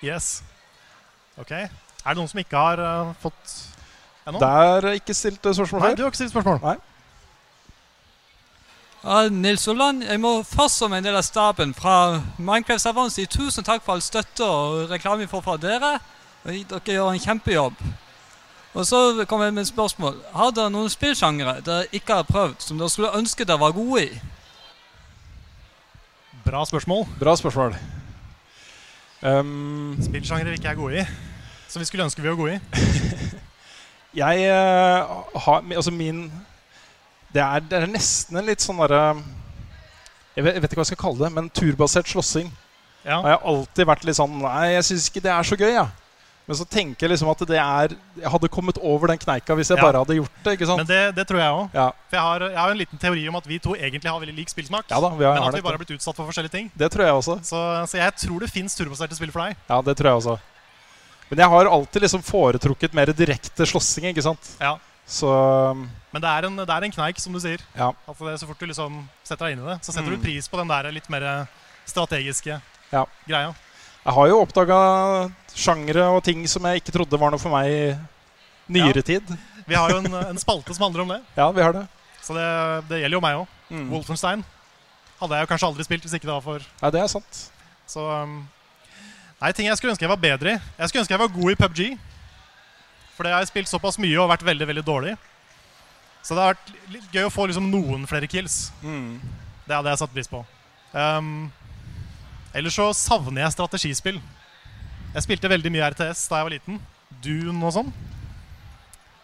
Speaker 1: Yes. Ok. Er det noen som ikke har eh, fått ennå?
Speaker 2: Det er ikke stilt eh, spørsmål
Speaker 1: Nei,
Speaker 2: her.
Speaker 1: du har ikke stilt spørsmål.
Speaker 2: Nei.
Speaker 5: Ja, Nils Olland, jeg må først som en del av staben fra Minecraft Serveren si tusen takk for all støtte og reklame vi får fra dere. Og Dere gjør en kjempejobb. Og så kommer jeg med et spørsmål. Har dere noen spillsjangre dere ikke har prøvd, som dere skulle ønske dere var gode i?
Speaker 1: Bra spørsmål.
Speaker 2: Bra spørsmål. Um,
Speaker 1: Spillsjangre vi ikke er gode i. Som vi skulle ønske vi var gode i.
Speaker 2: Jeg eh, har mi- Altså, min det er, det er nesten en litt sånn derre jeg, vet- jeg vet ikke hva jeg skal kalle det, men turbasert slåssing.
Speaker 1: Ja.
Speaker 2: Har jeg alltid vært litt sånn Nei, jeg syns ikke det er så gøy, jeg. Men så tenker jeg liksom at det er Jeg hadde kommet over den kneika hvis jeg
Speaker 1: Ja.
Speaker 2: bare hadde gjort det. ikke sant?
Speaker 1: Men det, det tror jeg òg.
Speaker 2: Ja.
Speaker 1: For jeg har, jeg har en liten teori om at vi to egentlig har veldig lik spillsmak.
Speaker 2: Ja da, vi har-
Speaker 1: men
Speaker 2: har
Speaker 1: at vi
Speaker 2: det.
Speaker 1: bare har blitt utsatt for forskjellige ting.
Speaker 2: Det tror jeg også.
Speaker 1: Så, så jeg tror det fins turbaserte spill for deg.
Speaker 2: Ja, det tror jeg også. Men jeg har alltid liksom foretrukket mer direkte slåssing, ikke sant?
Speaker 1: Ja.
Speaker 2: Så um,
Speaker 1: Men det er en, det er en kneik, som du sier.
Speaker 2: Ja.
Speaker 1: At det, så fort du liksom setter deg inn i det, så setter
Speaker 2: Mm.
Speaker 1: du pris på den der litt mer strategiske
Speaker 2: ja.
Speaker 1: greia.
Speaker 2: Jeg har jo oppdaga sjangre og ting som jeg ikke trodde var noe for meg i nyere tid.
Speaker 1: Vi har jo en, en spalte som handler om det.
Speaker 2: Ja, vi har det.
Speaker 1: Så det, det gjelder jo meg òg.
Speaker 2: Mm.
Speaker 1: Wolfenstein hadde jeg jo kanskje aldri spilt hvis ikke det var for
Speaker 2: Nei, det er sant.
Speaker 1: Så um, Nei, ting jeg skulle ønske jeg var bedre i. Jeg skulle ønske jeg var god i PubG. For det har jeg spilt såpass mye og vært veldig veldig dårlig. Så det har vært litt gøy å få liksom noen flere kills. Det hadde jeg satt pris på. Um, ellers så savner jeg strategispill. Jeg spilte veldig mye RTS da jeg var liten. Dune og sånn.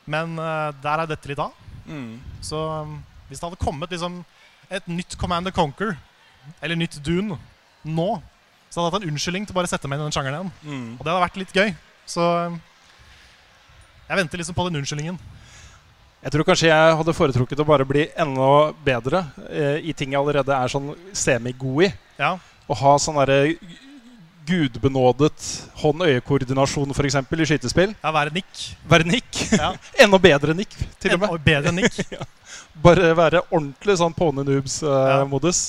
Speaker 1: Men eh, der er dette litt av.
Speaker 2: Mm.
Speaker 1: Så um, hvis det hadde kommet liksom, et nytt Command and Conquer, eller nytt Dune, nå, så hadde jeg hatt en unnskyldning til å bare sette meg inn i den sjangeren igjen.
Speaker 2: Mm.
Speaker 1: Og det hadde vært litt gøy. Så um, jeg venter liksom på den unnskyldningen.
Speaker 2: Jeg tror kanskje jeg hadde foretrukket å bare bli enda bedre eh, i ting jeg allerede er sånn semigod i.
Speaker 1: Ja.
Speaker 2: Å ha sånn derre gudbenådet hånd-øye-koordinasjon, f.eks., i skytespill.
Speaker 1: Ja, være nikk.
Speaker 2: Være nikk.
Speaker 1: Ja.
Speaker 2: <laughs> enda bedre nikk, til og
Speaker 1: Enda
Speaker 2: med.
Speaker 1: bedre
Speaker 2: <laughs>
Speaker 1: nikk.
Speaker 2: ja. Bare være ordentlig sånn pone noobs-modus.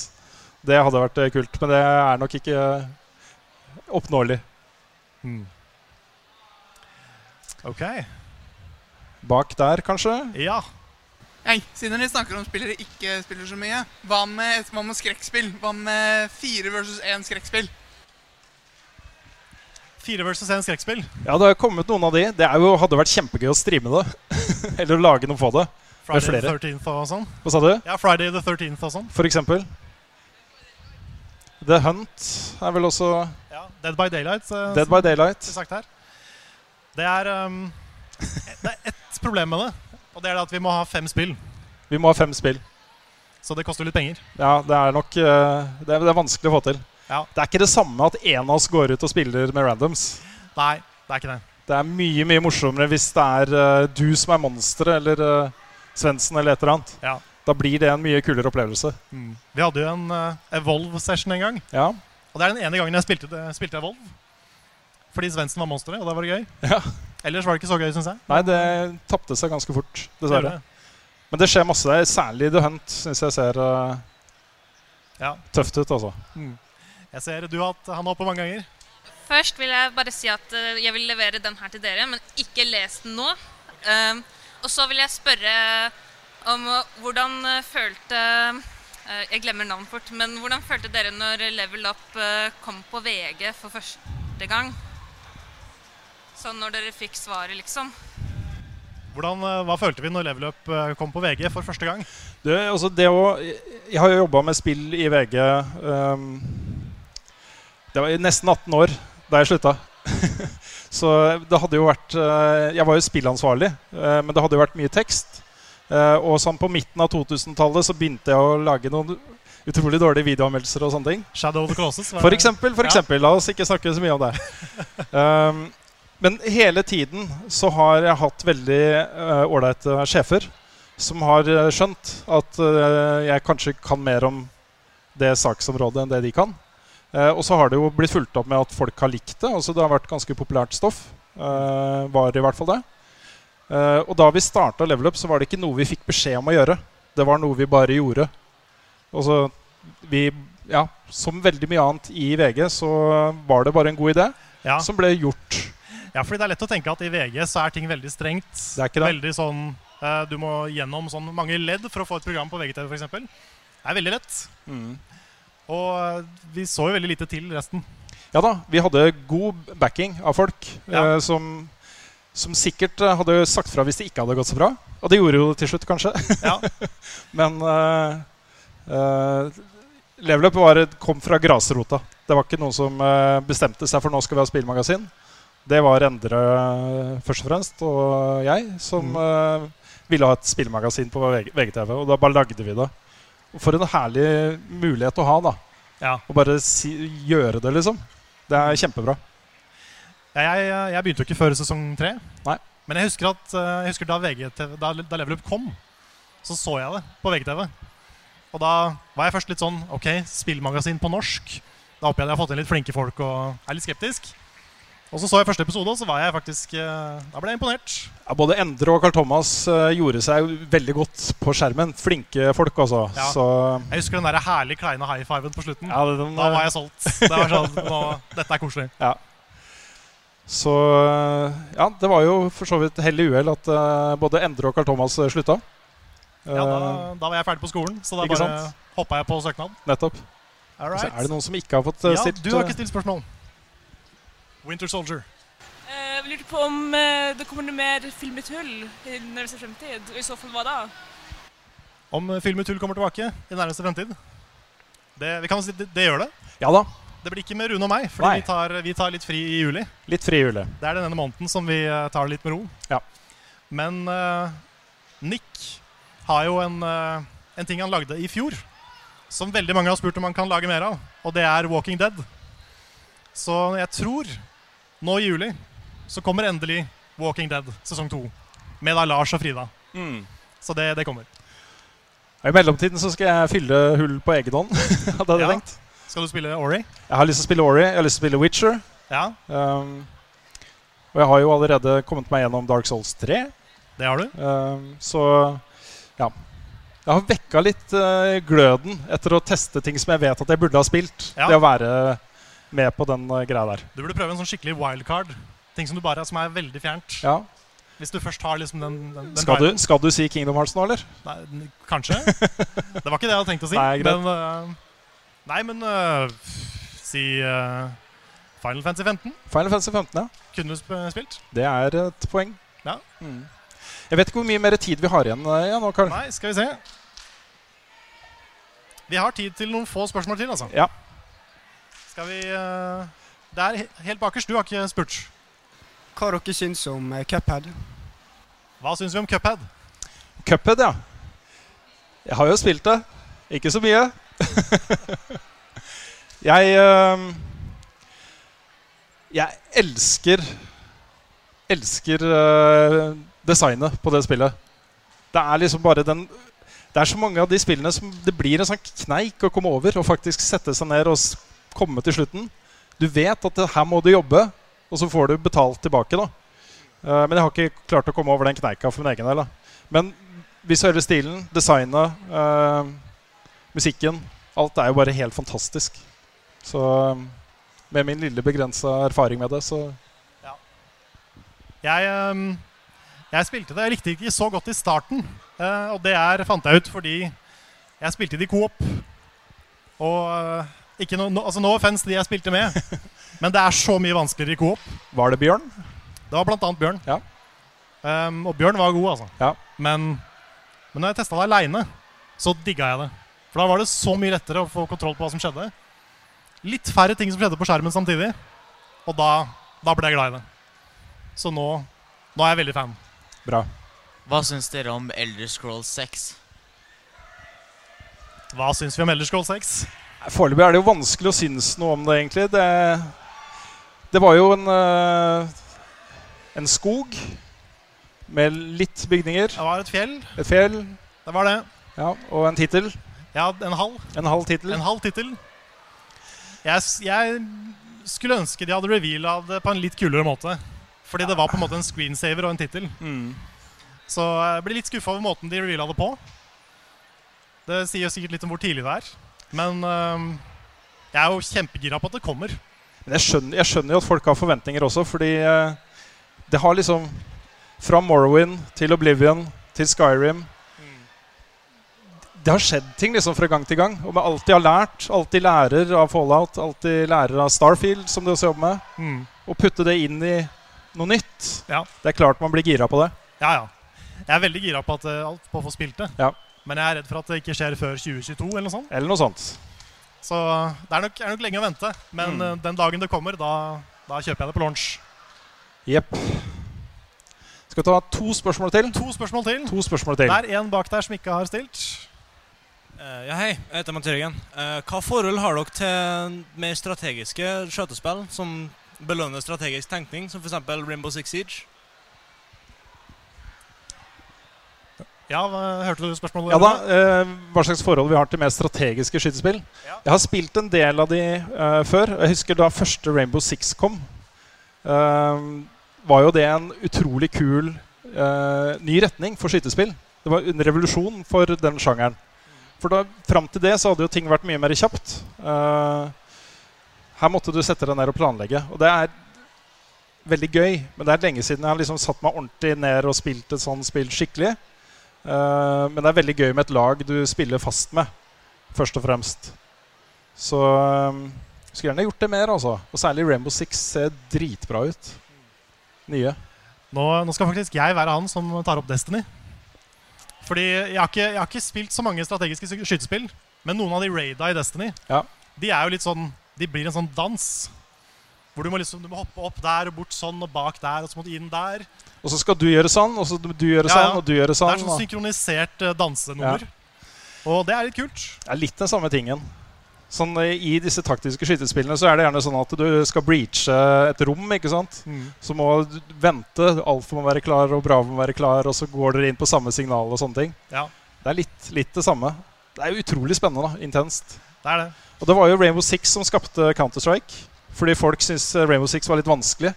Speaker 2: Det hadde vært eh, kult, men det er nok ikke eh, oppnåelig.
Speaker 1: Mm. Ok.
Speaker 2: Bak der, kanskje?
Speaker 1: Ja.
Speaker 3: Hei, siden dere snakker om spillere ikke spiller så mye, hva med, hva med skrekkspill? Hva med fire versus én skrekkspill?
Speaker 1: Fire versus én skrekkspill.
Speaker 2: Ja, det har kommet noen av de. Det er jo, hadde vært kjempegøy å streame det. <laughs> Eller å lage noe på det. Med
Speaker 1: Friday the
Speaker 2: flere.
Speaker 1: 13th og sånn.
Speaker 2: Hva sa du?
Speaker 1: Ja, Friday the 13th og sånn.
Speaker 2: For eksempel. The Hunt er vel også
Speaker 1: Dead by Daylight. eh,
Speaker 2: Dead
Speaker 1: som
Speaker 2: by Daylight.
Speaker 1: blir Sagt her. Det er um, Det er ett problem med det. Og det er det at vi må ha fem spill.
Speaker 2: Vi må ha fem spill.
Speaker 1: Så det koster litt penger.
Speaker 2: Ja, det er nok eh, det er, det er vanskelig å få til.
Speaker 1: Ja.
Speaker 2: Det er ikke det samme at én av oss går ut og spiller med randoms.
Speaker 1: Nei, det er ikke det.
Speaker 2: Det er mye mye morsommere hvis det er eh, du som er monsteret, eller uh, Svendsen eller et eller annet.
Speaker 1: Ja.
Speaker 2: Da blir det en mye kulere opplevelse.
Speaker 1: Vi hadde jo en eh, Evolve-session en gang.
Speaker 2: Ja.
Speaker 1: Og det er den ene gangen jeg spilte, det- spilte Evolve. Fordi Svendsen var monsteret, og da var det gøy.
Speaker 2: Ja.
Speaker 1: Ellers var det ikke så gøy, syns jeg.
Speaker 2: Nei, det tapte seg ganske fort,
Speaker 1: Gjorde
Speaker 2: dessverre.
Speaker 1: det.
Speaker 2: Men det skjer masse der. Særlig i The Hunt syns jeg ser eh,
Speaker 1: Ja.
Speaker 2: tøft ut, altså.
Speaker 1: Jeg ser du har hatt han oppe mange ganger.
Speaker 12: Først vil jeg bare si at eh, jeg vil levere den her til dere, men ikke les den nå. Um, og så vil jeg spørre om eh, hvordan eh, følte eh, Jeg glemmer navnet fort, men hvordan følte dere når Level Up eh, kom på VG for første gang? Sånn når dere fikk svaret, liksom.
Speaker 1: Hvordan, eh, hva følte vi når Level Up eh, kom på VG for første gang?
Speaker 2: Du, altså det å, jeg har jo jobba med spill i VG ehm, Det var i nesten 18 år da jeg slutta. <laughs> Så det hadde jo vært eh, Jeg var jo spillansvarlig, eh, men det hadde jo vært mye tekst. Eh, og sånn på midten av 2000-tallet så begynte jeg å lage noen utrolig dårlige videoanmeldelser og sånne ting.
Speaker 1: Shadow of the Colossus var-
Speaker 2: For eksempel, for
Speaker 1: Ja.
Speaker 2: eksempel. La oss ikke snakke så mye om det. Ehm, men hele tiden så har jeg hatt veldig eh, ålreite sjefer som har eh, skjønt at eh, jeg kanskje kan mer om det saksområdet enn det de kan. Eh, og så har det jo blitt fulgt opp med at folk har likt det. Altså det har vært ganske populært stoff. eh, var i hvert fall det. Eh, og da vi starta Level Up, så var det ikke noe vi fikk beskjed om å gjøre. Det var noe vi bare gjorde. Og så vi, ja, som veldig mye annet i VG, så var det bare en god idé
Speaker 1: Ja.
Speaker 2: som ble gjort.
Speaker 1: Ja, fordi det er lett å tenke at i VG så er ting veldig strengt.
Speaker 2: er ikke det.
Speaker 1: Veldig sånn eh, Du må gjennom sånn mange ledd for å få et program på VGTV, f.eks. Det er veldig lett.
Speaker 2: Mm.
Speaker 1: Og eh, vi så jo veldig lite til resten.
Speaker 2: Ja da, vi hadde god backing av folk
Speaker 1: Ja.
Speaker 2: eh, som, som sikkert eh, hadde sagt fra hvis det ikke hadde gått så bra. Og det gjorde jo det til slutt, kanskje. <laughs> Men eh, eh, Level Up var, kom fra grasrota. Det var ikke noen som eh, bestemte seg for nå skal vi ha spillmagasin. Det var Endre eh, først og fremst og jeg som eh, ville ha et spillmagasin på VG VGTV. Og da bare lagde vi det. Og For en herlig mulighet å ha, da.
Speaker 1: Ja.
Speaker 2: Å bare si, gjøre det, liksom. Det er kjempebra.
Speaker 1: Ja, Jeg, jeg begynte jo ikke før sesong tre.
Speaker 2: Nei.
Speaker 1: Men jeg husker, at, eh, jeg husker da, VGTV, da, da Level Up kom, så så jeg det på VGTV. Og da var jeg først litt sånn Ok, spillmagasin på norsk. Da håper jeg de har fått inn litt flinke folk og er litt skeptisk. Og så så jeg første episode, og så var jeg faktisk eh, Da ble jeg imponert.
Speaker 2: Ja, både Endre og Carl Thomas eh, gjorde seg veldig godt på skjermen. Flinke folk, altså.
Speaker 1: Ja.
Speaker 2: Så
Speaker 1: Jeg husker den der herlig kleine high fiven på slutten.
Speaker 2: Ja, det- den-
Speaker 1: da var jeg solgt. Det var sånn, nå, Dette er koselig.
Speaker 2: Ja. Så ja, det var jo for så vidt hell i uhell at eh, både Endre og Carl Thomas eh, slutta.
Speaker 1: Ja, da,
Speaker 2: Eh,
Speaker 1: da var jeg ferdig på skolen, så da
Speaker 2: Ikke
Speaker 1: bare
Speaker 2: sant?
Speaker 1: hoppa jeg på søknad.
Speaker 2: nettopp.
Speaker 1: All
Speaker 2: Og Så
Speaker 1: right.
Speaker 2: er det noen som ikke har fått eh,
Speaker 1: ja,
Speaker 2: stilt
Speaker 1: Du har
Speaker 2: eh,
Speaker 1: ikke stilt spørsmål. Winter Soldier.
Speaker 12: Eh, Jeg lurte på om eh, det kommer noe mer filmetull i nærmeste fremtid, og i så fall hva da?
Speaker 1: Om eh, Film i tull kommer tilbake i nærmeste fremtid? Det, vi kan si, det, det gjør det.
Speaker 2: Ja da.
Speaker 1: Det blir ikke med Rune og meg, for
Speaker 2: Nei.
Speaker 1: vi, tar- vi tar litt fri i juli.
Speaker 2: Litt fri jule.
Speaker 1: Det er den ene måneden som vi eh, tar det litt med ro.
Speaker 2: Ja.
Speaker 1: Men eh, Nick har jo en, eh, en ting han lagde i fjor, som veldig mange har spurt om han kan lage mer av, og det er Walking Dead. Så jeg tror nå i juli så kommer endelig Walking Dead sesong to. Med da Lars og Frida.
Speaker 2: Mm.
Speaker 1: Så det, det kommer.
Speaker 2: I mellomtiden så skal jeg fylle hull på egen hånd. <laughs> hadde jeg
Speaker 1: Ja.
Speaker 2: tenkt.
Speaker 1: Skal du spille Ori?
Speaker 2: Jeg har lyst til å spille Ori, jeg har lyst til å spille Witcher.
Speaker 1: Ja.
Speaker 2: Ehm, og jeg har jo allerede kommet meg gjennom Dark Souls 3.
Speaker 1: Det har du.
Speaker 2: så ja. Jeg har vekka litt eh, gløden etter å teste ting som jeg vet at jeg burde ha spilt.
Speaker 1: Ja.
Speaker 2: Det å være med på den eh, greia der.
Speaker 1: Du burde prøve en sånn skikkelig wildcard. Ting som, du bare, som er veldig fjernt.
Speaker 2: Ja.
Speaker 1: Hvis du først har liksom den, den, den
Speaker 2: Skal du,
Speaker 1: viben.
Speaker 2: skal du si Kingdom Hearts nå, eller?
Speaker 1: Nei, n-
Speaker 2: <laughs>
Speaker 1: kanskje. Det var ikke det jeg hadde tenkt å si.
Speaker 2: Nei, greit.
Speaker 1: men, øh, nei, men øh, f- si øh, Final Fantasy 15.
Speaker 2: Final Fantasy 15, ja.
Speaker 1: Kunne du sp- spilt?
Speaker 2: Det er et poeng. Mm.
Speaker 1: Ja.
Speaker 2: Jeg vet ikke hvor mye mer tid vi har igjen eh, ja, nå, Karl.
Speaker 1: Nei, skal vi se. Vi har tid til noen få spørsmål til, altså.
Speaker 2: Ja.
Speaker 1: Skal vi øh, Det er he- helt bakerst. Du har ikke spurt.
Speaker 27: Hva dere syns om eh, Cuphead?
Speaker 1: Hva syns vi om Cuphead?
Speaker 2: Cuphead, ja. Jeg har jo spilt det. Ikke så mye. <laughs> jeg eh, Jeg elsker Elsker eh, designet på det spillet. Det er liksom bare den Det er så mange av de spillene som det blir en sånn kneik å komme over og faktisk sette seg ned og s- komme til slutten. Du vet at det, her må du jobbe, og så får du betalt tilbake, da. Eh, men jeg har ikke klart å komme over den kneika for min egen del. da. Men visuelle stilen, designet, eh, musikken Alt er jo bare helt fantastisk. Så eh, med min lille begrensa erfaring med det, så
Speaker 1: Jeg, ehm, jeg spilte det. Jeg likte det ikke så godt i starten. eh, og det er, fant jeg ut fordi jeg spilte det i coop. Og eh, ikke no, no, altså no offense de jeg spilte med,
Speaker 27: <laughs>
Speaker 1: men det er så mye vanskeligere i coop.
Speaker 2: Var det Bjørn?
Speaker 1: Det var blant annet Bjørn. Ehm, og Bjørn var god, altså. Men, men når jeg testa det aleine, så digga jeg det. For da var det så mye lettere å få kontroll på hva som skjedde. Litt færre ting som skjedde på skjermen samtidig. Og da, da ble jeg glad i det. Så nå, nå er jeg veldig fan.
Speaker 2: bra.
Speaker 3: Hva syns dere om Elder Scrolls 6?
Speaker 1: Hva syns vi om Elder Scrolls 6?
Speaker 2: Foreløpig er det jo vanskelig å synes noe om det, egentlig. Det, det var jo en, eh, en skog med litt bygninger. Det
Speaker 1: var et fjell.
Speaker 2: Et fjell.
Speaker 1: Det var det.
Speaker 2: Ja, og en tittel.
Speaker 1: Ja, en halv.
Speaker 2: En halv tittel.
Speaker 1: En halv tittel. Jeg, s- jeg skulle ønske de hadde reveala det på en litt kulere måte. Fordi det var på en måte en screensaver og en tittel.
Speaker 2: Mm.
Speaker 1: Så jeg blir litt skuffa over måten de reveala det på. Det sier sikkert litt om hvor tidlig det er. Men øhm, jeg er jo kjempegira på at det kommer.
Speaker 2: Men jeg skjønner, jeg skjønner jo at folk har forventninger også, fordi eh, det har liksom Fra Morrowind til Oblivion til Skyrim Det har skjedd ting liksom fra gang til gang. Og med alt de har lært, alt de lærer av Fallout, alt de lærer av Starfield, som de også jobber med,
Speaker 1: Mm.
Speaker 2: og putte det inn i noe nytt
Speaker 1: Ja.
Speaker 2: Det er klart man blir gira på det.
Speaker 1: Ja, ja. Jeg er veldig gira på, at, øh, alt- på å få spilt det.
Speaker 2: Ja.
Speaker 1: Men jeg er redd for at det ikke skjer før 2022 eller noe sånt.
Speaker 2: Eller noe sånt.
Speaker 1: Så det er nok, er nok lenge å vente. Men
Speaker 2: Mm.
Speaker 1: eh, den dagen det kommer, da, da kjøper jeg det på launch.
Speaker 2: Jepp. Skal vi ta to spørsmål til?
Speaker 1: To spørsmål til.
Speaker 2: To spørsmål til.
Speaker 1: Det er en bak der som ikke har stilt.
Speaker 5: Eh, ja, hei. Jeg heter Matt Jørgen. Eh, hva forhold har dere til mer strategiske skjøtespill, som belønne strategisk tenkning, som f.eks. Rainbow Six Siege.
Speaker 1: Ja, hva- hørte du spørsmålet?
Speaker 2: Ja da, eh, Hva slags forhold vi har til mer strategiske skytespill? Jeg har spilt en del av de eh, før. og Jeg husker da første Rainbow Six kom. eh, var jo det en utrolig kul eh, ny retning for skytespill. Det var en revolusjon for den sjangeren. For da, fram til det så hadde jo ting vært mye mer kjapt. Eh, her måtte du sette deg ned og planlegge. Og det er veldig gøy, men det er lenge siden jeg har liksom satt meg ordentlig ned og spilt et sånt spill skikkelig. Eh, men det er veldig gøy med et lag du spiller fast med, først og fremst. Så eh, skulle gjerne gjort det mer, altså. Og særlig Rainbow Six ser dritbra ut. Nye.
Speaker 1: Nå, nå skal faktisk jeg være han som tar opp Destiny. Fordi jeg har ikke, jeg har ikke spilt så mange strategiske sky- skytespill, men noen av de raida i Destiny, de er jo litt sånn De blir en sånn dans. Hvor du må liksom du må hoppe opp der og bort sånn og bak der, og så må du inn der.
Speaker 2: Og så skal du gjøre sånn, og så du du gjøre
Speaker 1: Ja,
Speaker 2: sånn,
Speaker 1: ja.
Speaker 2: og du gjøre
Speaker 1: Det
Speaker 2: sånn.
Speaker 1: er sånn
Speaker 2: og-
Speaker 1: synkronisert eh, dansenummer. Og det er litt kult.
Speaker 2: Det er litt den samme tingen. Sånn, eh, I disse taktiske skytespillene så er det gjerne sånn at du skal breache eh, et rom. ikke sant?
Speaker 1: Mm.
Speaker 2: Så må du vente. Alfa må være klar, og Bravo må være klar, og så går dere inn på samme signal. og sånne ting.
Speaker 1: Ja.
Speaker 2: Det er litt, litt det samme. Det er utrolig spennende. da, Intenst.
Speaker 1: Det er det.
Speaker 2: Og det var jo Rainbow Six som skapte Counter-Strike. Fordi folk syntes eh, Rainbow Six var litt vanskelig.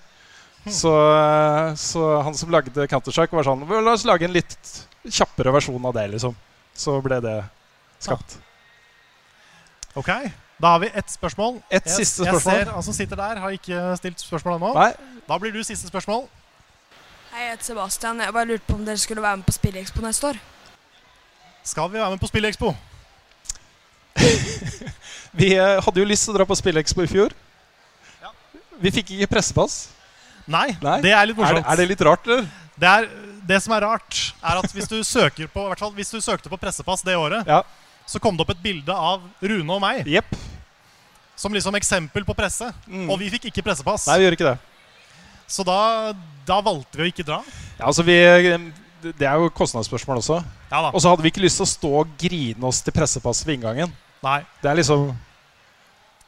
Speaker 1: Hm.
Speaker 2: Så, eh, så han som lagde Counter-Strike, var sånn "Vel, La oss lage en litt kjappere versjon av det, liksom. Så ble det skapt.
Speaker 1: Ok, Da har vi ett spørsmål.
Speaker 2: Et
Speaker 1: jeg,
Speaker 2: siste
Speaker 1: Jeg
Speaker 2: spørsmål.
Speaker 1: ser han som sitter der, har ikke stilt spørsmål ennå.
Speaker 2: Nei.
Speaker 1: Da blir du siste spørsmål.
Speaker 4: Hei, jeg heter Sebastian. Jeg bare lurte på om dere skulle være med på Spillekspo neste år.
Speaker 1: Skal vi være med på Spillekspo?
Speaker 2: Vi eh, hadde jo lyst til å dra på Spillekspo i fjor. Vi fikk ikke pressepass.
Speaker 1: Nei, det er litt morsomt.
Speaker 2: Er det, er det litt
Speaker 1: <laughs>
Speaker 2: rart, eller?
Speaker 1: Det, er, det som er rart, er at hvis du søker på, i hvert fall hvis du søkte på pressepass det året, så kom det opp et bilde av Rune og meg. Som liksom eksempel på presse. Og vi fikk ikke pressepass.
Speaker 2: Mm. Nei, vi gjør ikke det.
Speaker 1: Så da, da valgte vi å ikke dra.
Speaker 2: Ja, altså vi, det er jo kostnadsspørsmål også.
Speaker 1: Ja da.
Speaker 2: Og så hadde vi ikke lyst til å stå og grine oss til pressepass ved inngangen.
Speaker 1: Nei.
Speaker 2: Det er liksom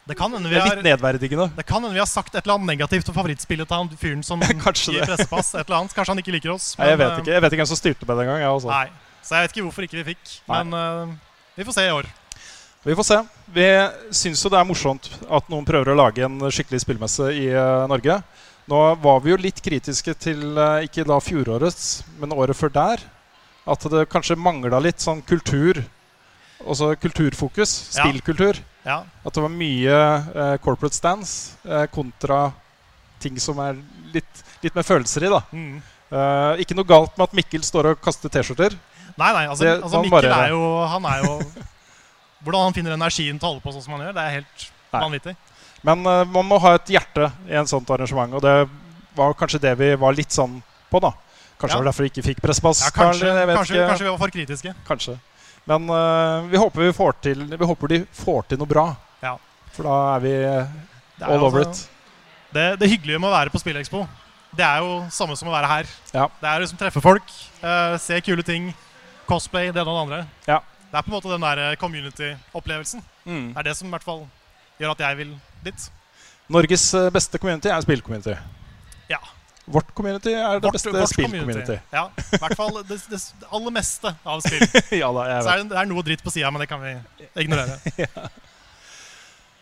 Speaker 1: Det kan hende
Speaker 2: det
Speaker 1: vi
Speaker 2: er
Speaker 1: har,
Speaker 2: litt nedverdigende.
Speaker 1: det kan hende vi har sagt et eller annet negativt om favorittspillet til han fyren
Speaker 2: <laughs>
Speaker 1: som gir
Speaker 2: det.
Speaker 1: pressepass. Et eller annet. Kanskje han ikke liker oss.
Speaker 2: Nei, jeg
Speaker 1: men,
Speaker 2: vet
Speaker 1: eh,
Speaker 2: ikke Jeg vet ikke hvem som styrte med det engang. jeg, altså.
Speaker 1: Nei, Så jeg vet ikke hvorfor ikke vi fikk. Men eh, vi får se i år.
Speaker 2: Vi får se. Vi syns jo det er morsomt at noen prøver å lage en skikkelig spillmesse i eh, Norge. Nå var vi jo litt kritiske til eh, ikke da fjorårets, men året før der. At det kanskje mangla litt sånn kultur. Også kulturfokus.
Speaker 1: Ja.
Speaker 2: Spillkultur.
Speaker 1: Ja.
Speaker 2: At det var mye eh, corporate stands eh, kontra ting som er litt, litt mer følelser i. da.
Speaker 1: Mm.
Speaker 2: Eh, ikke noe galt med at Mikkel står og kaster T-skjorter.
Speaker 1: Nei, nei, altså,
Speaker 2: Det-
Speaker 1: altså
Speaker 2: han
Speaker 1: Mikkel
Speaker 2: bare-
Speaker 1: er jo, han er jo Hvordan han finner energien til å holde på sånn som han gjør, det er helt
Speaker 2: Nei.
Speaker 1: vanvittig.
Speaker 2: Men eh, man må ha et hjerte i en sånt arrangement, og det var kanskje det vi var litt sånn på, da. Kanskje
Speaker 1: Ja.
Speaker 2: det var derfor vi ikke fikk presspass.
Speaker 1: Ja, kanskje,
Speaker 2: Karl, jeg vet
Speaker 1: kanskje,
Speaker 2: ikke.
Speaker 1: kanskje vi var for kritiske.
Speaker 2: Kanskje. Men eh, vi håper vi får til Vi håper de får til noe bra.
Speaker 1: Ja.
Speaker 2: For da er vi eh,
Speaker 1: Det er
Speaker 2: all over it.
Speaker 1: altså- Det, det hyggelige med å være på Spillekspo, det er jo samme som å være her.
Speaker 2: Ja.
Speaker 1: Det er liksom treffe folk, eh, se kule ting, cosplay, det ene og det andre.
Speaker 2: Ja.
Speaker 1: Det er på en måte den der eh, community-opplevelsen.
Speaker 2: Mm.
Speaker 1: Det er det som i hvert fall gjør at jeg vil dit.
Speaker 2: Norges eh, beste community er spillcommunity.
Speaker 1: Ja.
Speaker 2: Vårt community er det
Speaker 1: Vårt-
Speaker 2: beste
Speaker 1: vårt
Speaker 2: spillcommunity.
Speaker 1: Ja, i hvert fall det, det, det aller meste av spill.
Speaker 2: <laughs> Ja da, jeg
Speaker 1: Så er det, det er noe dritt på sida, men det kan vi ignorere.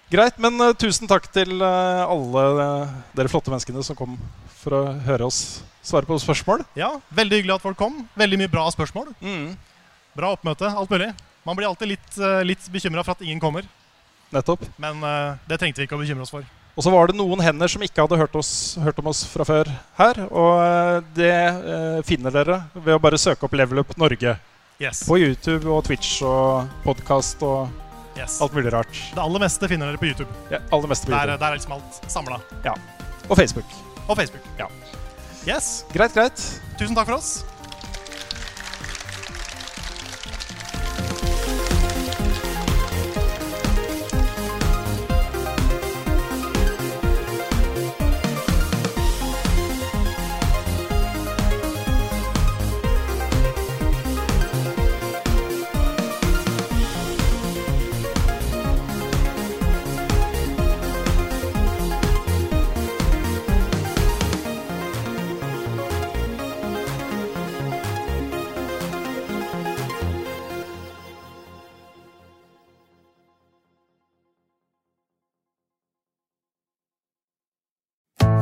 Speaker 2: Greit, men eh, tusen takk til eh, alle eh, dere flotte menneskene som kom for å høre oss svare på spørsmål.
Speaker 1: Ja, Veldig hyggelig at folk kom. Veldig mye bra spørsmål. Bra oppmøte. Alt mulig. Man blir alltid litt, eh, litt bekymra for at ingen kommer,
Speaker 2: Nettopp.
Speaker 1: men eh, det trengte vi ikke å bekymre oss for.
Speaker 2: Og så var det noen hender som ikke hadde hørt, oss, hørt om oss fra før her. Og eh, det eh, finner dere ved å bare søke opp Level Up Norge.
Speaker 1: Yes.
Speaker 2: På YouTube og Twitch og podkast og
Speaker 1: Yes.
Speaker 2: alt mulig rart.
Speaker 1: Det aller meste finner dere på YouTube.
Speaker 2: Ja, aller meste på
Speaker 1: Der,
Speaker 2: YouTube.
Speaker 1: der er liksom alt samla.
Speaker 2: Ja. Og Facebook.
Speaker 1: Og Facebook.
Speaker 2: Ja.
Speaker 1: Yes.
Speaker 2: Greit, greit.
Speaker 1: Tusen takk for oss.